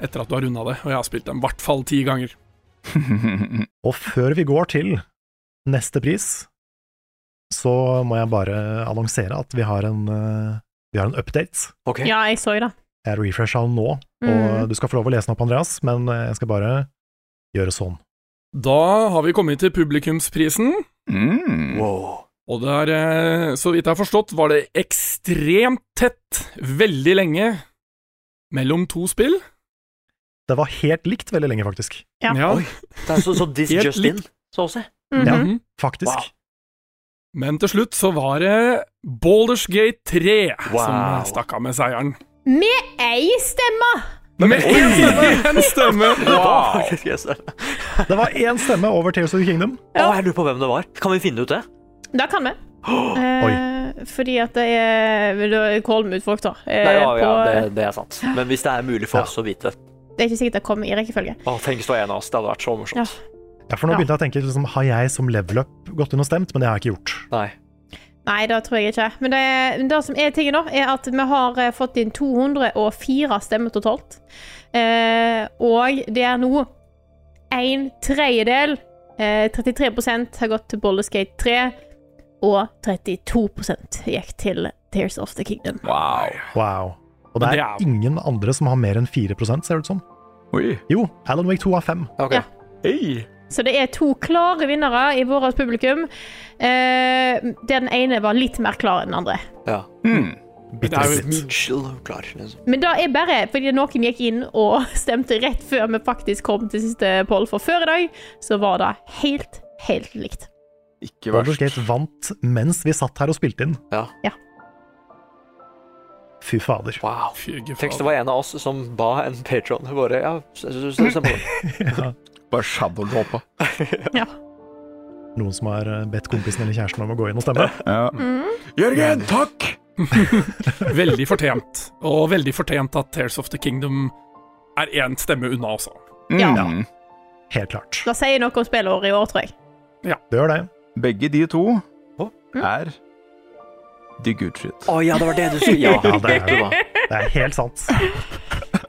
etter at du har runda det, og jeg har spilt den i hvert fall ti ganger.
Og før vi går til neste pris, så må jeg bare annonsere at vi har en, eh, vi har en update.
Ok.
ja, jeg så det.
Jeg refresher den nå,
Mm.
og du skal få lov å lese den opp, Andreas, men eh, jeg skal bare gjøre sånn.
Da har vi kommet til publikumsprisen.
(laughs) Mm.
Wow.
Og det er, eh, så vidt jeg har forstått, var det ekstremt tett, veldig lenge, mellom to spill.
Det var helt likt veldig lenge, faktisk.
Ja.
Oi. Det er så, så this
Helt
just in, så å si.
Mhm.
Ja.
Mhm.
Faktisk.
Wow.
Men til slutt så var det Baldur's Gate 3
Wow.
som stakk av med seieren.
Med ei stemme!
Med én stemme! En stemme.
Wow. (laughs) Yes.
Det var én stemme over Tears of the Kingdom.
Å, jeg lurer på hvem det var. Kan vi finne ut det?
Det kan
(gasps)
vi. Eh, fordi at det er Da caller vi ut folk, da. Eh,
Nei, ja, ja,
på-
det, det er sant. Men hvis det er mulig for oss å vite
det er ikke sikkert det kommer i rekkefølge.
Å, Tenk hvis det var en av oss. Det hadde vært så morsomt.
Ja.
Ja, for nå
Ja.
begynte jeg å tenke liksom, Har jeg som level up gått inn og stemt? Men det har jeg ikke gjort.
Nei.
Nei, det tror jeg ikke. Men det, men det som er tingen, da, er at vi har eh, fått inn 204 stemmer totalt. Eh, og det er nå en tredjedel eh, 33 har gått til Boulder Skate 3, og 32 gikk til Tears of the Kingdom.
Wow.
Wow. Og det
Men
er,
det er-
ingen andre som har mer enn 4 ser det ut som.
Oi.
Jo, Alan Wake 2 har 5.
Ok.
Ja.
Hey.
Så det er to klare vinnere i vårt publikum. Eh, der den ene var litt mer klar enn den andre.
Ja.
Hmm.
Det er jo-
Mitchell klar, liksom.
Men det er bare fordi noen gikk inn og (laughs) stemte rett før vi faktisk kom til siste poll for før i dag, så var det helt, helt likt.
Ikke
Baldur's
verst.
Gate vant mens vi satt her og spilte inn.
Ja.
Fy fader.
Wow.
Fy
Tenk hvis det
faen.
var en av oss som ba en patron bare Ja, s- s- s- stemmer det.
Bare shadowdroppa.
Ja.
Noen som har eh, bedt kompisen eller kjæresten om å gå inn og stemme.
(laughs) Ja. Jørgen, takk!
Veldig fortjent. Og veldig fortjent at Tears of the Kingdom er én stemme unna, altså.
Ja.
Mm.
Helt klart.
Det sier noe om spillåret i år, tror jeg.
Det gjør det.
Begge de to
Hå?
er the good shit.
Å ja, det var det du skulle (laughs) Ja,
Ja, det er
du da.
Det er helt sant.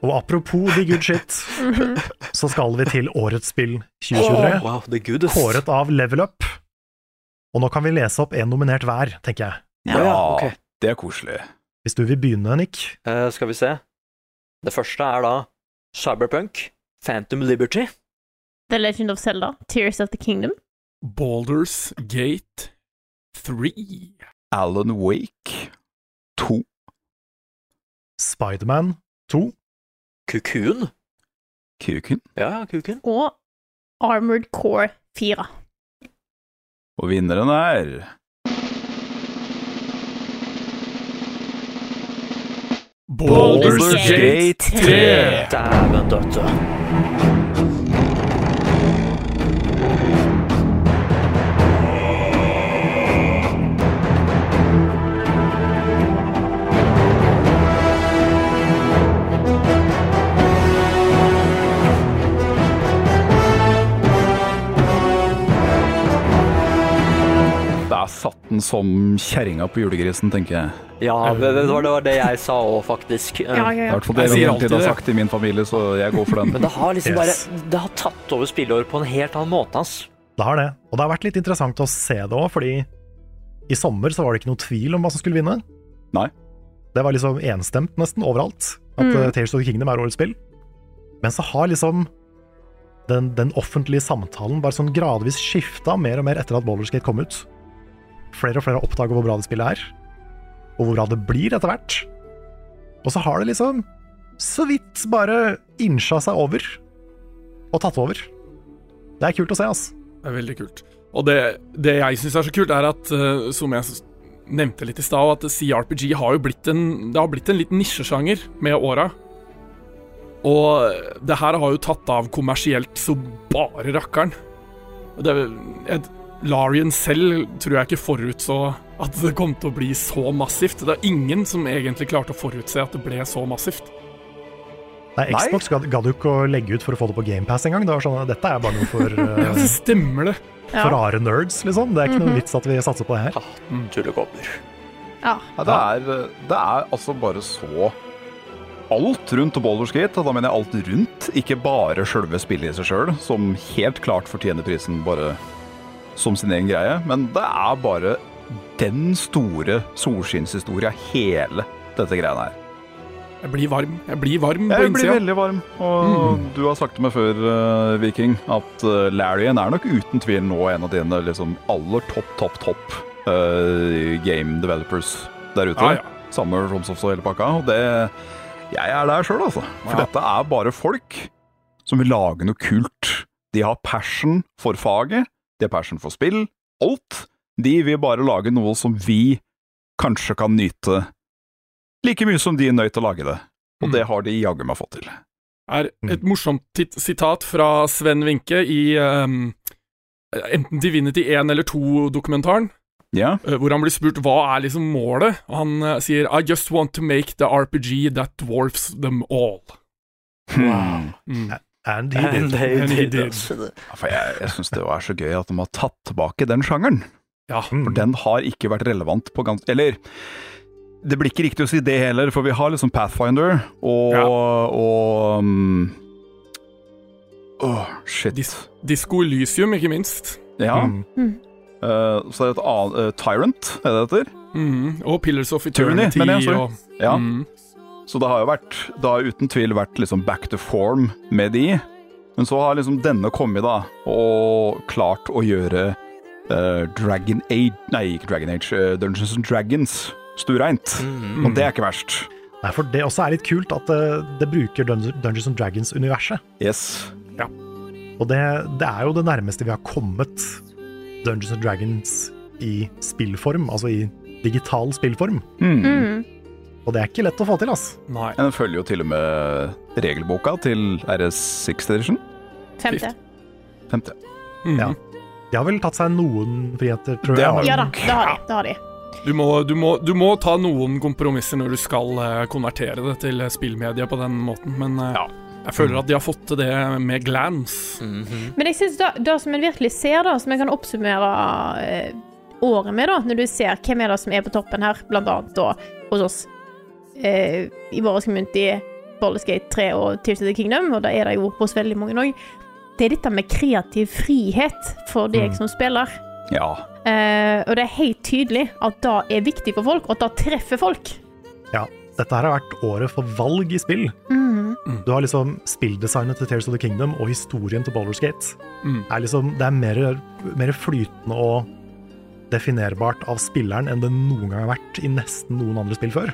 Og apropos the good shit,
Mhm.
så skal vi til årets spill 2023.
Wow, the goodest.
kåret av Level Up. Og nå kan vi lese opp én nominert hver, tenker jeg.
Ja, ja, ok.
det er koselig.
Hvis du vil begynne, Nick.
Eh, skal vi se. Det første er da Cyberpunk, Phantom Liberty,
The Legend of Zelda, Tears of the Kingdom.
Baldur's Gate 3.
Alan Wake 2.
Spiderman 2.
Kukun
Kuken.
Ja, ja, Kukun.
Og Armored Core 4.
Og vinneren er
Baldur's
Baldur's
Gate
Gate
3.
Dæven døtte.
satt den som kjerringa på julegrisen, tenker jeg.
Ja,
Eh.
det, det, var, det var det jeg sa òg, faktisk. Eh,
Ja, ja, ja.
Det er i hvert fall det
Jeg
vi
sier
alltid
alltid
har
det.
sagt i min familie, så jeg går for den.
Men det har liksom
Yes.
bare Det har tatt over spilleåret på en helt annen måte, ass.
Det har det. Og det har vært litt interessant å se det òg, fordi i sommer så var det ikke noe tvil om hva som skulle vinne.
Nei.
Det var liksom enstemt nesten overalt at
Mm.
eh, Tears of the Kingdom er årets spill. Men så har liksom den, den offentlige samtalen bare sånn gradvis skifta mer og mer etter at Baldur's Gate kom ut. Flere og flere har oppdaga hvor bra det spillet er, og hvor bra det blir etter hvert. Og så har det liksom så vidt bare innsja seg over, og tatt over. Det er kult å se, ass.
Det er veldig kult. Og det, det jeg syns er så kult, er at, eh, som jeg s- nevnte litt i stad, at CRPG har jo blitt en Det har blitt en liten nisjesjanger med åra. Og det her har jo tatt av kommersielt så bare rakkeren. Og Det, et, Larian selv tror jeg ikke forutså at det kom til å bli så massivt. Det er ingen som egentlig klarte å forutse at det ble så massivt.
Nei, Xbox gadd gadd jo ikke å legge ut for å få det på GamePass engang. Det var sånn, dette er bare noe for, eh,
Stemmer det?
Ja.
for rare nerds, liksom. Det er ikke noe vits at vi satser på det her.
Tullekopper.
Ja.
Ja, det, er, det er altså bare så alt rundt Baldur's Gate, og da mener jeg alt rundt, ikke bare sjølve spillet i seg sjøl, som helt klart fortjener prisen bare som sin egen greie, men det er bare den store solskinnshistoria, hele dette greiene her.
Jeg blir varm. Jeg blir varm på
Jeg blir
innsida. Mm.
veldig varm, og du har sagt til meg før, eh, Viking, at eh, Larian er nok uten tvil nå en av dine liksom, aller topp, topp, topp eh, game developers der ute.
Ja, ja.
Samme Romsoft og hele pakka. Og det Jeg er der sjøl, altså. For
Ja.
dette er bare folk som vil lage noe kult. De har passion for faget, de har passion for spill, alt. De vil bare lage noe som vi kanskje kan nyte like mye som de nøyt å lage det. Og
Mm.
det har de jaggu meg fått til.
er
Mm.
et morsomt tit- sitat fra Sven Winke i ehm, enten Divinity 1 eller 2-dokumentaren,
Ja.
hvor han blir spurt hva er liksom målet, og han eh, sier I just want to make the RPG that dwarfs them all.
Wow.
Mm.
And he
(laughs)
did.
they
And he did.
ass.
For jeg, jeg syns det er så gøy at de har tatt tilbake den sjangeren.
Ja.
For den har ikke vært relevant på ganske Eller det blir ikke riktig å si det heller, for vi har liksom Pathfinder og
Ja.
og um, Åh, shit.
Dis Disco Elysium, ikke minst.
Ja.
Mm.
Eh, så er det et annet eh, Tyrant, er det det heter?
Mm. Og Pillars of
Tyranny,
Eternity.
men jeg så-
og,
Ja.
mm.
Så det har jo vært Det har uten tvil vært liksom back to form med de. Men så har liksom denne kommet, da, og klart å gjøre eh, Dragon Age Nei, ikke Dragon Age. eh, Dungeons and Dragons stureint. Og det er ikke verst.
Nei, for det også er litt kult at det, det bruker Dun- Dungeons and Dragons-universet.
Yes.
Og det, det er jo det nærmeste vi har kommet Dungeons and Dragons i spillform, altså i digital spillform. Og det er ikke lett å få til, ass.
Nei.
Men Den følger jo til og med regelboka til RS6 Edition.
Femte.
Femte.
Mm.
Ja. De har vel tatt seg noen friheter, tror
Det
jeg.
har
Ja da, det har de. Det har de.
Du, må, du, må, du må ta noen kompromisser når du skal eh, konvertere det til spillmedia på den måten, men eh, jeg føler at de har fått til det med glans.
Men jeg synes da, da som en virkelig ser, da, som jeg kan oppsummere eh, året med, da, når du ser hvem er det som er på toppen her, blant annet da, hos oss eh, i vår community, Baldur's Gate 3 og Tears of the Kingdom, og da er det jo hos veldig mange òg, det er dette med kreativ frihet for deg som spiller.
Ja.
Eh, og det er helt tydelig at det er viktig for folk, og at det treffer folk.
Ja, dette her har vært året for valg i spill. Du har liksom spilldesignet til Tears of the Kingdom og historien til Baldur's Gate.
Mm.
Er liksom, det er mer, mer flytende og definerbart av spilleren enn det noen gang har vært i nesten noen andre spill før.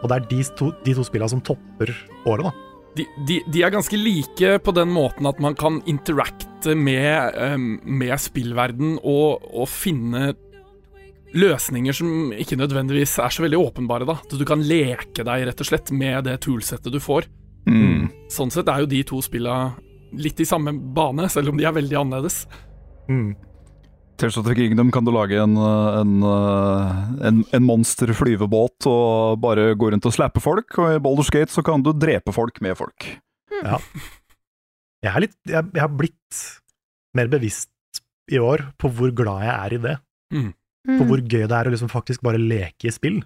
Og det er de to, de to spillene som topper året, da.
de, de, de er ganske like på den måten at man kan interacte med, eh, med spillverden og, og finne løsninger som ikke nødvendigvis er så veldig åpenbare, da. At du kan leke deg, rett og slett, med det toolsettet du får.
Mm.
Sånn sett er jo de to spilla litt i samme bane, selv om de er veldig annerledes.
Mm.
Tears of the Kingdom kan du lage en, eh, en, eh, en, en monster flyvebåt og bare gå rundt og slappe folk, og i Baldur's Gate så kan du drepe folk med folk.
Jeg, er litt, jeg, jeg har blitt mer bevisst i år på hvor glad jeg er i det.
Mm.
på hvor gøy det er å liksom faktisk bare leke i spill.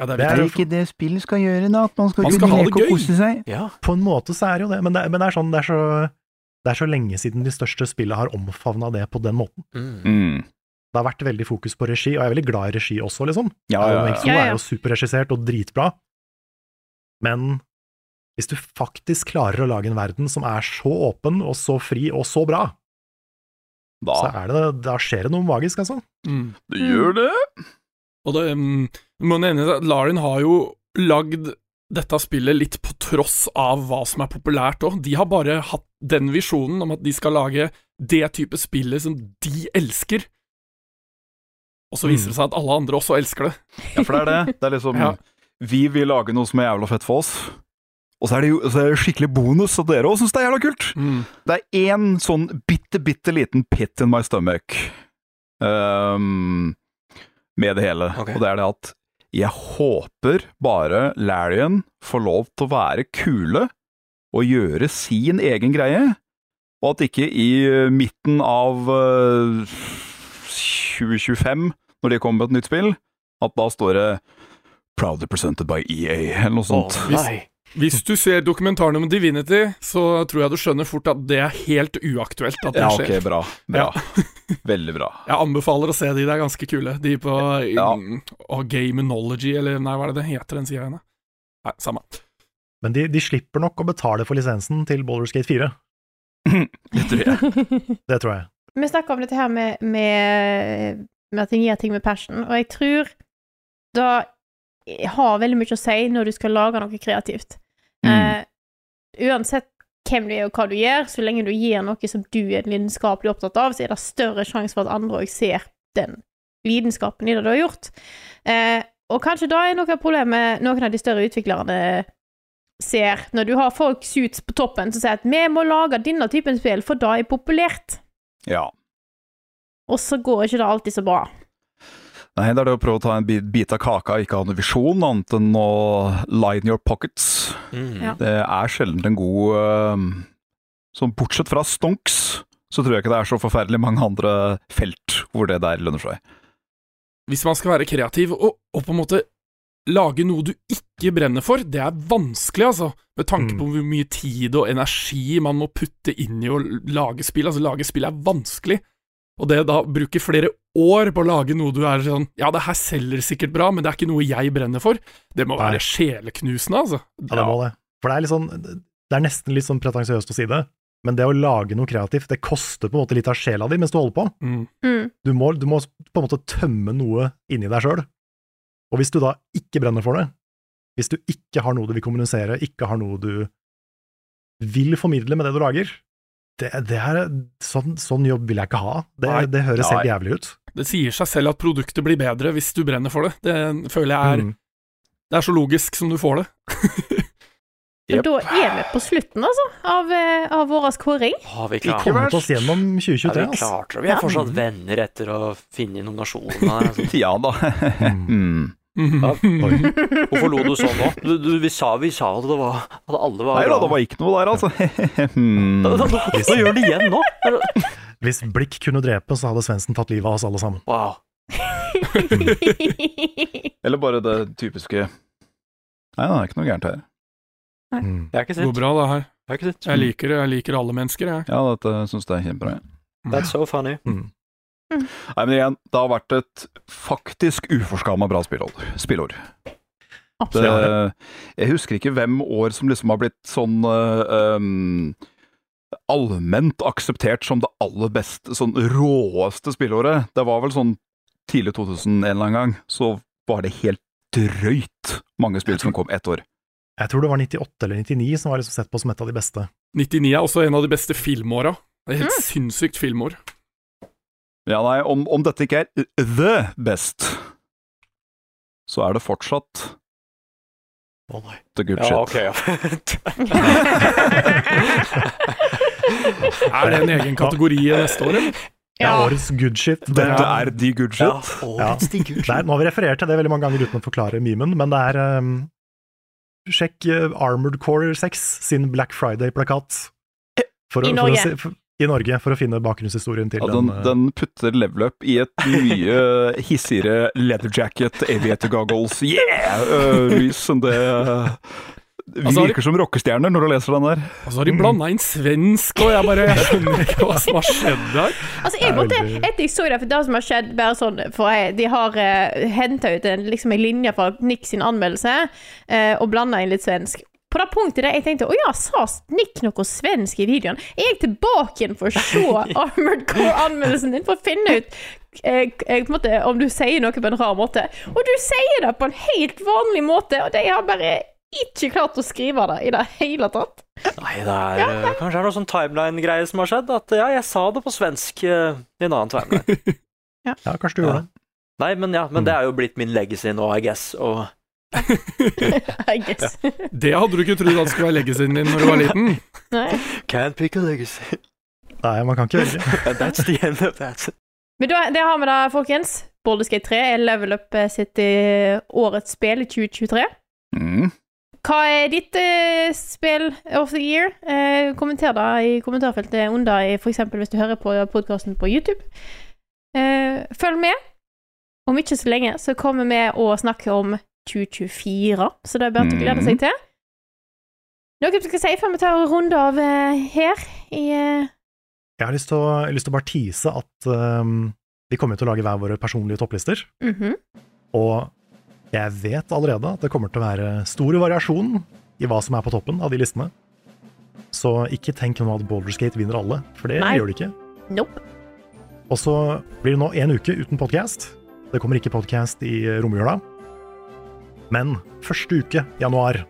det
Det er jo
ikke det spill skal gjøre, da. At man skal,
Man
kunne
skal ha det
leke og
gøy.
kose seg.
På en måte så er det jo det, men det, men det er sånn, det er så det er så lenge siden de største spillene har omfavna det på den måten.
Mm,
Det har vært veldig fokus på regi, og jeg er veldig glad i regi også, liksom.
Ja, ja, ja.
Alan Wake 2
Ja, ja.
er jo superregissert og dritbra, men hvis du faktisk klarer å lage en verden som er så åpen og så fri og så bra, så er det, da skjer det noe magisk, altså.
Det
gjør
det. Mm. Og det mm, må nevnes at Larin har jo lagd dette spillet litt på tross av hva som er populært òg. De har bare hatt den visjonen om at de skal lage det type spillet som de elsker. Og så viser det seg at alle andre også elsker det.
Ja, for det er det. Det er liksom
Ja.
Vi vil lage noe som er jævla fett for oss. Og så er det jo så er det skikkelig bonus at dere òg syns det er jævla kult. Det er én sånn bitte, bitte liten pit in my stomach ehm, med det hele, og det er det at jeg håper bare Larrion får lov til å være kule og gjøre sin egen greie, og at ikke i eh, midten av eh, 2025, når de kommer med et nytt spill, at da står det Proudly presented by EA, eller noe sånt.
Hvis, hvis du ser dokumentaren om Divinity, så tror jeg du skjønner fort at det er helt uaktuelt at det
Ja, ok,
skjer.
bra. bra. Veldig bra.
Jeg anbefaler å se de, det er ganske kule. De på og Gamenology, eller nei, hva er det det heter den sida igjen? da? Nei, samme.
Men de, de slipper nok å betale for lisensen til Baldur's Gate 4.
Det tror
jeg. Det tror jeg.
Vi snakker om dette her med, med, med at en gjør ting med passion, og jeg tror det har veldig mye å si når du skal lage noe kreativt. Eh, uansett hvem du er og hva du gjør, så lenge du gir noe som du er lidenskapelig opptatt av, så er det større sjanse for at andre òg ser den lidenskapen i det du har gjort. Eh, og kanskje da er noe av problemet noen av de større utviklerne ser, når du har folk suits på toppen som sier at 'vi må lage denne typen spill, for det er populært'.
Ja.
Og så går ikke det alltid så bra.
Nei, det er det å prøve å ta en bi- bit av kaka og ikke ha noen visjon, annet enn å line your pockets.
mm.
Ja.
Det er sjelden en god eh, Sånn bortsett fra stonks, så tror jeg ikke det er så forferdelig mange andre felt hvor det der lønner seg. (laughs)
Hvis man skal være kreativ og, og på en måte lage noe du ikke brenner for, det er vanskelig, altså. Med tanke
Mm.
på hvor mye tid og energi man må putte inn i å lage spill. Altså, lage spill er vanskelig. Og det da bruke flere år på å lage noe du er sånn Ja, det her selger sikkert bra, men det er ikke noe jeg brenner for. Det må være sjeleknusende, altså.
Ja, det må det. For det er litt sånn Det er nesten litt sånn pretensiøst å si det, men det å lage noe kreativt, det koster på en måte litt av sjela di mens du holder på.
Mm.
Du må, du må på en måte tømme noe inni deg sjøl. Og hvis du da ikke brenner for det, hvis du ikke har noe du vil kommunisere, ikke har noe du vil formidle med det du lager, det, det er, sånn, sånn jobb vil jeg ikke ha. Det,
Nei.
det høres helt
Nei.
jævlig ut.
Det sier seg selv at produktet blir bedre hvis du brenner for det. Det føler jeg er
Mm.
Det er så logisk som du får det.
Og da er vi på slutten, altså, av, eh, av vår kåring.
Har vi
Vi kommet oss
klart
gjennom 2023,
Ja, vi klarte det. Vi
Ja.
er fortsatt venner etter å finne nominasjonene. her, Altså.
ja da. (laughs) mm.
Mhm.
Ja. Hvorfor lo du sånn nå? Du, du, vi sa vi sa at det var At alle var
Nei da,
glad.
det var ikke noe der, altså. (laughs) Mm.
(laughs) Da- da- da- Nå gjør det igjen nå! Er det-
Hvis blikk kunne drepe, så hadde Svendsen tatt livet av oss alle sammen.
Wow.
Eller bare det typiske Nei, det er ikke noe gærent her.
Mm.
Det
er ikke
Det går bra, det her.
Det er ikke sitt.
Jeg liker det. Jeg liker alle mennesker, jeg.
Ja, dette syns jeg er kjempebra. jeg.
That's so funny.
Mm. Nei, men igjen, det har vært et faktisk uforskamma bra spillår. spillår. Det, Eh, jeg husker ikke hvem år som liksom har blitt sånn eh, um, allment akseptert som det aller beste, sånn råeste spillåret. Det var vel sånn tidlig 2000 en eller annen gang, så var det helt drøyt mange spill som kom ett år.
Jeg tror det var 98 eller 99 som var liksom sett på som et av de beste.
99 Mm. er også en av de beste filmåra. Det er helt sinnssykt filmår.
Ja, nei, om, om dette ikke er the best, så er det fortsatt the good shit.
Ja, ok, (laughs) ja.
Er det en egen kategori neste år, eller?
Det er årets good shit. Det
Dette er de good shit.
Det er- nå har vi referert til det veldig mange ganger uten å forklare memen, men det er ehm, Sjekk eh, Armored Core 6 sin Black Friday-plakat.
I
For å- for å
Norge.
se- for- i Norge for å finne bakgrunnshistorien til
Ja, den,
eh,
den putter level up i et mye hissigere leather jacket, aviator goggles, yeah! øh, lys enn det øh, Vi
Altså, har de-
virker som rockestjerner når du leser den der.
Og så har de blanda inn svensk, og jeg bare jeg skjønner ikke hva som har skjedd der.
Altså, jeg måtte, etter jeg så det, for det som har skjedd, bare sånn For jeg, de har uh, henta ut en, liksom, en linje fra Nick sin anmeldelse eh, og blanda inn litt svensk. På det punktet der jeg tenkte å ja, sa Nick noe svensk i videoen? Er jeg tilbake igjen for å se Armored Core-anmeldelsen din for å finne ut eh, k- eh, på en måte, om du sier noe på en rar måte? Og du sier det på en helt vanlig måte, og de har bare ikke klart å skrive det i det hele tatt.
Nei, det er eh, kanskje det er noe sånn timeline-greie som har skjedd. At ja, jeg sa det på svensk eh, i en annen timeline.
Ja, kanskje du gjorde det.
Nei, men ja, men det er jo blitt min legacy nå, I guess. Og
I guess.
Det hadde du ikke trodd at skulle være leggesen din når du var liten.
Nei.
Can't pick a (laughs) legacy.
Nei, man kan ikke velge.
And that's the end of that.
Men da, det har vi da, folkens. Baldur's Gate 3 er level up sitt eh, årets spill i 2023.
Mm.
Hva er ditt eh, spill of the year? Eh, kommenter da i kommentarfeltet under, i- for eksempel hvis du hører på podkasten på YouTube. Eh, følg med. Om ikke så lenge så kommer vi og snakker om 2024, så det er bare til å glede seg til. Noe du skal si før vi tar en runde av eh, her i eh,
Jeg har lyst til å, jeg har lyst til å bare tease at ehm, vi kommer til å lage hver våre personlige topplister.
mhm.
Og jeg vet allerede at det kommer til å være stor variasjon i hva som er på toppen av de listene. Så ikke tenk nå at Baldur's Gate vinner alle, for det
Nei.
gjør det ikke.
Nope.
Og så blir det nå en uke uten podkast. Det kommer ikke podkast i romjula. Men første uke, januar,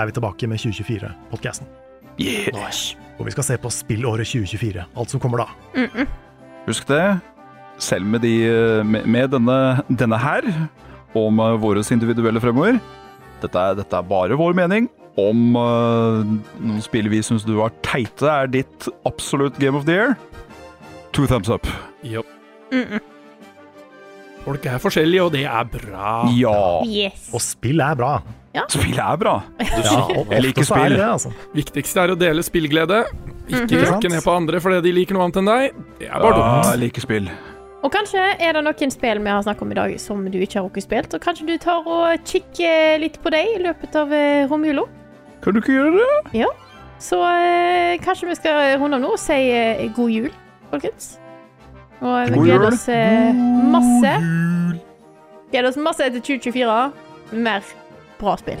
er vi tilbake med 2024-podkasten.
Nice.
Hvor vi skal se på spillåret 2024, alt som kommer da.
Husk det. Selv med, de, eh, med, med denne, denne her, og med våre individuelle fremover dette er, dette er bare vår mening. Om øh, noen spill vi syns du var teite, er ditt absolutt game of the year. Two thumbs up.
Jopp. Folk er forskjellige, og det er bra.
Ja.
Yes.
Og spill er bra.
Spill er bra.
Ja, og
Jeg liker
ofte så er
spill.
det, altså.
Viktigste er å dele spillglede. Ikke
Mhm.
rakke ned på andre fordi de liker noe annet enn deg. Det er bare
Ja,
dumt.
jeg liker spill.
Og kanskje er det noen spill vi har snakket om i dag som du ikke har rukket spilt, og kanskje du tar og kikker litt på deg i løpet av eh, romjula.
Kan du ikke gjøre det?
Ja. Så eh, kanskje vi skal runde av nå og si eh, god jul, folkens. Og vi
God jul.
gleder oss eh, masse. Gleder oss masse til 2024. Mer bra spill.